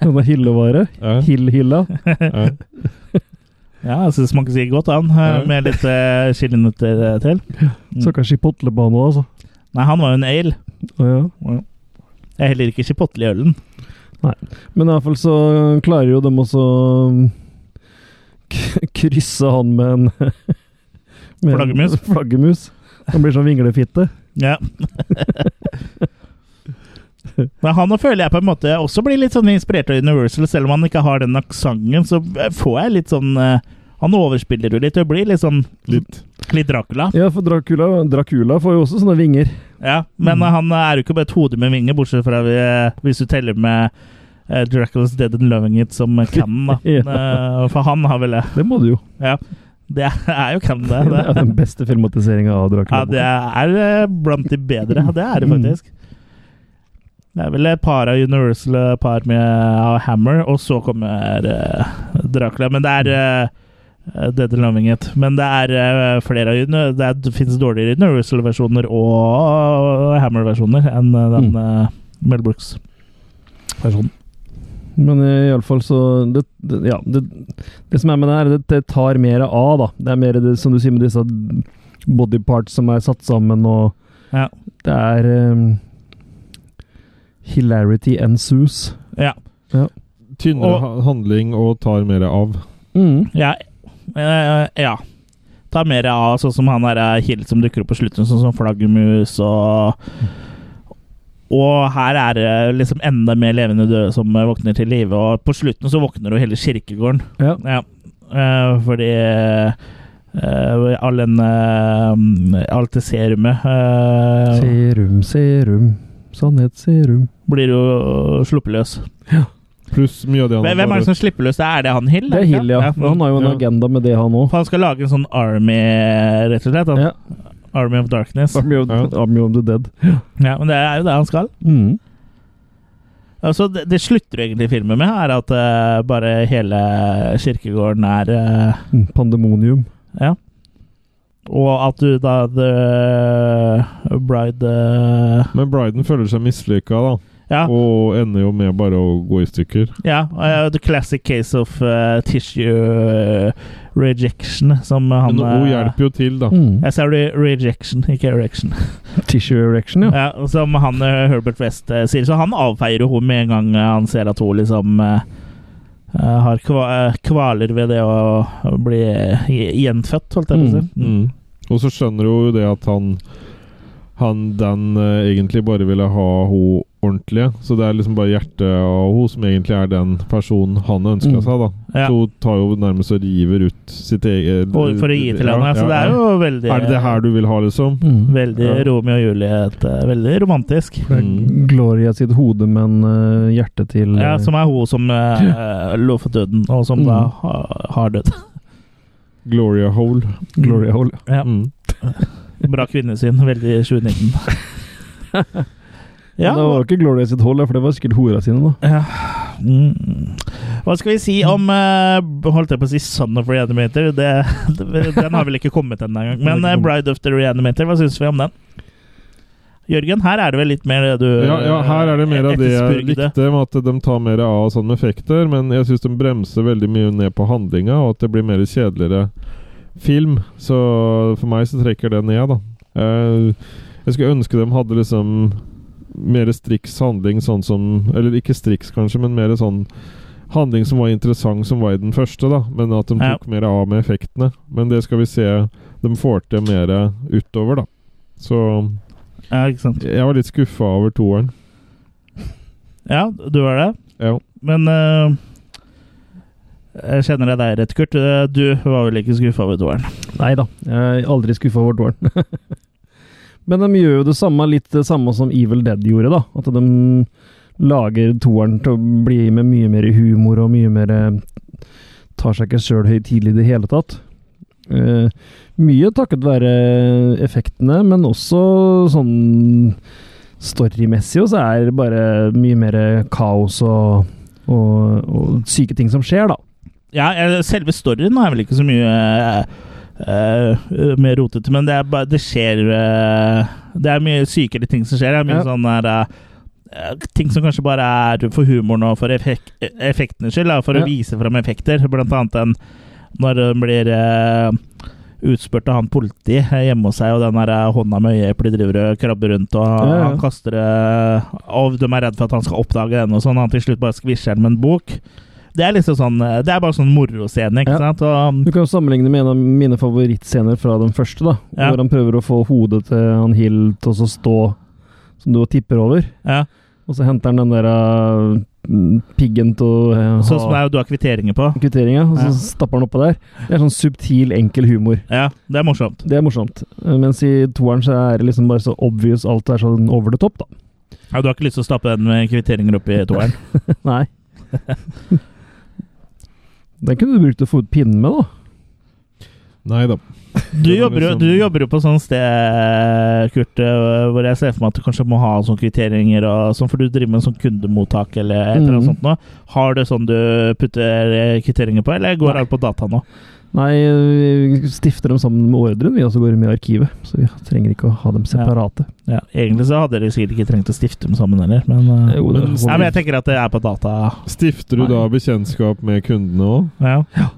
Han er hyllevare.
Ja,
Hill-hylla.
ja.
Ja, jeg synes det smaker sikkert godt, han. eh,
Ja.
Med litt uh, chilinøtter eh, til. Mm.
Så kanskje chipotlebane òg, altså.
Nei, han var jo en ale.
Å, altså. ja.
Jeg er heller ikke chipotle i ølen.
Men i hvert fall så klarer jo dem også um, k krysse han med en med en
Flaggermus.
flaggermus. Han blir sånn vinglefitte.
Ja. Men han og føler jeg på en måte også blir litt sånn inspirert av Universal, selv om han ikke har den aksenten, så får jeg litt sånn eh, Han overspiller jo litt og blir litt sånn
Litt.
litt Dracula.
Ja, for Dracula, Dracula får jo også sånne vinger.
Ja, men eh, han er jo ikke bare et hode med vinger, bortsett fra vi, hvis du teller med eh, Dracula's Dead and Loving It som canon, da. Eh, For han har vel det.
Det må du jo.
Det er jo canon, det.
Det er den beste filmatiseringa av
Ja,
Dracula.
det er eh, blant de bedre. Det er
Mm.
det faktisk. Det er vel et par av Universal, et par med av Hammer, og så kommer eh, Dracula. Men det er eh, Dead and Loving It. Men det er eh, flere av Uni- Det, er, det finnes dårligere Universal-versjoner og Hammer-versjoner enn eh,
Mm.
den eh, Mel Brooks-versjonen.
Men eh, iallfall så det, det, Ja. Det, det som er med det her, det, det tar mer av, da. Det er mer det som du sier med disse body parts som er satt sammen, og
Ja.
det er eh, Hilarity ensues.
Ja.
Tynnere
Og-
ha- handling og tar mer av.
Mm.
Ja. Eh, ja. Ta mer av sånn som han der eh, Hill som dukker opp på slutten, sånn som flaggermus og Og her er det liksom enda mer levende døde som eh, våkner til live, og på slutten så våkner jo hele kirkegården.
Ja.
Ja. Eh, fordi eh, all den eh, Alt det serumet eh,
Serum, serum, sannhetsserum.
blir jo sluppet løs.
Pluss mye av det han
Hvem hvem er det som slipper løs? Er det han Hill?
Det er Hill, ja. For Han har jo en
Ja.
agenda med det, han òg.
For han skal lage en sånn army, rett og slett. Han,
Ja.
Army of Darkness.
Army, of-
Ja.
Army of the Dead.
Ja, men det er jo det han skal.
Mm.
Altså, det, det slutter jo egentlig filmen med, er at eh, bare hele kirkegården er eh,
Mm. Pandemonium.
Ja. Og at du da The Bride eh,
Men Bryden føler seg mislykka, da.
Ja,
Og ender jo med bare å gå i stykker.
ja eh, the classic case of eh, tissue eh, rejection, som han
Men hun
eh,
hjelper jo til, da.
Mm.
Jeg sa re- rejection, ikke erection.
Tissue erection, ja.
Ja, som han eh, Herbert West eh, sier. Så han avfeier jo henne med en gang eh, han ser at hun liksom eh, eh, har kva eh, kvaler ved det å bli eh, i- gjenfødt, holdt jeg på å si. Mm.
Mm. Og så skjønner hun jo det at han Han Dan eh, egentlig bare ville ha henne ordentlige. Så det er liksom bare hjertet av henne som egentlig er den personen han ønska
Mm.
seg, da.
Ja.
Så hun tar jo nærmest og river ut sitt eget
Og for å gi til
Ja,
henne. Så
ja,
det er
ja.
jo veldig
Er det det her du vil ha, liksom?
Mm.
Veldig
Ja.
Romeo og Juliet. eh, Veldig romantisk.
Det er Gloria sitt hode, men eh, hjertet til eh,
Ja, som er hun som eh, lå for døden, og som da
Mm.
ha- har dødd.
Gloria Hole.
Gloria Hole.
Ja.
Mm.
Bra kvinnesyn. Veldig 2019.
Men Det var jo ikke Gloria sitt hole, for det var sikkert hora sine, da.
Ja. Mm. Hva skal vi si om eh, Holdt jeg på å si Son of Reanimator? Det, den har vel ikke kommet ennå engang. Men eh, Bride of the Reanimator, hva syns vi om den? Jørgen, her er det vel litt mer det du
Ja, ja, her er det mer av det jeg
etterspurgde.
likte, med at de tar mer av sånne effekter, men jeg syns de bremser veldig mye ned på handlinga, og at det blir mer kjedeligere film. Så for meg så trekker det ned, da. Eh, Jeg skulle ønske de hadde liksom mer striks handling, sånn som Eller ikke striks, kanskje, men mer sånn handling som var interessant, som var i den første, da. Men at de
Ja.
tok mer av med effektene. Men det skal vi se de får til mer utover, da. Så
Ja, ikke sant.
jeg var litt skuffa over toeren.
Ja, du var det.
Ja.
Men eh, jeg kjenner deg der rett, Kurt. Eh, Du var vel ikke skuffa over toeren?
Nei da, jeg er aldri skuffa over toeren. Men de gjør jo det samme, litt det samme som Evil Dead gjorde, da. At de lager toeren til å bli med mye mer humor og mye mer eh, Tar seg ikke sjøl høytidelig i det hele tatt. Eh, mye takket være effektene, men også sånn storymessig og så er det bare mye mer kaos og, og, og syke ting som skjer, da.
Ja, eh, selve storyen er vel ikke så mye eh, eh, mer rotete, men det, er bare, det skjer eh, Det er mye sykere ting som skjer. Det er mye
Ja.
sånn der eh, eh, Ting som kanskje bare er for humoren og for effek eh, effektenes skyld, da, for
Ja.
å vise fram effekter. Blant annet den når hun blir eh, utspurt av han politiet eh, hjemme hos seg, og den der eh, hånda med øyeeplet driver og krabber rundt, og
Ja, ja.
han kaster eh, Og de er redd for at han skal oppdage den, og sånn. Han til slutt bare skvisjer den med en bok. Det er liksom sånn eh, Det er bare sånn moroscene, ikke
Ja.
sant? Og, um,
Du kan jo sammenligne med en av mine favorittscener fra den første, da.
Ja.
Hvor han prøver å få hodet til han Hill til å så stå som du tipper over.
ja.
Og så henter han den der eh, piggen til å eh,
Sånn som det
ha
er jo du har kvitteringer på.
kvitteringa, og så
Ja.
stapper han oppå der. Det er sånn subtil, enkel humor.
Ja, det er morsomt.
Det er morsomt. Eh, Mens i toeren så er det liksom bare så obvious, alt er sånn over the top, da.
Ja, du har ikke lyst til å stappe den med kvitteringer opp i toeren?
Nei. Den kunne du brukt til å få ut pinnen med, da.
Nei da.
Du
Det var
jobber, jo,
liksom-
du jobber jo på sånn sted, Kurt, eh, hvor jeg ser for meg at du kanskje må ha sånne kvitteringer og sånn, for du driver med en sånn kundemottak eller et eller annet
Mhm.
sånt nå. Har du sånn du putter eh, kvitteringer på, eller går alt på data nå?
Nei, vi stifter dem sammen med ordren, vi, og så går de med i arkivet. Så vi trenger ikke å ha dem separate.
Ja, egentlig så hadde dere sikkert ikke trengt å stifte dem sammen heller, men, eh,
Jo, det
nei, men jeg tenker at det er på data.
Stifter du da bekjentskap med kundene òg?
Ja.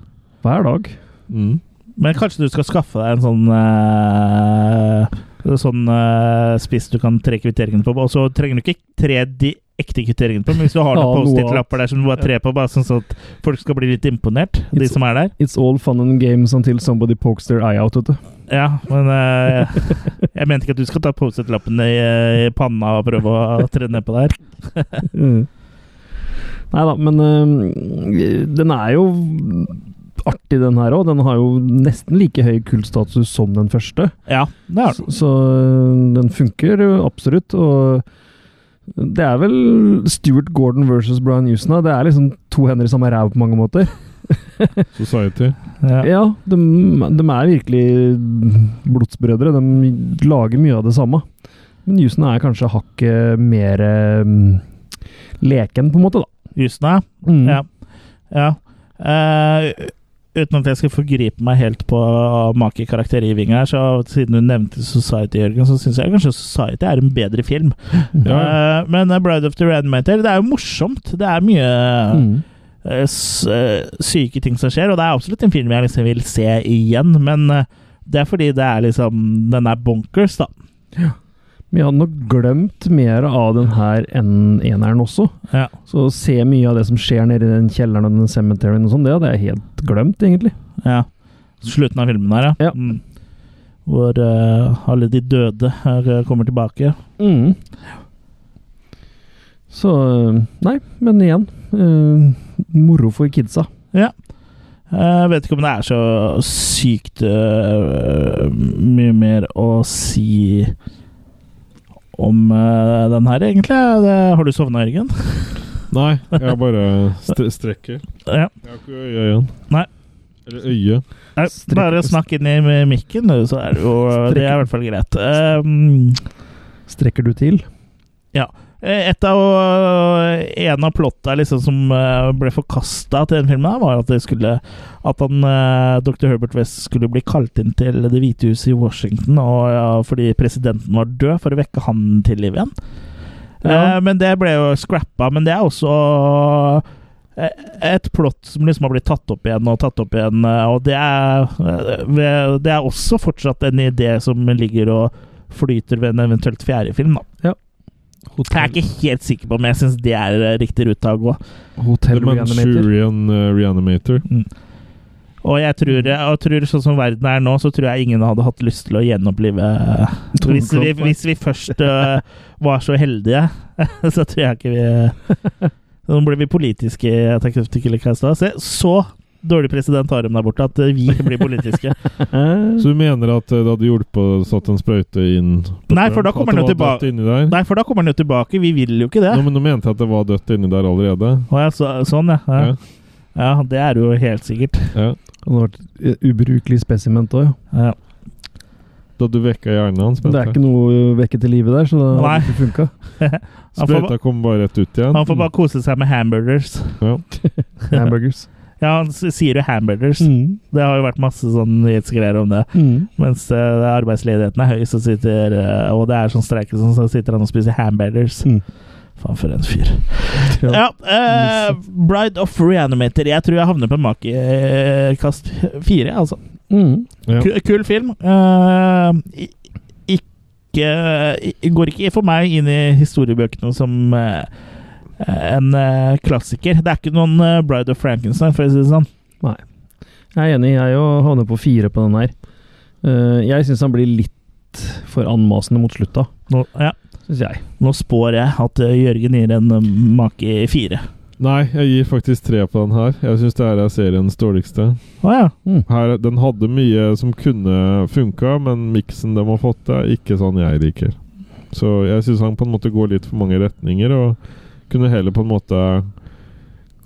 Hver dag.
Mm.
Men kanskje du skal skaffe deg en sånn eh, Sånn eh, spiss du kan tre kvitteringene på. Og så trenger du ikke tre de ekte kvitteringene på, men hvis du har noen
Ja, noe
Post-It-lapper der som du bare tre på, bare sånn så at folk skal bli litt imponert, de
It's-
som er der.
It's all fun and games until somebody pokes their eye out, vet du.
Ja, men eh, jeg mente ikke at du skal ta Post-It-lappene i, eh, i panna og prøve å tre nedpå der.
Nei da, men øhm, den er jo artig, den her òg. Den har jo nesten like høy kultstatus som den første.
Ja, det har du.
Så, så øh, den funker jo absolutt. Og det er vel Stuart Gordon versus Brian Houston. da. Det er liksom to hender i samme ræv på mange måter.
Society.
Ja.
Ja, de, de er virkelig blodsbrødre. De lager mye av det samme. Men jusen er kanskje hakket mer mm, leken, på en måte, da.
Jusna?
Mm.
Ja. ja. Eh, uten at jeg skal forgripe meg helt på makekaraktergiving her, så siden du nevnte Society, Jørgen, så syns jeg kanskje Society er en bedre film. Eh, men eh, Bride of the Reanimator, det er jo morsomt. Det er mye
Mm.
eh, s- eh, syke ting som skjer, og det er absolutt en film jeg liksom vil se igjen, men eh, det er fordi det er liksom Den er bonkers, da.
Vi hadde nok glemt mer av den her enn eneren også.
Ja.
Så å se mye av det som skjer nede i den kjelleren og den cemeteryen og sånn, det hadde jeg helt glemt, egentlig.
Ja. Slutten av filmen her,
Ja.
Mm. Hvor eh, alle de døde her, eh, kommer tilbake.
Mm. Så Nei, men igjen. eh, moro for kidsa.
Ja. Eh, Jeg vet ikke om det er så sykt øh, mye mer å si om øh, den her, egentlig. Det, har du sovna, Jørgen?
Nei, jeg bare stre strekker.
Ja.
Jeg har ikke øye igjen.
Nei.
Eller øye.
Nei, Bare snakk inn i mikken, du, så er det jo eh, Det er i hvert fall greit. Um,
Strekker du til?
Ja. Eh, Et av, eh, en av plotta liksom som eh, ble forkasta til den filmen, her, var at, det skulle, at han, eh, dr. Herbert West skulle bli kalt inn til Det hvite huset i Washington og, ja, fordi presidenten var død, for å vekke han til liv igjen. Eh,
Ja.
Men det ble jo scrappa. Men det er også eh, et plott som liksom har blitt tatt opp igjen og tatt opp igjen, eh, og det er, eh, ved- det er også fortsatt en idé som ligger og flyter ved en eventuelt fjerde film, da. Jeg er ikke helt sikker på om jeg syns det er eh, riktig rute å gå.
The
Hotell Reanimator.
Manchurian eh, Reanimator.
Og jeg tror, jeg tror sånn som verden er nå, så tror jeg ingen hadde hatt lyst til å gjenopplive eh,
Tom
Hvis vi,
Cruise.
hvis vi først eh, var så heldige, så tror jeg ikke vi Nå blir vi politiske i Attack of the Killer Cast. da. Se, så dårlig president har de der borte at eh, vi blir politiske.
Eh,
Så du mener at eh, det hadde hjulpet å satt en sprøyte inn på
Nei, for da
Trump,
kommer
at
han jo
det var dødt
tilbake.
inni der?
Nei, for da kommer han jo tilbake. Vi vil jo ikke det.
Nå, men nå mente jeg at det var dødt inni der allerede.
Å, ja, så, sånn, ja.
Ja.
ja. Ja, det er jo helt sikkert.
Ja.
Han har vært eh, ubrukelig spesiment òg.
Ja.
Da du vekka hjernen hans?
Det
mente
er
jeg.
ikke noe vekket til live der, så det
Nei.
hadde ikke funka.
Han får, ba-
Sprøyta kom bare rett ut igjen.
han får bare kose seg med hamburgers.
Ja.
Hamburgers.
Ja, han s- sier jo hamburgers.
Mm.
Det har jo vært masse sånn nyhetsgreier om det.
Mm.
Mens eh, arbeidsledigheten er høy, så sitter eh, Og det er sånn streik, og sånn, så sitter han og spiser hamburgers.
Mm.
Faen, for en fyr.
Ja.
Ja, eh, Bride of Reanimator. Jeg tror jeg havner på makekast fire, altså.
Mm.
Ja.
Ku- Kul film. Eh, i- ikke i- Går ikke for meg inn i historiebøkene som eh, en eh, klassiker. Det er ikke noen eh, Bride of Frankenstein, for å si det sånn.
Jeg er enig, jeg òg havner på fire på den her. Eh, jeg syns han blir litt for anmasende mot slutta,
Nå, ja.
syns jeg.
Nå spår jeg at eh, Jørgen gir en eh, make fire.
Nei, jeg gir faktisk tre på den her. Jeg syns det her er seriens dårligste.
Å ja.
Mm.
Her, den hadde mye som kunne funka, men miksen de har fått, er ikke sånn jeg liker. Så jeg syns han på en måte går litt for mange retninger, og kunne heller på en måte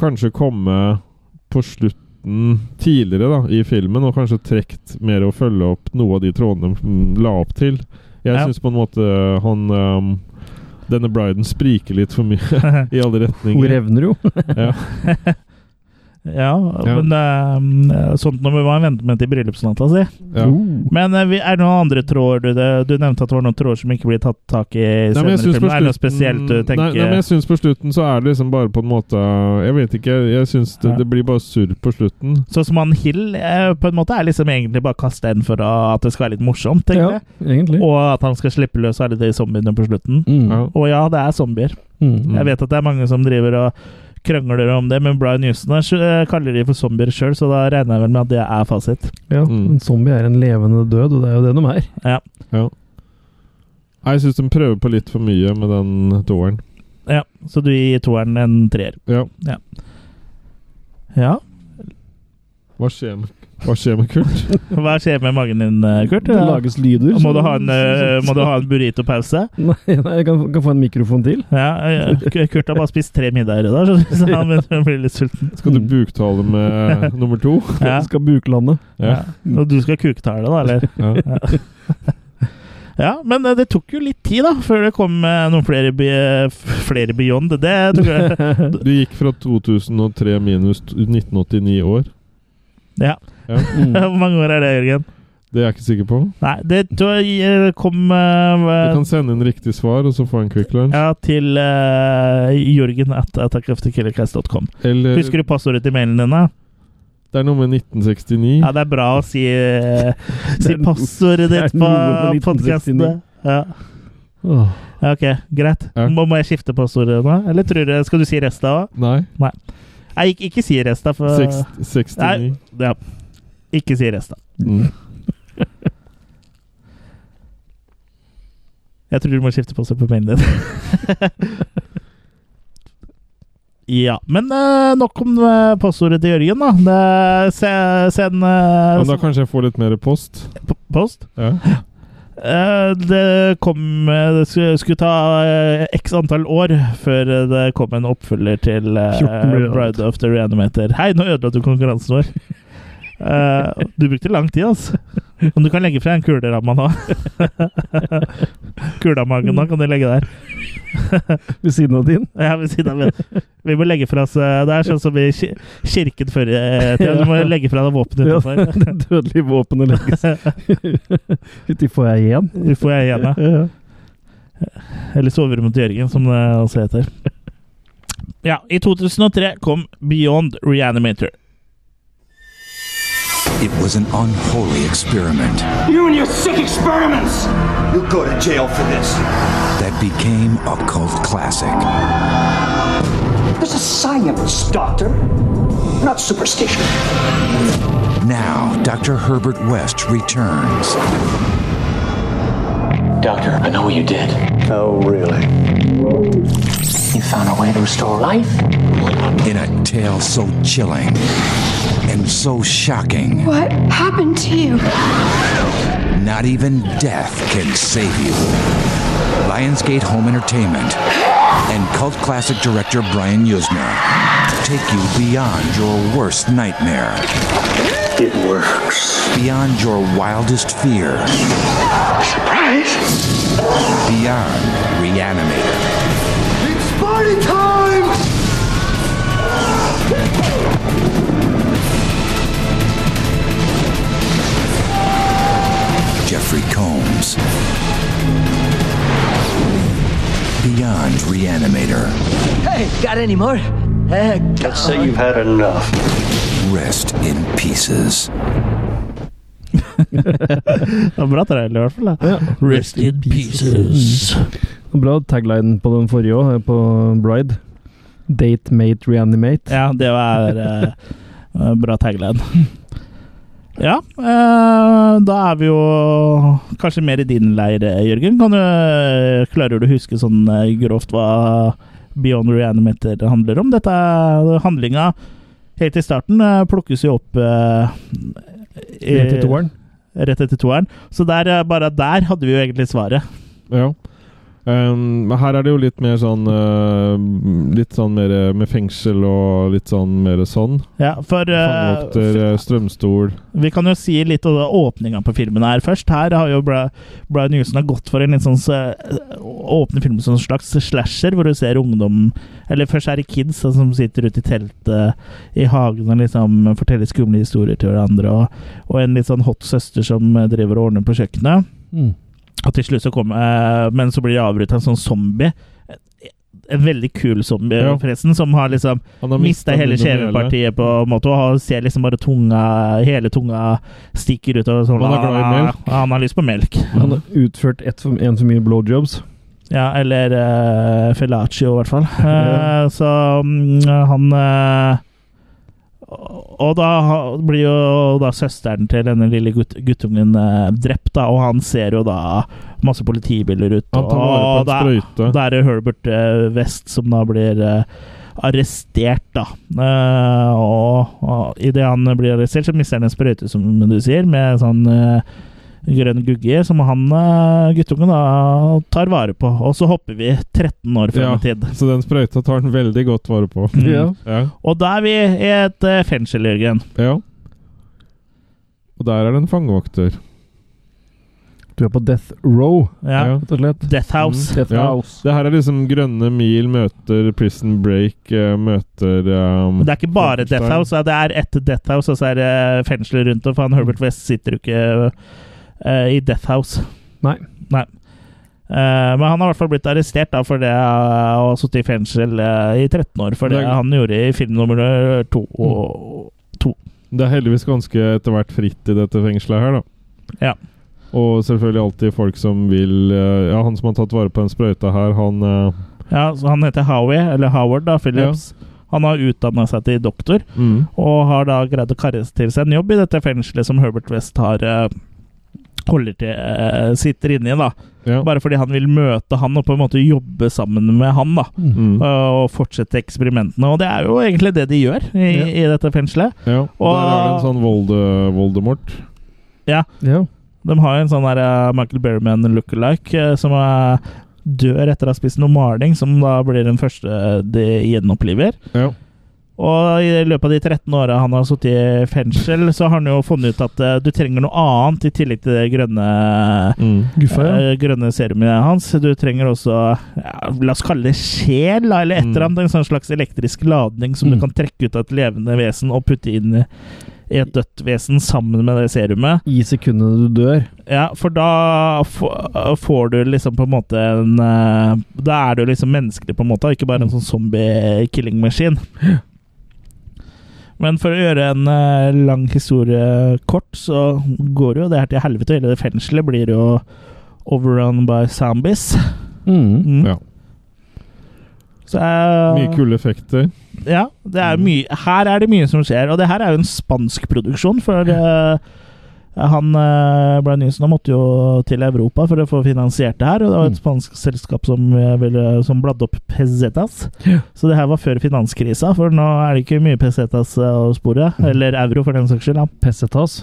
kanskje komme på slutten tidligere da, i filmen, og kanskje trekt mer og følge opp noe av de trådene de mm, la opp til. Jeg
Ja.
syns på en måte han um, Denne briden spriker litt for mye i alle
Hun
retninger.
revner jo.
ja,
Ja.
men eh, sånt når vi må vente med til bryllupsnatta si.
Ja.
Oh.
Men eh, vi- er det noen andre tråder du det? Du nevnte at det var noen tråder som ikke blir tatt tak i
Nei, men
senere
jeg synes
filmer. Er det noe
på
spesielt du
slutten- Nei,
tenker
nei, men jeg syns på slutten så er det liksom bare på en måte Jeg vet ikke. Jeg syns det,
Ja.
det blir bare surr på slutten.
Sånn som han Hill eh, på en måte er liksom egentlig bare kasta inn for å- at det skal være litt morsomt, tenker
Ja,
jeg.
egentlig.
Og at han skal slippe løs alle de zombiene på slutten.
Mm.
Ja.
Og ja, det er zombier.
Mm.
Jeg vet at det er mange som driver og krangler om det, men Brian Houston er, eh, kaller de for zombier sjøl, så da regner jeg vel med at det er fasit.
Ja,
Mm.
En zombie er en levende død, og det er jo det de er.
Ja.
Ja. Nei, Jeg syns de prøver på litt for mye med den toeren.
ja. Så du gir toeren en treer.
Ja.
Ja.
Hva skjer med, hva skjer med Kurt?
Hva skjer med magen din, eh, Kurt?
Det sånn lages lyder.
Må du ha en, eh,
så-
må du ha en burrito-pause?
Nei, nei, jeg kan, kan få en mikrofon til.
Ja, eh, Kurt har bare spist tre middager i dag, så- så han begynner å bli litt sulten.
Skal du buktale med nummer to?
Ja.
Skal buklande.
Ja. Og du skal kuktale, da, eller?
Ja.
Ja, men eh, det tok jo litt tid, da, før det kom eh, noen flere, be, f- flere Beyond. Det tok jeg.
Du gikk fra 2003 minus t- 1989 år.
Ja.
Mm.
Hvor mange år er det, Jørgen?
Det er jeg ikke sikker på.
Nei, det tror jeg, eh, kom eh,
Du kan sende inn riktig svar, og så få en Quick Lunch.
ja, til uh, Jørgen at attackofthekillercast.com.
Øh.
Eller
Husker du passordet til mailen din? da?
det er noe med 1969.
Ja, det er bra å si, eh, si
Det er no-
passordet
det er
ditt på
noe med
podkastene.
1969.
Ja.
Åh.
ja, ok, greit.
Ja.
Må, må jeg skifte passordet nå, eller tror du, skal du si resta òg?
Nei.
Nei, ikke, ikke si resta. For,
Seks- 69.
ja. Ikke si resta.
Mm.
Jeg tror du må skifte på seg på mailen din. Ja, men eh, nok om eh, postordet til Jørgen, da. Det, se, send eh,
Men da kanskje jeg får litt mer post?
p- post.
Ja.
Eh, det kom eh, Det skulle, skulle ta eh, x antall år før eh, det kom en oppfølger til eh,
14 blir det alt.
Bride of the Reanimator. Hei, nå ødela du konkurransen vår! Eh, du brukte lang tid, altså. Men du kan legge fra en kuleramme nå. Kulamagen nå kan du legge der.
ved siden av din.
Ja, ved siden av min. Vi må legge fra oss eh, Det er sånn som i ki- kirken før i tida. Du må legge fra deg våpenet
Ja,
utenfor.
det dødelige våpenet legges uti får jeg igjen.
Det får jeg igjen, ja.
Ja, ja.
Eller soverommet til Jørgen, som det også heter. Ja, i 2003 kom Beyond Reanimator.
It was an unholy experiment
You and your sick experiments! You go to jail for this.
that became a cult classic.
This is science, Doctor. Not superstition.
Now, Dr. Herbert West returns
Doctor, I know what you did. Oh, really? You found a way to restore life?
in a tale so chilling and so shocking,
What happened to you?
not even death can save you. Lionsgate Home Entertainment and cult classic director Brian Usner take you beyond your worst nightmare,
It works.
beyond your wildest fear,
Surprise!
beyond Reanimator.
It's party time!
Jeffrey Combs. Beyond Reanimator.
Hey, got any more? Eh,
Let's say you've had enough.
Rest in pieces.
Det var bra trailer, i hvert fall. da. Rest in pieces.
Bra taglinen på den forrige òg, på Bride. Date, mate, reanimate.
Ja, det var eh, bra tagline. Ja, eh, da er vi jo kanskje mer i din leir, eh, Jørgen. Kan du, eh, klarer du å huske sånn eh, grovt hva Beyond Reanimator handler om? Dette er handlinga helt i starten. eh, Plukkes jo opp eh, i-
Rett i toeren.
rett etter toeren. Så der, eh, bare der hadde vi jo egentlig svaret.
Ja. Ehm, men her er det jo litt mer sånn eh, Litt sånn mer eh, med fengsel og litt sånn mer sånn.
Ja, for eh,
Fangevokter, eh, strømstol
Vi kan jo si litt om åpninga på filmen her først. Her har jo Bra- Brian Newson har gått for en litt sånn eh, åpne film som en slags slasher, hvor du ser ungdom Eller først er det kids da, som sitter ute i teltet i hagen og liksom forteller skumle historier til hverandre, og, og en litt sånn hot søster som eh, driver og ordner på kjøkkenet.
Mm.
Og til slutt så kommer eh, Men så blir det avbrutt av en sånn zombie. En veldig kul zombie,
Ja.
forresten, som har liksom
Han har
Mista
mistet
hele
munnen hele.
kjevepartiet på en måte, og har- ser liksom bare tunga Hele tunga stikker ut. Og sånn,
Han er glad i
han-
melk.
Han har lyst på melk.
Han har utført ett for, en for mye blowjobs.
Ja, eller uh, Felaccio, i hvert fall. Eh, så mm, han eh, og- og da ha- blir jo da søsteren til denne lille gutt, guttungen eh, drept, da, og han ser jo da masse politibiler ut.
Han tar vare
og
på en sprøyte.
Da er det Herbert eh, West som da blir eh, arrestert, da. Eh, og og idet han blir arrestert, så mister han en sprøyte, som du sier, med sånn eh, grønn gugge, som han eh, guttungen da tar vare på. Og så hopper vi 13 år frem
Ja,
i tid.
så den sprøyta tar han veldig godt vare på.
Mm.
Ja.
Og da er vi i et eh, fengsel, Jørgen.
ja. Og der er det en fangevokter.
Du er på death row,
Ja.
Ja.
rett og slett.
Death House.
Mm, Death
Ja.
House.
Det her er liksom Grønne mil møter Prison Break eh, møter um,
Men Det er ikke bare
Frankenstein.
Death House, ja, det er ett Death House, og så er det fengsel rundt og faen, Herbert West sitter jo ikke eh, i Death House.
Nei.
Nei. Eh, men han har i hvert fall blitt arrestert da, for det eh, og sittet i fengsel eh, i 13 år for det
Det er-
han gjorde i film nummer eh, to. Og,
Det er heldigvis ganske etter hvert fritt i dette fengselet her, da.
Ja.
Og selvfølgelig alltid folk som vil eh, Ja, han som har tatt vare på den sprøyta her, han eh,
ja, så han heter Howie, eller Howard da, Phillips. Han har utdanna seg til doktor.
mm.
og har da greid å karre til seg en jobb i dette fengselet som Herbert West har eh, holder til, eh, sitter inni, da. Bare fordi han vil møte han og på en måte jobbe sammen med han. da
Mm.
Og fortsette eksperimentene. Og det er jo egentlig det de gjør i, i dette fengselet.
Ja, og der er det en sånn Volde, Voldemort.
Ja,
Ja.
De har jo en sånn der eh, Michael Berryman look-alike eh, som eh, dør etter å ha spist noe maling, som da blir den første eh, de gjenoppliver.
Ja.
Og i løpet av de 13 åra han har sittet i fengsel, så har han jo funnet ut at eh, du trenger noe annet i tillegg til det grønne
Mm.
Guffa, ja.
eh, grønne serumet hans. Du trenger også ja, La oss kalle det sjel, da, eller et eller annet. En sånn slags elektrisk ladning som
Mm.
du kan trekke ut av et levende vesen og putte inn i i et dødt vesen sammen med det serumet.
I sekundene du dør.
Ja, for da få- får du liksom på en måte en eh, Da er du liksom menneskelig, på en måte, og ikke bare en sånn zombie-killing-maskin. Men for å gjøre en eh, lang historie kort, så går jo det her til helvete. Hele det fengselet blir jo overrun by zombies.
Mm.
Mm.
Ja.
Så eh,
Mye kule effekter.
ja, det er mye, her er det mye som skjer, og det her er jo en spansk produksjon, for eh, han uh, Brian Newson han måtte jo til Europa for å få finansiert det her, og det var et spansk selskap som, eh, ville, som bladde opp pesetas. Så det her var før finanskrisa, for nå er det ikke mye pesetas eh, å spore, eller euro for den saks skyld. da.
Pessetas.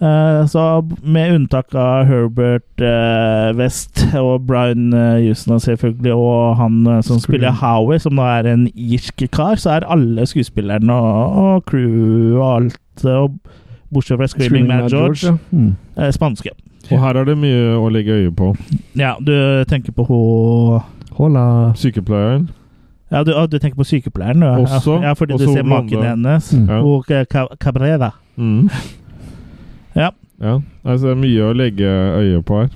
Eh, så med unntak av Herbert eh, West og Brian uh, Houston og selvfølgelig, og han eh, som spiller Howie, som da er en irsk kar, så er alle skuespillerne og, og crew og alt, eh, og bortsett fra Screaming Man George,
ja. Mm.
eh, spanske.
Og her er det mye å legge øye på.
Ja, du tenker på hun
Hola.
Sykepleieren.
ja, du, ah, du tenker på sykepleieren, du? ja.
Også.
Ja, fordi
Også
du ser
hun
maken
blonde.
hennes.
Mm.
Ja.
Og eh, Ca- Cabrera.
Mm.
Ja.
ja. Altså, det er mye å legge øye på her,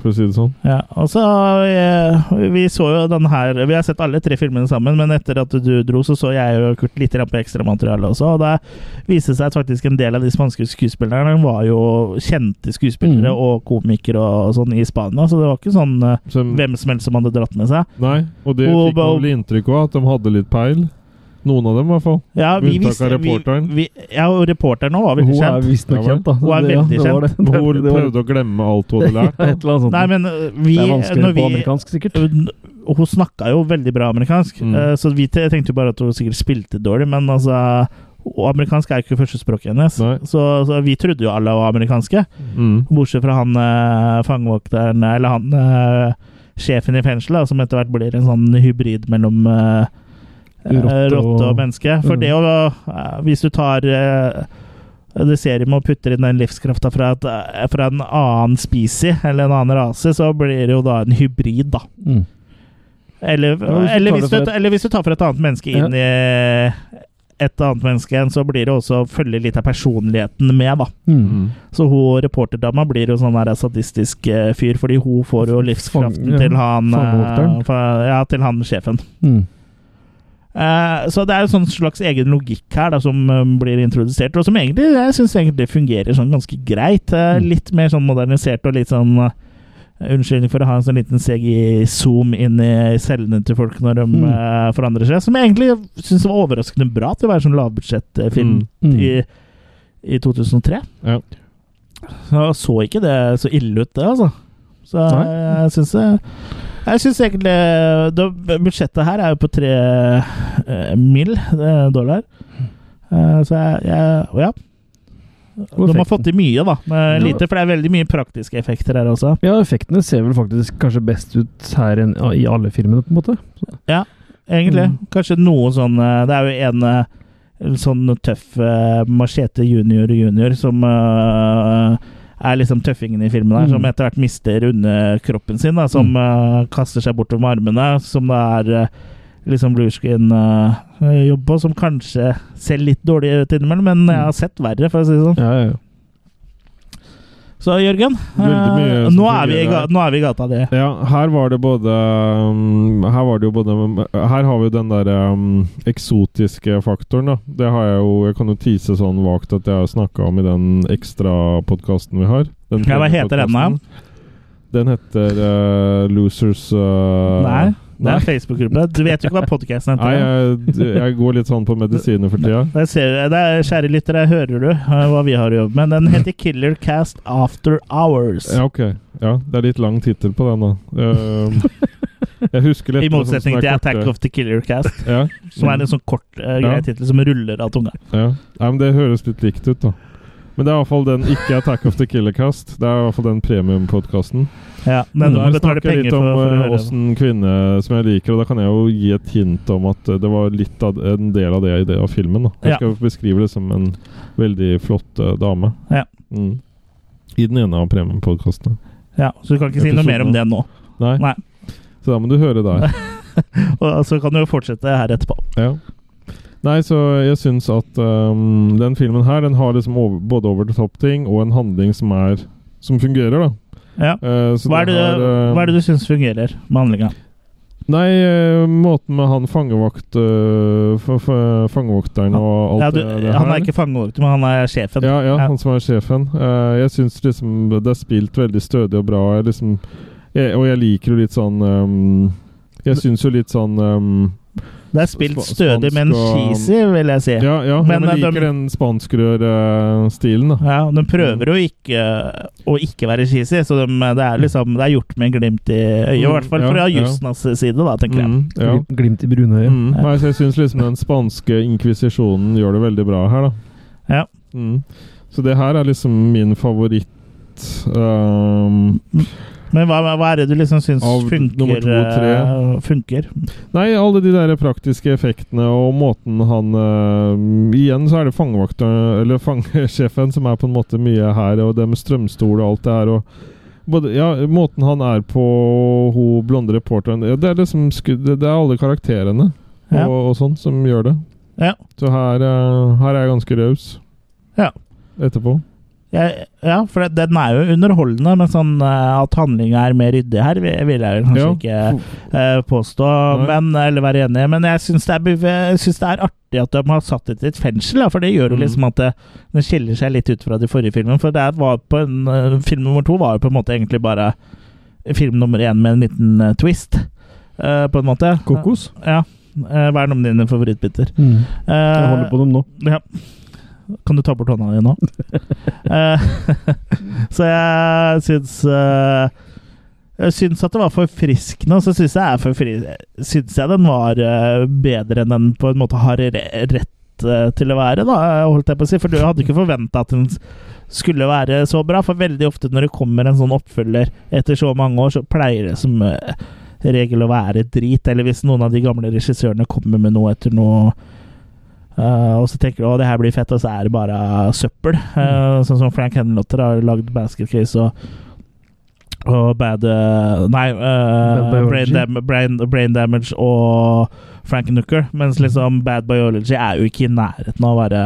for å si det sånn.
Ja, og så eh, Vi så jo den her Vi har sett alle tre filmene sammen, men etter at du dro, så så jeg og Kurt litt grann på ekstramaterialet også, og det viste seg at faktisk en del av de spanske skuespillerne var jo kjente skuespillere
Mm.
og komikere og sånn i Spania, så det var ikke sånn eh,
Så,
hvem som helst som hadde dratt med seg.
nei, og det
Og-
fikk man vel inntrykk av, at de hadde litt peil. Noen av dem, i hvert fall.
Ja, vi
Unntak av
visste vi,
reporteren.
vi, Ja, og reporteren òg var
Hun
veldig
er
kjent.
visstnok
Ja, vel.
kjent, da.
Hun er
Det-
veldig
det var det.
Hun
Det- det var-
prøvde å glemme alt hun hadde lært.
Ja, et eller annet sånt.
Nei, men eh, vi
det er
når
vanskeligere
vi,
på amerikansk, sikkert.
Og Hun snakka jo veldig bra amerikansk,
Mm.
eh, så vi te- tenkte jo bare at hun sikkert spilte dårlig, men altså og Amerikansk er jo ikke førstespråket hennes,
Nei.
så, så vi trodde jo alle var amerikanske.
Mm.
Bortsett fra han eh, fangevokteren, eller han eh, sjefen i fengselet, da, som etter hvert blir en sånn hybrid mellom eh, eh,
Rotte
rotte og,
og-
menneske. For
Mm.
det å eh, Hvis du tar eh, det serien med å putte inn den livskrafta fra, et, eh, fra en annen species, eller en annen rase, så blir det jo da en hybrid, da.
Mm.
Eller,
Ja, hvis du
eller,
tar
hvis
det
du,
fra
eller hvis du tar fra et annet menneske inn i et annet menneske igjen, så blir det også å følge litt av personligheten med, da.
Mm.
Mm.
Så hun reporterdama blir jo sånn der sadistisk eh, fyr, fordi hun får jo livskraften
Fang- ja,
til han eh,
fangevokteren.
fa- Ja, til han sjefen.
Mm.
Eh, så det er jo sånn slags egen logikk her da, som eh, blir introdusert, og som egentlig jeg synes egentlig fungerer sånn ganske greit. Eh,
Mm.
litt mer sånn modernisert og litt sånn eh, Unnskyldning for å ha en sånn liten CGI-zoom inn i cellene til folk når de
Mm.
eh, forandrer seg, som jeg egentlig syns var overraskende bra til å være sånn lavbudsjettfilm
Mm.
i, i 2003.
Ja.
Så så ikke det så ille ut, det, altså. Så
Nei.
jeg syns jeg synes egentlig da, Budsjettet her er jo på tre eh, mill. eh, dollar. Eh, så jeg, jeg og Ja. De har fått til mye, da. Med
Ja.
lite, for det er veldig mye praktiske effekter her også.
Ja, effektene ser vel faktisk kanskje best ut her enn i alle filmene, på en måte.
Egentlig.
Mm.
Kanskje noe sånn eh, Det er jo en eh, sånn tøff eh, machete junior junior som eh, er liksom tøffingen i filmen her,
Mm.
som etter hvert mister underkroppen sin, da, som
Mm.
eh, kaster seg bortover med armene, som det er eh, liksom bluescreen eh, jobb på, som kanskje ser litt dårlig ut innimellom, men
Mm.
jeg har sett verre, for å si det sånn.
Ja, ja, ja.
Så Jørgen, eh,
Veldig mye som
nå, er vi i
fungerer
ga
her.
nå er vi i gata di.
Ja, her var det både um, Her var det jo både Her har vi jo den der um, eksotiske faktoren, da. Det har jeg jo Jeg kan jo tease sånn vagt at jeg har snakka om i den ekstrapodkasten vi har. Den
Ja, hva heter den da?
podcasten. Den heter uh, eh, Losers uh,
Nei. Det er en Facebook-gruppe. Du vet jo ikke hva podkasten
Nei,
heter.
jeg, jeg går litt sånn på medisiner for tida.
Der ser jeg, der, kjære lyttere, hører du eh, hva vi har å jobbe med. Den heter Killer Cast After Hours.
Ja, ok. Ja, det er litt lang tittel på den, da. Eh, jeg husker litt
I motsetning til Attack of the Killer Cast,
ja,
som er en sånn kort uh,
Ja.
grei tittel som ruller av tunga.
ja. Nei, men Det høres litt likt ut, da. Men det er i hvert fall den ikke Attack of the Killer Cast. Det er i hvert fall den premiumpodkasten.
Ja, den du må
Der
betale
snakker jeg
penger
litt om
for, for å
eh,
høre.
åssen kvinne som jeg liker, og da kan jeg jo gi et hint om at eh, det var litt av en del av det i det av filmen. Da.
Ja.
Jeg skal beskrive det som en veldig flott eh, dame.
Ja.
Mm. I den ene av premiumpodkastene.
Ja, så du kan ikke si noe mer om det nå.
Nei.
Nei.
Så da må du høre der.
Og så kan du jo fortsette her etterpå.
Ja. Nei, så jeg syns at ehm, den filmen her Den har liksom over, både over the top-ting og en handling som er Som fungerer, da.
Ja.
Eh, så
Hva er det,
ehm,
hva er det du syns fungerer med handlinga?
Nei, eh, måten med han fangevakt eh, fa- fa- fangevokteren og alt
Ja, du,
det, det
han er ikke fangevokter, men han er sjefen.
ja, ja,
Ja.
han som er sjefen. Eh, jeg syns liksom det er spilt veldig stødig og bra. Jeg liksom, jeg, og jeg liker jo litt sånn ehm, Jeg syns jo litt sånn ehm,
Det er spilt
Spa-
stødig, men
spansk og-
cheesy, vil jeg si.
Ja, ja,
Men,
jeg
eh, de-
liker den spanskrørstilen, da.
Ja, og de
Mm.
prøver jo ikke å ikke være cheesy, så de, det, er liksom, det er gjort med glimt i øyet. I
Mm,
hvert fall
ja,
fra
ja.
Justnas side, da, tenker jeg.
Mm, ja.
Glim- Glimt i brunøyet.
Mm. Nei, så jeg syns liksom den spanske inkvisisjonen gjør det veldig bra her, da.
Ja.
Mm. Så det her er liksom min favoritt ehm,
Men hva, hva er det du liksom syns
Av nummer
funker,
to og tre.
eh, funker?
Nei, alle de der praktiske effektene og måten han eh, Igjen så er det fangevakter, eller fangesjefen som er på en måte mye her, og det med strømstol og alt det her. og både, ja, Måten han er på, hun blonde reporteren ja, Det er liksom sku, det, det er alle karakterene og,
Ja.
og sånn som gjør det.
Ja.
Så her, eh, her er jeg ganske raus.
Ja.
Etterpå.
Jeg, ja, for det- den er jo underholdende, men sånn eh, at handlinga er mer ryddig her, vil vil jeg jo kanskje
Ja.
ikke eh, påstå,
Nei.
men, eh, eller være enig i. Men jeg syns det, er bev- jeg synes det er artig at de har satt det til et fengsel, da, for det gjør jo
Mm.
liksom at det, den skiller seg litt ut fra de forrige filmene. For det er- var på en, eh, film nummer to var jo på en måte egentlig bare film nummer én med en liten eh, twist, eh, på en måte.
Kokos.
Ja. Eh, Hva er noen av dine favorittbiter?
Mm.
Eh,
Jeg holder på dem nå.
ja. Kan du ta bort hånda di nå? Eh, så jeg syns eh, Jeg syns at det var forfriskende, og så syns jeg, er forfri- syns jeg den var eh, bedre enn den på en måte har re- rett eh, til å være, da, holdt jeg på å si. For du hadde ikke forventa at den s- skulle være så bra, for veldig ofte når det kommer en sånn oppfølger etter så mange år, så pleier det som eh, regel å være drit. Eller hvis noen av de gamle regissørene kommer med noe etter noe Uh, og så tenker du å, det her blir fett, og så er det bare søppel.
Mm.
Uh, Sånn som Frank Henlotter har lagd Basket Case og, og Bad uh, Nei, uh,
Bad Biology.
brain, dam brain, brain Damage og Frank Nooker. Mens liksom Bad Biology er jo ikke i nærheten av å være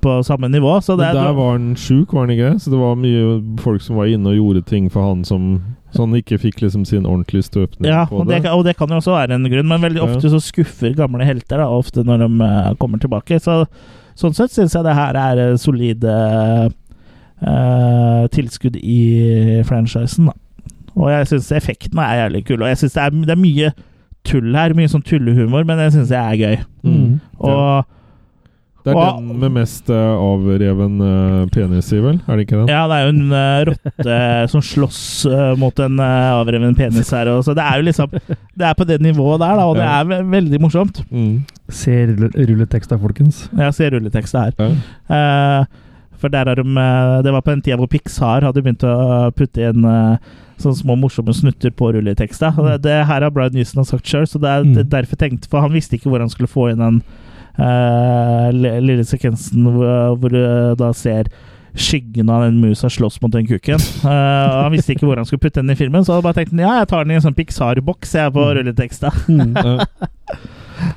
på samme nivå. Så det
Men der
er
var han sjuk, var han ikke det? Så det var mye folk som var inne og gjorde ting for han som Så han ikke fikk liksom sin ordentlige støpning
ja,
på
og det, kan- og det kan jo også være en grunn, men veldig
Ja.
ofte så skuffer gamle helter da, ofte når de eh, kommer tilbake. Så, sånn sett syns jeg det her er eh, solide eh, tilskudd i franchisen. Da. Og jeg syns effektene er jævlig kule. Og jeg synes det, er, det er mye tull her, mye sånn tullehumor, men det syns jeg er gøy.
Mm.
Og
Det er
Og-
den med mest eh, avreven eh, penis i, vel? Er det ikke den?
Ja, det er jo en eh, rotte som slåss eh, mot en eh, avreven penis her. Og, så det er jo liksom Det er på det nivået der, da, og det
Ja.
er ve veldig morsomt.
Mm.
Se rulle- rulleteksta, folkens.
Jeg ser rulleteksta her.
ja.
Eh, for der har de eh, Det var på den tida hvor Pixar hadde begynt å putte inn eh, sånne små morsomme snutter på rulleteksta. Og Det, det her har Bryan Newson sagt sjøl, så det er
Mm.
det, er derfor tenkt For han visste ikke hvor han skulle få inn den eh, li- lille sekvensen hvor, hvor du da ser skyggen av den musa slåss mot den kuken. Eh, og han visste ikke hvor han skulle putte den i filmen, så han bare tenkte ja, jeg tar den i en sånn Pixar-boks jeg på rulleteksta.
Mm.
Ja.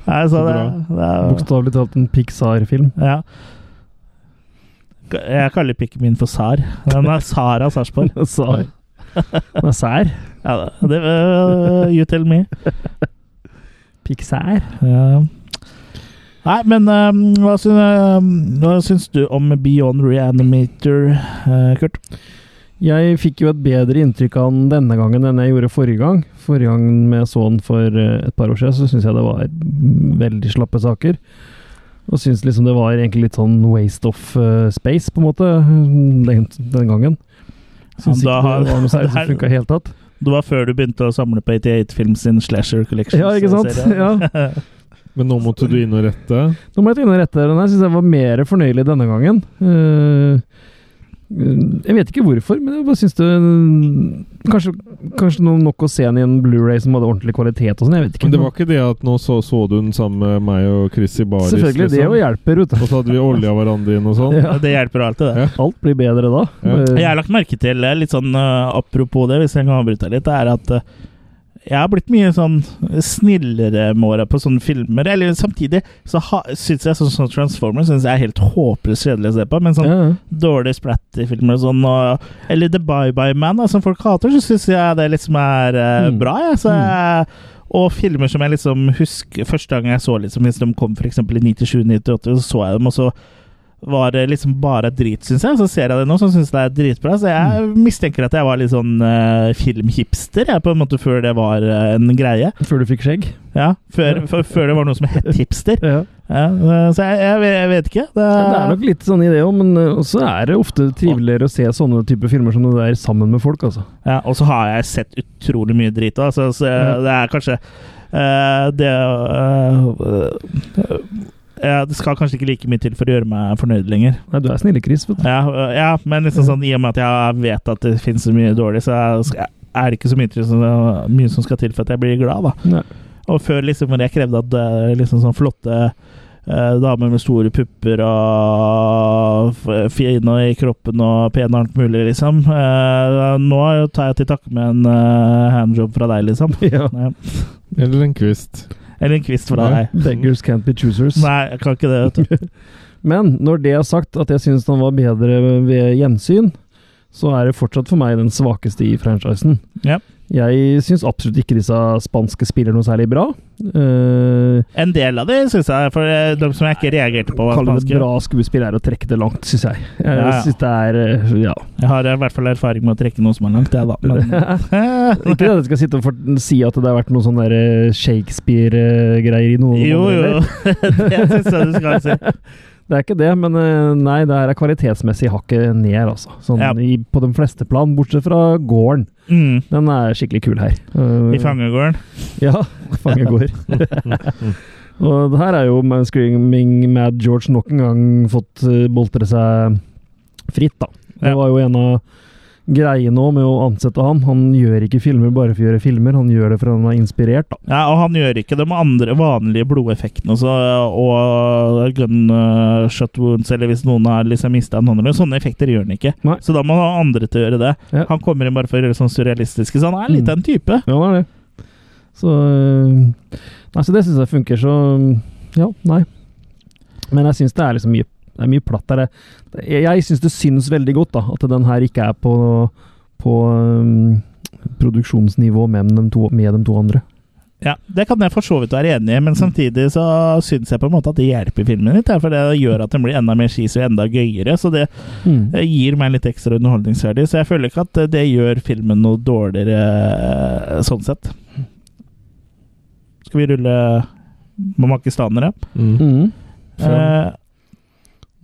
Nei, så det,
Så
det er,
Bokstavelig talt en Pixar-film.
ja. Jeg kaller pikken min for Sar. Den er Sara Sarpsborg.
Sær. Den er sær.
Ja, det, øh, you tell me.
Pixar.
Ja. Nei, men øhm, hva, um, syns, øhm, hva syns du om Beyond Reanimator, øh, uh, Kurt?
Jeg fikk jo et bedre inntrykk av han denne gangen enn jeg gjorde forrige gang. Forrige gang jeg så han for eh, et par år siden, så syns jeg det var veldig slappe saker. Og syns liksom det var egentlig litt sånn waste of eh, space, på en måte, den, den gangen. Syns
Ja, da
ikke
har-
det var noe særlig
det
som
her-
funka i det hele tatt.
Det var før du begynte å samle på 88 Films sin Slasher Collection.
Ja, ikke sant?
serie.
Ja.
Men nå måtte du inn og rette.
Nå må jeg ta inn og rette den her. Syns jeg var mer fornøyelig denne gangen. Eh, jeg vet ikke hvorfor, men jeg bare syns det mm, Kanskje, kanskje noe nok å se den i en Blu-ray som hadde ordentlig kvalitet og sånn. Jeg vet ikke.
Men det var ikke det at nå så, så du den sammen med meg og Chris i baris.
Selvfølgelig, det
liksom.
jo hjelper, vet du.
Og så hadde vi olja hverandre inn og sånn.
Ja.
Det hjelper alltid,
Ja.
det.
Alt blir bedre da.
Ja.
Eh,
Jeg har lagt merke til, eh, litt sånn eh, apropos det, hvis jeg kan avbryte deg litt, er at eh, jeg har blitt mye sånn snillere med åra på sånne filmer. Eller samtidig så ha- syns jeg sånn som Transformers synes jeg er helt håpløst kjedelig å se på. Men sånn
ja, ja.
dårlige splatterfilmer og sånn, og, eller The Bye Bye Man, da, som folk hater, så syns jeg det liksom er eh,
Mm.
bra. Jeg, så jeg, og filmer som jeg liksom husker Første gang jeg så liksom, hvis de kom for eksempel i 97-98, så så jeg dem, og så var det liksom bare drit, syns jeg. Så ser jeg det nå, så syns jeg det er dritbra. Så jeg
Mm.
mistenker at jeg var litt sånn eh, filmhipster, jeg, på en måte, før det var eh, en greie.
Før du fikk skjegg.
Ja, før, f- før det var noe som het hipster.
Ja.
Ja, eh, så jeg, jeg, vet- jeg vet ikke. Det,
Det er nok litt sånn i det òg, men eh, også er det ofte triveligere å se sånne typer filmer som det der sammen med folk, altså.
Ja, og så har jeg sett utrolig mye drit òg, så, så
Ja.
det er kanskje eh, Det eh, eh, Det skal kanskje ikke like mye til for å gjøre meg fornøyd lenger.
Nei, du er snille, Chris. Vet du.
Ja, eh, ja men liksom sånn, i og med at jeg vet at det finnes så mye dårlig, så er- er det ikke så mye, til, så mye som skal til for at jeg blir glad, da.
Nei.
Og før liksom hvor jeg krevde at eh, liksom sånn flotte eh, damer med store pupper og f- fine i kroppen og pene og alt mulig, liksom. Eh, nå tar jeg til takke med en eh, handjob fra deg, liksom.
Ja.
Ja.
Eller en kvist.
Eller en kvist fra
Nei.
deg.
Beggars can't be choosers.
Nei, jeg kan ikke det, vet du.
Men når det er sagt, at jeg syns den var bedre ved gjensyn, så er det fortsatt for meg den svakeste i franchisen.
Ja.
Jeg syns absolutt ikke disse spanske spiller noe særlig bra. Eh,
En del av det syns jeg, for eh, de som jeg ikke reagerte på, var
Kalle det
spanske.
bra skuespill er å trekke det langt, syns jeg. Jeg
Ja, ja.
synes det er eh, Ja.
Jeg har eh, i hvert fall erfaring med å trekke noe som er langt, jeg, da. Men,
Ikke det at jeg skal sitte og fort- si at det har vært noe sånn der, eh, Shakespeare-greier i noen
jo,
andre
jo.
deler.
det syns jeg du skal si.
Det er ikke det, men eh, nei, det her er kvalitetsmessig hakket ned, altså. Sånn
Ja.
i, på de fleste plan, bortsett fra gården.
Mm.
Den er skikkelig kul her.
I
Eh,
fangegården.
Ja, fangegård. og det her er jo med Screaming Mad George nok en gang fått eh, boltre seg fritt, da. Det
Ja.
var jo en av greiene òg med å ansette han. Han gjør ikke filmer bare for å gjøre filmer, han gjør det for han er inspirert, da.
Ja, og han gjør ikke de andre vanlige blodeffektene også, og gun uh, shot wounds, eller hvis noen har liksom mista en hånd eller noe, Sånne effekter gjør han ikke.
Nei.
Så da må han ha andre til å gjøre det.
Ja.
Han kommer inn bare for å gjøre sånn surrealistiske, så han er litt
Mm.
av en type.
Ja, det er det. Så eh, Nei, så det syns jeg funker, så mm, Ja, nei. Men jeg syns det er liksom mye det er mye platt der. Det- Jeg, jeg syns det syns veldig godt da, at den her ikke er på, på um, produksjonsnivå med de, to, med de to andre.
Ja, Det kan jeg for så vidt være enig i,
Mm.
men samtidig så syns jeg på en måte at det hjelper filmen litt. ja, For det gjør at den blir enda mer cheesy og enda gøyere. Så det
Mm.
eh, gir meg litt ekstra underholdningsverdi. Så jeg føler ikke at eh, det gjør filmen noe dårligere eh, sånn sett. Skal vi rulle med pakistanere?
Mm.
Eh,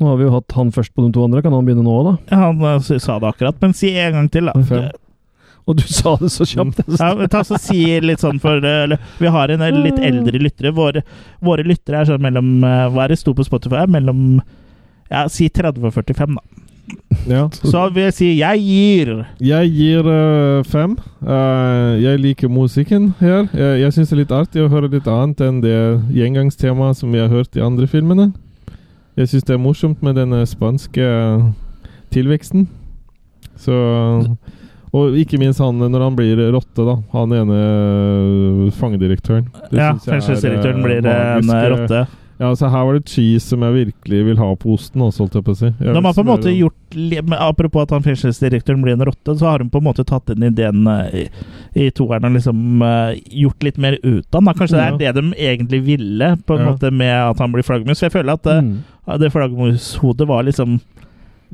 Nå har vi jo hatt han først på de to andre, kan han begynne nå òg, da?
han eh, sa det akkurat, men si en gang til, da.
Fem.
Og du sa det så kjapt!
Ja, men ta så si litt sånn for eh, eller, Vi har en del litt eldre lyttere. Våre, våre lyttere er sånn mellom eh, Hva er det sto på Spotify? Mellom ja, Si 30 og 45, da.
Ja.
Så vil jeg si 'jeg gir'.
Jeg gir eh, fem. Eh, jeg liker musikken her. Jeg, jeg syns det er litt artig å høre litt annet enn det gjengangstemaet som vi har hørt i andre filmene. Jeg syns det er morsomt med den spanske tilveksten. Så Og ikke minst han eh, når han blir rotte, da. Han ene eh, fangedirektøren. Det
Ja,
syns jeg er,
Fengselsdirektøren
eh,
blir eh, en
magisk,
eh,
eh,
rotte.
Ja, så her var det cheese som jeg virkelig vil ha på osten også, holdt jeg på å si. Jeg vil
De har på en
smøre
måte
den.
gjort li- men Apropos at han fengselsdirektøren blir en rotte, så har de på en måte tatt inn ideen eh, i, i toeren og liksom eh, gjort litt mer ut av den. da. Kanskje det er det de egentlig ville, på en
Ja.
måte med at han blir flaggermus. For jeg føler at eh,
Mm.
det flaggermushodet var liksom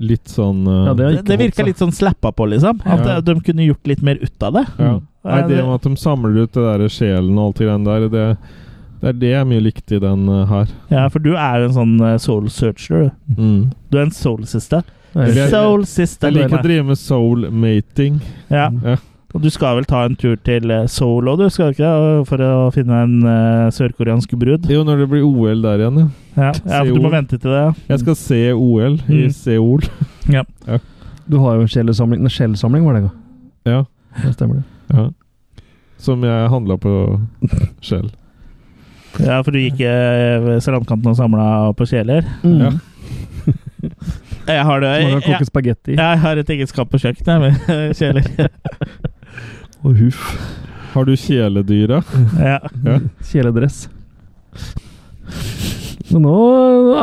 Litt sånn uh,
det, det virka litt sånn slappa på, liksom. At
Ja.
eh, de kunne gjort litt mer ut av det.
ja. Nei,
Eh,
det med at de samler ut det der sjelen og alt det greiene der, det, det er det jeg mye likte i den uh, her.
ja, for du er jo en sånn eh, soul searcher. du.
Mm.
Du er en soul sister.
Jeg- jeg-
Soul sister.
Jeg liker å
du er.
drive med soul-mating.
Ja.
Ja.
Og du skal vel ta en tur til eh, Seoul òg, du? Skal du ikke det? For å finne en eh, sørkoreansk brud?
Det er jo når det blir OL der igjen, ja.
Ja. ja, for du må
Seoul.
vente til det. ja.
Jeg skal se OL i
Mm.
Seoul.
Du har jo en skjellsamling. En skjellsamling var det, ja.
Ja.
Det stemmer det.
ja. Som jeg handla på Shell.
Ja, for du gikk eh, ved strandkanten og samla på kjeler?
Mm.
Ja.
Jeg har det.
Så man kan koke
Jeg,
spagetti.
jeg har et eget skap på kjøkkenet jeg, med kjeler.
Og huff. Har du kjæledyra?
Ja.
Kjeledress. Så nå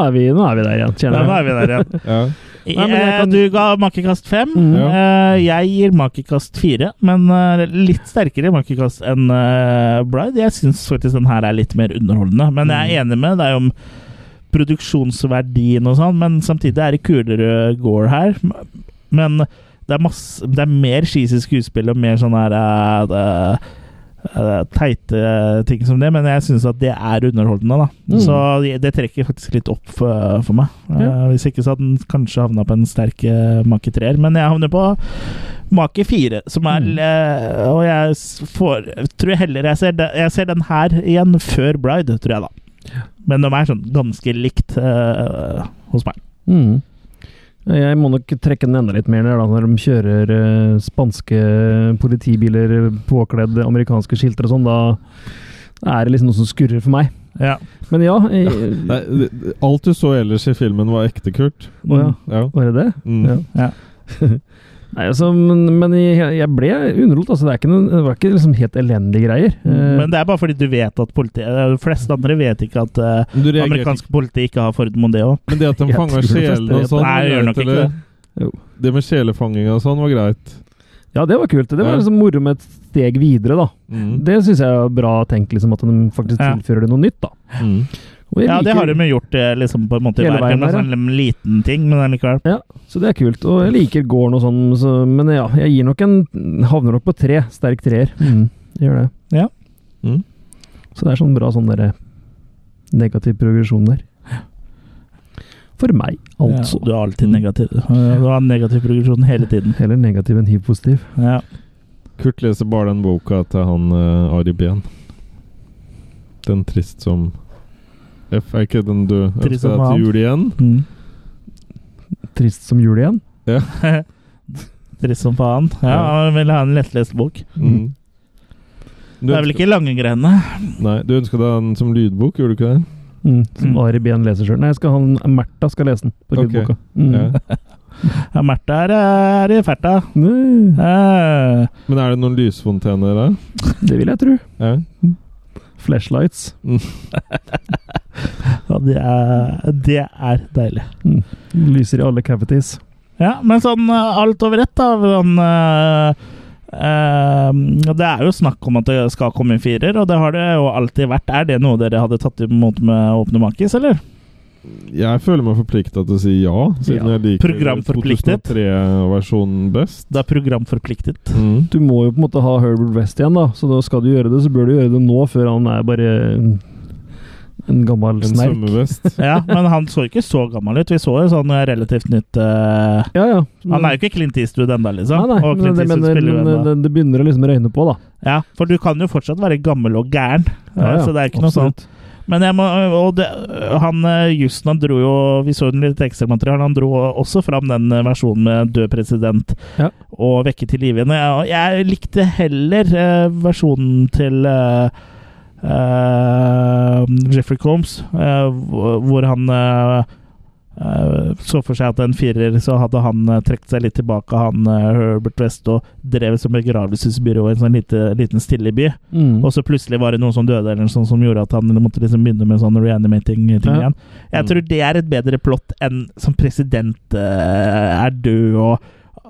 er vi, nå er vi der igjen,
Ja,
kjenner
nå
jeg.
er vi der igjen.
Ja.
Nei, men jeg
Eh,
kan-
Du ga makekast fem.
Mm.
Ja.
Eh, Jeg gir makekast fire, men eh, litt sterkere makekast enn eh, Bride. Jeg syns faktisk den her er litt mer underholdende, men jeg er
Mm.
enig med deg om produksjonsverdien og sånn, men samtidig er det kulere gore her. Men det er, masse, det er mer cheesy skuespill og mer sånn her eh, det- eh, teite ting som det, men jeg syns at det er underholdende, da.
Mm.
Så det- det trekker faktisk litt opp for, for meg. Eh,
Ja.
Hvis ikke så hadde den kanskje havna på en sterk eh, make treer, men jeg havner på make fire, som er
Mm.
eh, Og jeg s- får, tror heller jeg ser, de, jeg ser den her igjen før Bride, tror jeg, da. Men de er sånn ganske likt eh, hos meg.
Mm. Jeg må nok trekke den enda litt mer ned, da, når de kjører eh, spanske politibiler påkledd amerikanske skilter og sånn. Da er det liksom noe som skurrer for meg.
Ja.
Men ja, jeg,
Nei, det- det- alt du så ellers i filmen, var ekte kult.
å ja.
Ja.
Var det det?
Mm.
Ja.
Ja.
Nei, altså, men, men jeg jeg ble underholdt. Altså, det, er ikke noen, det var ikke liksom helt elendige greier. Eh,
Men det er bare fordi du vet at politiet De fleste andre vet ikke at eh,
Men Du reagerte
amerikansk politi ikke har Ford Mondeo.
ikke- Men det at de
Jeg
fanga
tror de fleste
sjelene og
vet
sånn
Nei, jeg gjør nok ikke
eller?
det.
Jo.
Det med sjelefanginga og sånn var greit.
ja, det var kult. Det var
Ja.
liksom moro med et steg videre, da.
Mm.
Det syns jeg er bra tenkt, liksom, at de faktisk
Ja.
tilfører det noe nytt, da.
Mm.
Og jeg
Ja, det
liker-
har de jo gjort eh, liksom på en måte i
Hele
hver film. En
veien der,
sånn liten ting, men likevel.
Ja, så det er kult. Og jeg liker gården og sånn, så, men ja, jeg gir nok en Havner nok på tre. Sterk treer. Mm, jeg gjør det.
Ja.
Mm.
Så det er sånn bra sånn derre negativ progresjon der. For meg, altså.
Ja, du er alltid negativ. du. Eh, Du har negativ progresjon hele tiden.
Heller negativ enn hiv-positiv.
Ja.
Kurt leser bare den boka til han eh, Ari Behn. Den trist som F er ikke den du
Trist
ønsker
som
deg
han.
til jul igjen?
Mm.
Trist som jul igjen.
Trist som faen. Ja, han vil ha en lettlest bok.
Mm. Du
Det er vel ikke lange greiene.
ønsker- Nei, du ønska deg den som lydbok, gjorde du ikke det?
Mm, som
Mm.
Ari Behn leser sjøl. Nei, jeg skal han, Märtha skal lese den på
Ok.
lydboka. Mm.
Ja.
Ja, Märtha er, eh, er i ferta.
Nei,
Eh,
Men er det noen lysfontener der?
Det vil jeg tro.
Ja.
Flashlights.
Ja, det er, det er deilig.
Lyser i alle cavities.
Ja, men sånn eh, alt over ett, da. Sånn, eh, eh, det er jo snakk om at det skal komme en firer, og det har det jo alltid vært. Er det noe dere hadde tatt imot med åpne makis, eller?
Jeg føler meg forplikta til å si ja, siden
Ja.
jeg liker
Programforpliktet.
2003-versjonen best.
Det er programforpliktet.
Mm.
Du må jo på en måte ha Herbert West igjen, da. Så da skal du gjøre det, så bør du gjøre det nå, før han er bare en- en gammel
En
snerk.
svømmevest.
Ja, men han så ikke så gammel ut. Vi så jo sånn relativt nytt eh,
Ja, ja.
Han er jo ikke Clint Eastwood ennå, liksom.
Nei, nei,
og
men
Clint
det,
Eastwood
mener-
spiller jo
men
ennå.
det, det begynner å liksom røyne på, da.
Ja, for du kan jo fortsatt være gammel og gæren, eh, så det er ikke noe sånt. Men jeg må, og det, han eh, Houston han dro jo Vi så den litt ekstramateriale. Han dro også fram den eh, versjonen med død president
Ja.
og vekke til live igjen. Og Jeg, jeg likte heller eh, versjonen til eh, eh, Jeffrey Combs, eh, hvor hvor han eh, eh, så for seg at en firer, så hadde han eh, trukket seg litt tilbake, han eh, Herbert West, og drevet som begravelsesbyrå i en sånn lite, liten stille by.
Mm.
Og så plutselig var det noen som døde, eller noe sånt som gjorde at han måtte liksom begynne med sånn reanimating-ting
Ja.
igjen. Jeg
Mm.
tror det er et bedre plott enn som president eh, er død og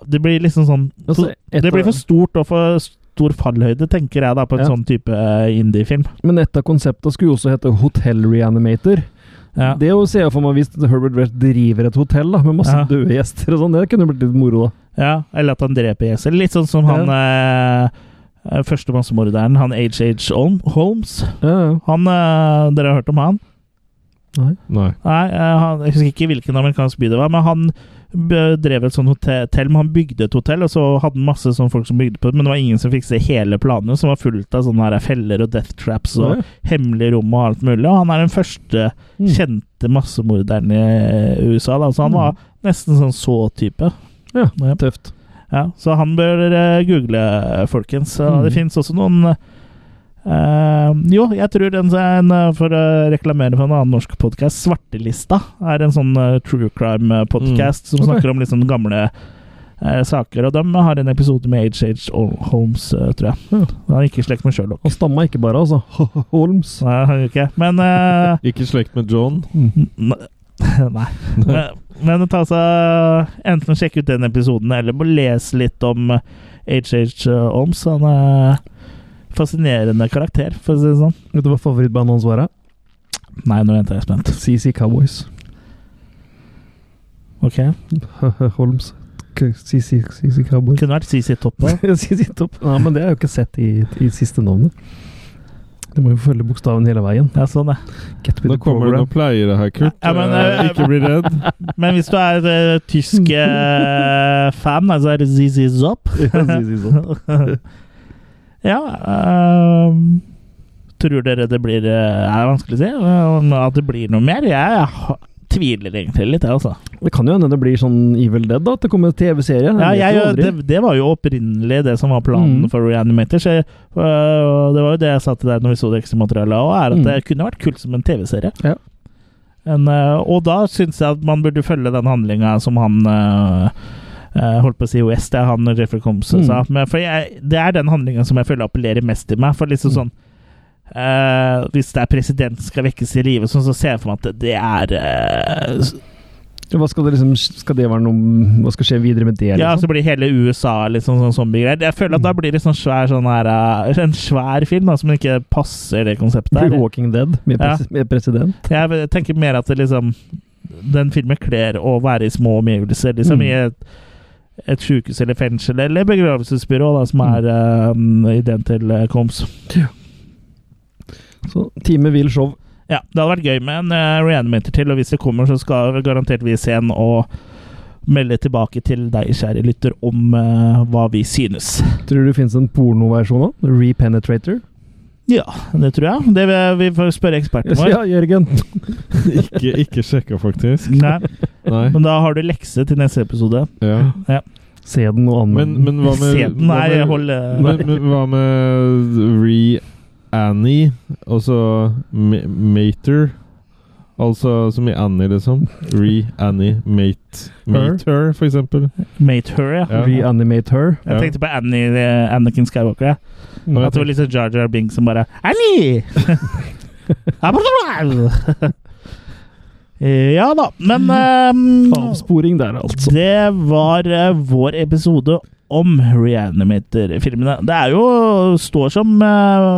Det blir liksom sånn
Altså, et
Det blir
av-
for stort og for stor fallhøyde, tenker jeg, da, på en
Ja.
sånn type eh, indie-film.
Men et av konsepta skulle jo også hete Hotell Reanimator.
Ja.
Det å se for meg hvis Herbert West driver et hotell da, med masse
Ja.
døde gjester og sånn, det kunne blitt litt moro, da.
Ja, eller at han dreper gjester. Litt sånn som han eh, første massemorderen, han H.H. Holm- Holmes. Han, eh, dere har hørt om han?
Nei.
Nei, eh, han, jeg husker ikke hvilken amerikansk by det var, men han b- drev et sånt hotell, men han bygde et hotell, og så hadde han masse sånne folk som bygde på det, men det var ingen som fikk se hele planene, som var fullt av sånne her feller og death traps og
Oi.
hemmelige rom og alt mulig, og han er den første
Mm.
kjente massemorderen i eh, USA, da, så han var nesten sånn så-type.
Ja,
Ja.
tøft.
Ja, så han bør eh, google, folkens. Og Det
Mm.
finnes også noen eh, Jo, jeg tror den en, eh, for å reklamere for en annen norsk podkast, Svartelista, er en sånn eh, true crime-podkast som
Mm. Ok.
snakker om litt sånn gamle eh, saker. Og de har en episode med H.H. Hol- Holmes, eh, tror jeg.
Ja.
Han er ikke i slekt med Sherlock.
Han stammer ikke bare, altså. Holmes.
Nei, han gjør ikke det. Men eh,
Ikke i slekt med John.
N- Nei. Men, men ta så, enten sjekk ut den episoden, eller bare les litt om HH Holmes. Han er fascinerende karakter, for å si det sånn.
Vet du hva favorittbandet hans var? da?
Nei, nå venter jeg spent.
CC Cowboys.
Ok.
Holmes. K- CC CC Cowboys.
Kunne vært CC Toppe.
CC Topp. Nei, men det har jeg jo ikke sett i, i siste navnet. Du må jo følge bokstaven hele veien.
Ja, sånn, ja.
Get with
Nå
the
kommer det
program.
noen pleiere her, Kurt.
Ja, men,
Eh,
eh,
ikke bli redd.
Men hvis du er eh, tysk eh, fan, så er det ZZ Zopp.
CC
sånn.
Topp.
ja ehm, Tror dere det blir eh, Er vanskelig å si eh, at det blir noe mer? Jeg, ha- tviler egentlig litt, jeg, altså.
Det kan jo hende det blir sånn Evil Dead, da. At det kommer en TV-serie.
Ja,
Jeg vet jo
jeg,
aldri.
det, det var jo opprinnelig det som var planen
Mm.
for Reanimator. Så jeg, øh, det var jo det jeg sa til deg når vi så det ekstra materialet òg, er at
Mm.
det kunne vært kult som en TV-serie.
Ja.
En, øh, og da syns jeg at man burde følge den handlinga som han øh, øh, holdt på å si West, det er han Jeffrey Combs
Mm.
sa. Men for jeg, det er den handlinga som jeg føler appellerer mest til meg. For liksom
Mm.
sånn øh, Hvis det er president som skal vekkes i live, sånn, så ser jeg for meg at det, det er øh,
Hva skal det liksom Skal det være noe Hva skal skje videre med det?
Ja, så
Liksom? Mm.
blir hele USA liksom sånn zombiegreier. Jeg føler at da blir det sånn svær, sånn her, eh, en svær film da, som ikke passer det konseptet.
blir
her.
Walking Dead med,
Ja.
pres med president?
Jeg tenker mer at det liksom den filmen kler å være i små omgivelser. Liksom
Mm.
i et, et sjukehus eller fengsel eller begravelsesbyrå, da, som er
Mm.
eh, i den til eh, Combs.
Så Time Will Show.
Ja, det hadde vært gøy med en eh, reanimator til, og hvis det kommer, så skal garantert vi se en og melde tilbake til deg, kjære lytter, om eh, hva vi synes.
Tror du det finnes en pornoversjon òg? Repenetrator?
Ja, det tror jeg. Det vil vi får spørre eksperten vår.
Ja, Jørgen.
Ikke, ikke sjekka, faktisk.
Nei,
Nei.
men da har du lekse til neste episode.
Ja.
Se den og anmeld
Men,
den.
men hva med
Se den. Nei,
hva
hold
med,
eh,
men, men hva med Re-Annie? Altså Ma- Mater? Altså som i Annie, liksom. Re-Annie Mate Mater, for eksempel.
Mate Her, ja.
Ja.
Reanimate her.
Jeg tenkte på Annie, eh, Anakin Skywalker. Ja.
Og jeg
At det var litt sånn Jar Jar Bing som bare Annie! ja da, men eh,
Avsporing der, altså.
Det var eh, vår episode om Reanimator-filmene. Det er jo står som eh,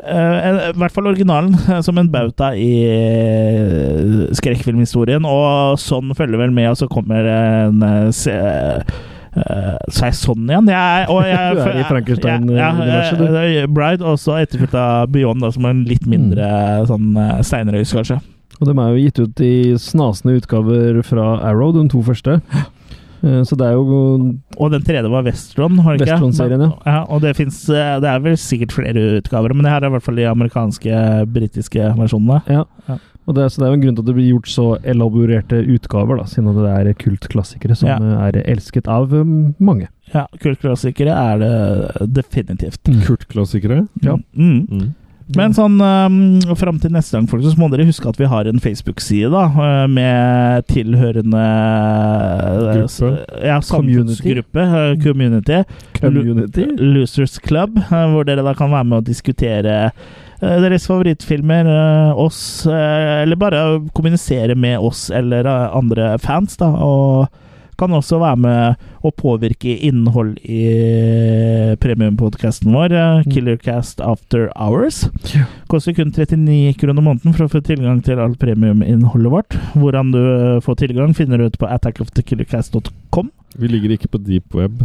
eh, en- I hvert fall originalen, eh, som en bauta i eh, skrekkfilmhistorien. Og sånn følger vel med, og så kommer en eh, se, eh, sa jeg sånn igjen? Jeg, er- og jeg,
Du er i Frankenstein,
Ja, ja,
universet, du.
eh, Bride, og så etterfulgt av Beyond, da, som er en litt mindre sånn eh, steinrøys, kanskje.
Og de er jo gitt ut i snasende utgaver fra Arrow, de to første. Eh, Så det er jo
Og den tredje var Westron, har det ikke?
Westron-serien, ja.
ja. Og det, finnes, eh, det er vel sikkert flere utgaver, men det her er i hvert fall de amerikanske, britiske versjonene.
Ja.
Ja.
Og det, er- så det er jo en grunn til at det blir gjort så elaborerte utgaver, da, siden det er kultklassikere som
Ja.
eh, er elsket av um, mange.
Ja, Kultklassikere er det definitivt.
Kurt-klassikere.
Mm, Ja.
Mm.
Mm.
Men sånn um, fram til neste gang, folk, så må dere huske at vi har en Facebook-side da, eh, med tilhørende eh, s-
Gruppe.
Ja, samfunnsgruppe. eh, Community.
Community.
Lo- Losers Club, eh, hvor dere da kan være med å diskutere eh, deres favorittfilmer, eh, oss, eh, eller bare kommunisere med oss eller eh, andre fans, da, og kan også være med og påvirke innhold i premiumpodkasten vår, eh, Killercast After Hours. Koster kun 39 kroner måneden for å få tilgang til alt premiuminnholdet vårt. Hvordan du eh, får tilgang, finner du ut på attackofthekillercast.com.
Vi ligger ikke på deep web.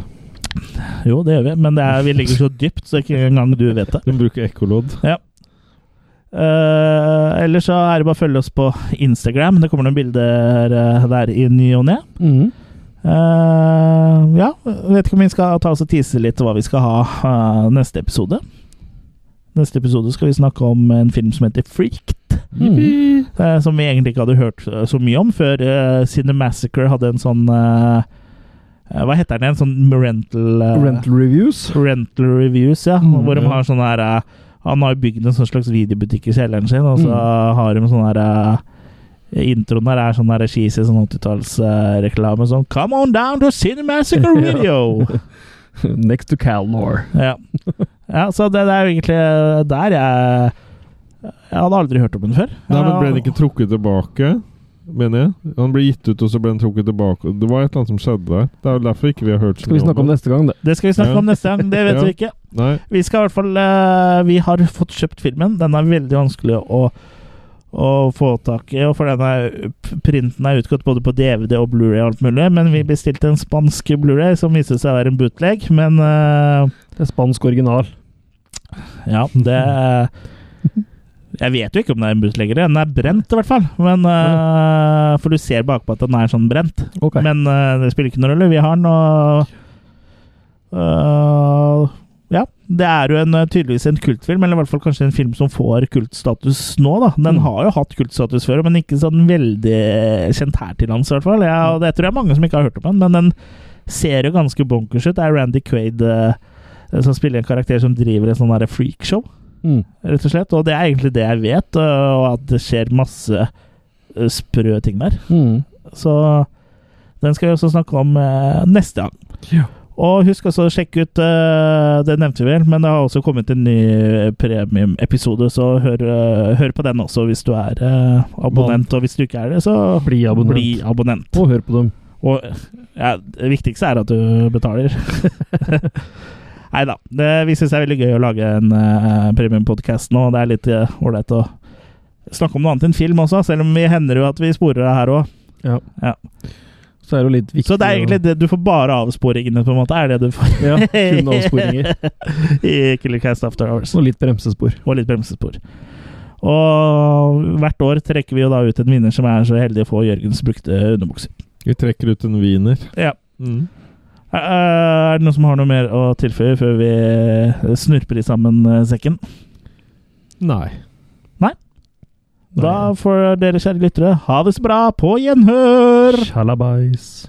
Jo, det gjør vi, men det er, vi ligger så dypt, så ikke engang du vet det.
De bruker ekkolodd.
Ja. Eh, ellers så er det bare å følge oss på Instagram. Det kommer noen bilder eh, der i ny og ne.
Mhm.
Eh, ja, vet ikke om vi skal ta oss og tease litt hva vi skal ha eh, neste episode. Neste episode skal vi snakke om en film som heter Freaked.
Mhm.
eh, som vi egentlig ikke hadde hørt eh, så mye om før uh, Cinemassacre hadde en sånn eh, eh, Hva heter den? En sånn rental eh,
Rental reviews.
rental reviews, ja.
Mm,
hvor de
ja.
har sånn her eh, Han har jo bygd en sånn slags videobutikk i kjelleren sin, og så
Mm.
har de sånn her eh, Introen her er sånn her cheesy sånn 80-tallsreklame sånn Come on down to Cinemassacre
Ja.
Video!
Next to Calnor.
ja. ja, så det, det er jo egentlig eh, der jeg Jeg hadde aldri hørt om den før.
Nei, men Ble den
Jeg-
ikke trukket tilbake, mener jeg? Han ble gitt ut, og så ble den trukket tilbake. Det var et eller annet som skjedde der. Det er jo derfor ikke vi har hørt så
Skal vi snakke om neste gang, det?
Det skal vi snakke
Ja.
om neste gang, det vet
Ja.
vi ikke.
Nei.
Vi skal i hvert fall eh, Vi har fått kjøpt filmen. Den er veldig vanskelig å, å få tak i, og for den er, printen er utgått både på DVD og Blu-ray og alt mulig, men vi bestilte en spansk Blu-ray som viste seg å være en bootleg, men eh,
Det er spansk original.
ja, det Jeg vet jo ikke om det er en bootlegger. Den er brent, i hvert fall. Men, eh, for du ser bakpå at den er sånn brent.
Ok.
Men eh, det spiller ikke noen rolle. Vi har den, og eh, Ja. Det er jo en, eh, tydeligvis en kultfilm, eller i hvert fall kanskje en film som får kultstatus nå, da. Den
Mm.
har jo hatt kultstatus før, men ikke sånn veldig kjent her til lands, i hvert fall. Ja, og det tror jeg er mange som ikke har hørt om den, men den ser jo ganske bonkers ut. Det er Randy Quaid eh, som spiller en karakter som driver et sånn derre freakshow,
Mm.
rett og slett. Og det er egentlig det jeg vet, eh, og at det skjer masse eh, sprø ting der.
Mm.
Så den skal vi også snakke om eh, neste gang.
Ja.
Og husk også å sjekke ut eh, Det nevnte vi vel, men det har også kommet en ny eh, premiumepisode, så hør, eh, hør på den også hvis du er eh, abonnent. Og hvis du ikke er det, så
Bli abonnent.
bli abonnent.
Og hør på dem.
Og ja, det viktigste er at du betaler. Nei da. Det viser seg veldig gøy å lage en uh, premiumpodkast nå. Det er litt eh, ålreit å snakke om noe annet enn film også, selv om vi hender jo at vi sporer det her òg.
Ja.
Ja.
Så er det jo litt viktig
Så det er egentlig det du får bare avsporingene, på en måte, er det du får
å- Ja, kun avsporinger.
i Killercast After Hours.
Og litt bremsespor.
Og litt bremsespor. Og hvert år trekker vi jo da ut en vinner som er så heldig å få Jørgens brukte underbukser.
Vi trekker ut en wiener.
Ja.
Mm.
Eh, Er det noen som har noe mer å tilføye før vi snurper i sammen eh, sekken?
Nei.
Da får dere, kjære lyttere, ha det så bra! På gjenhør!
Shalabais.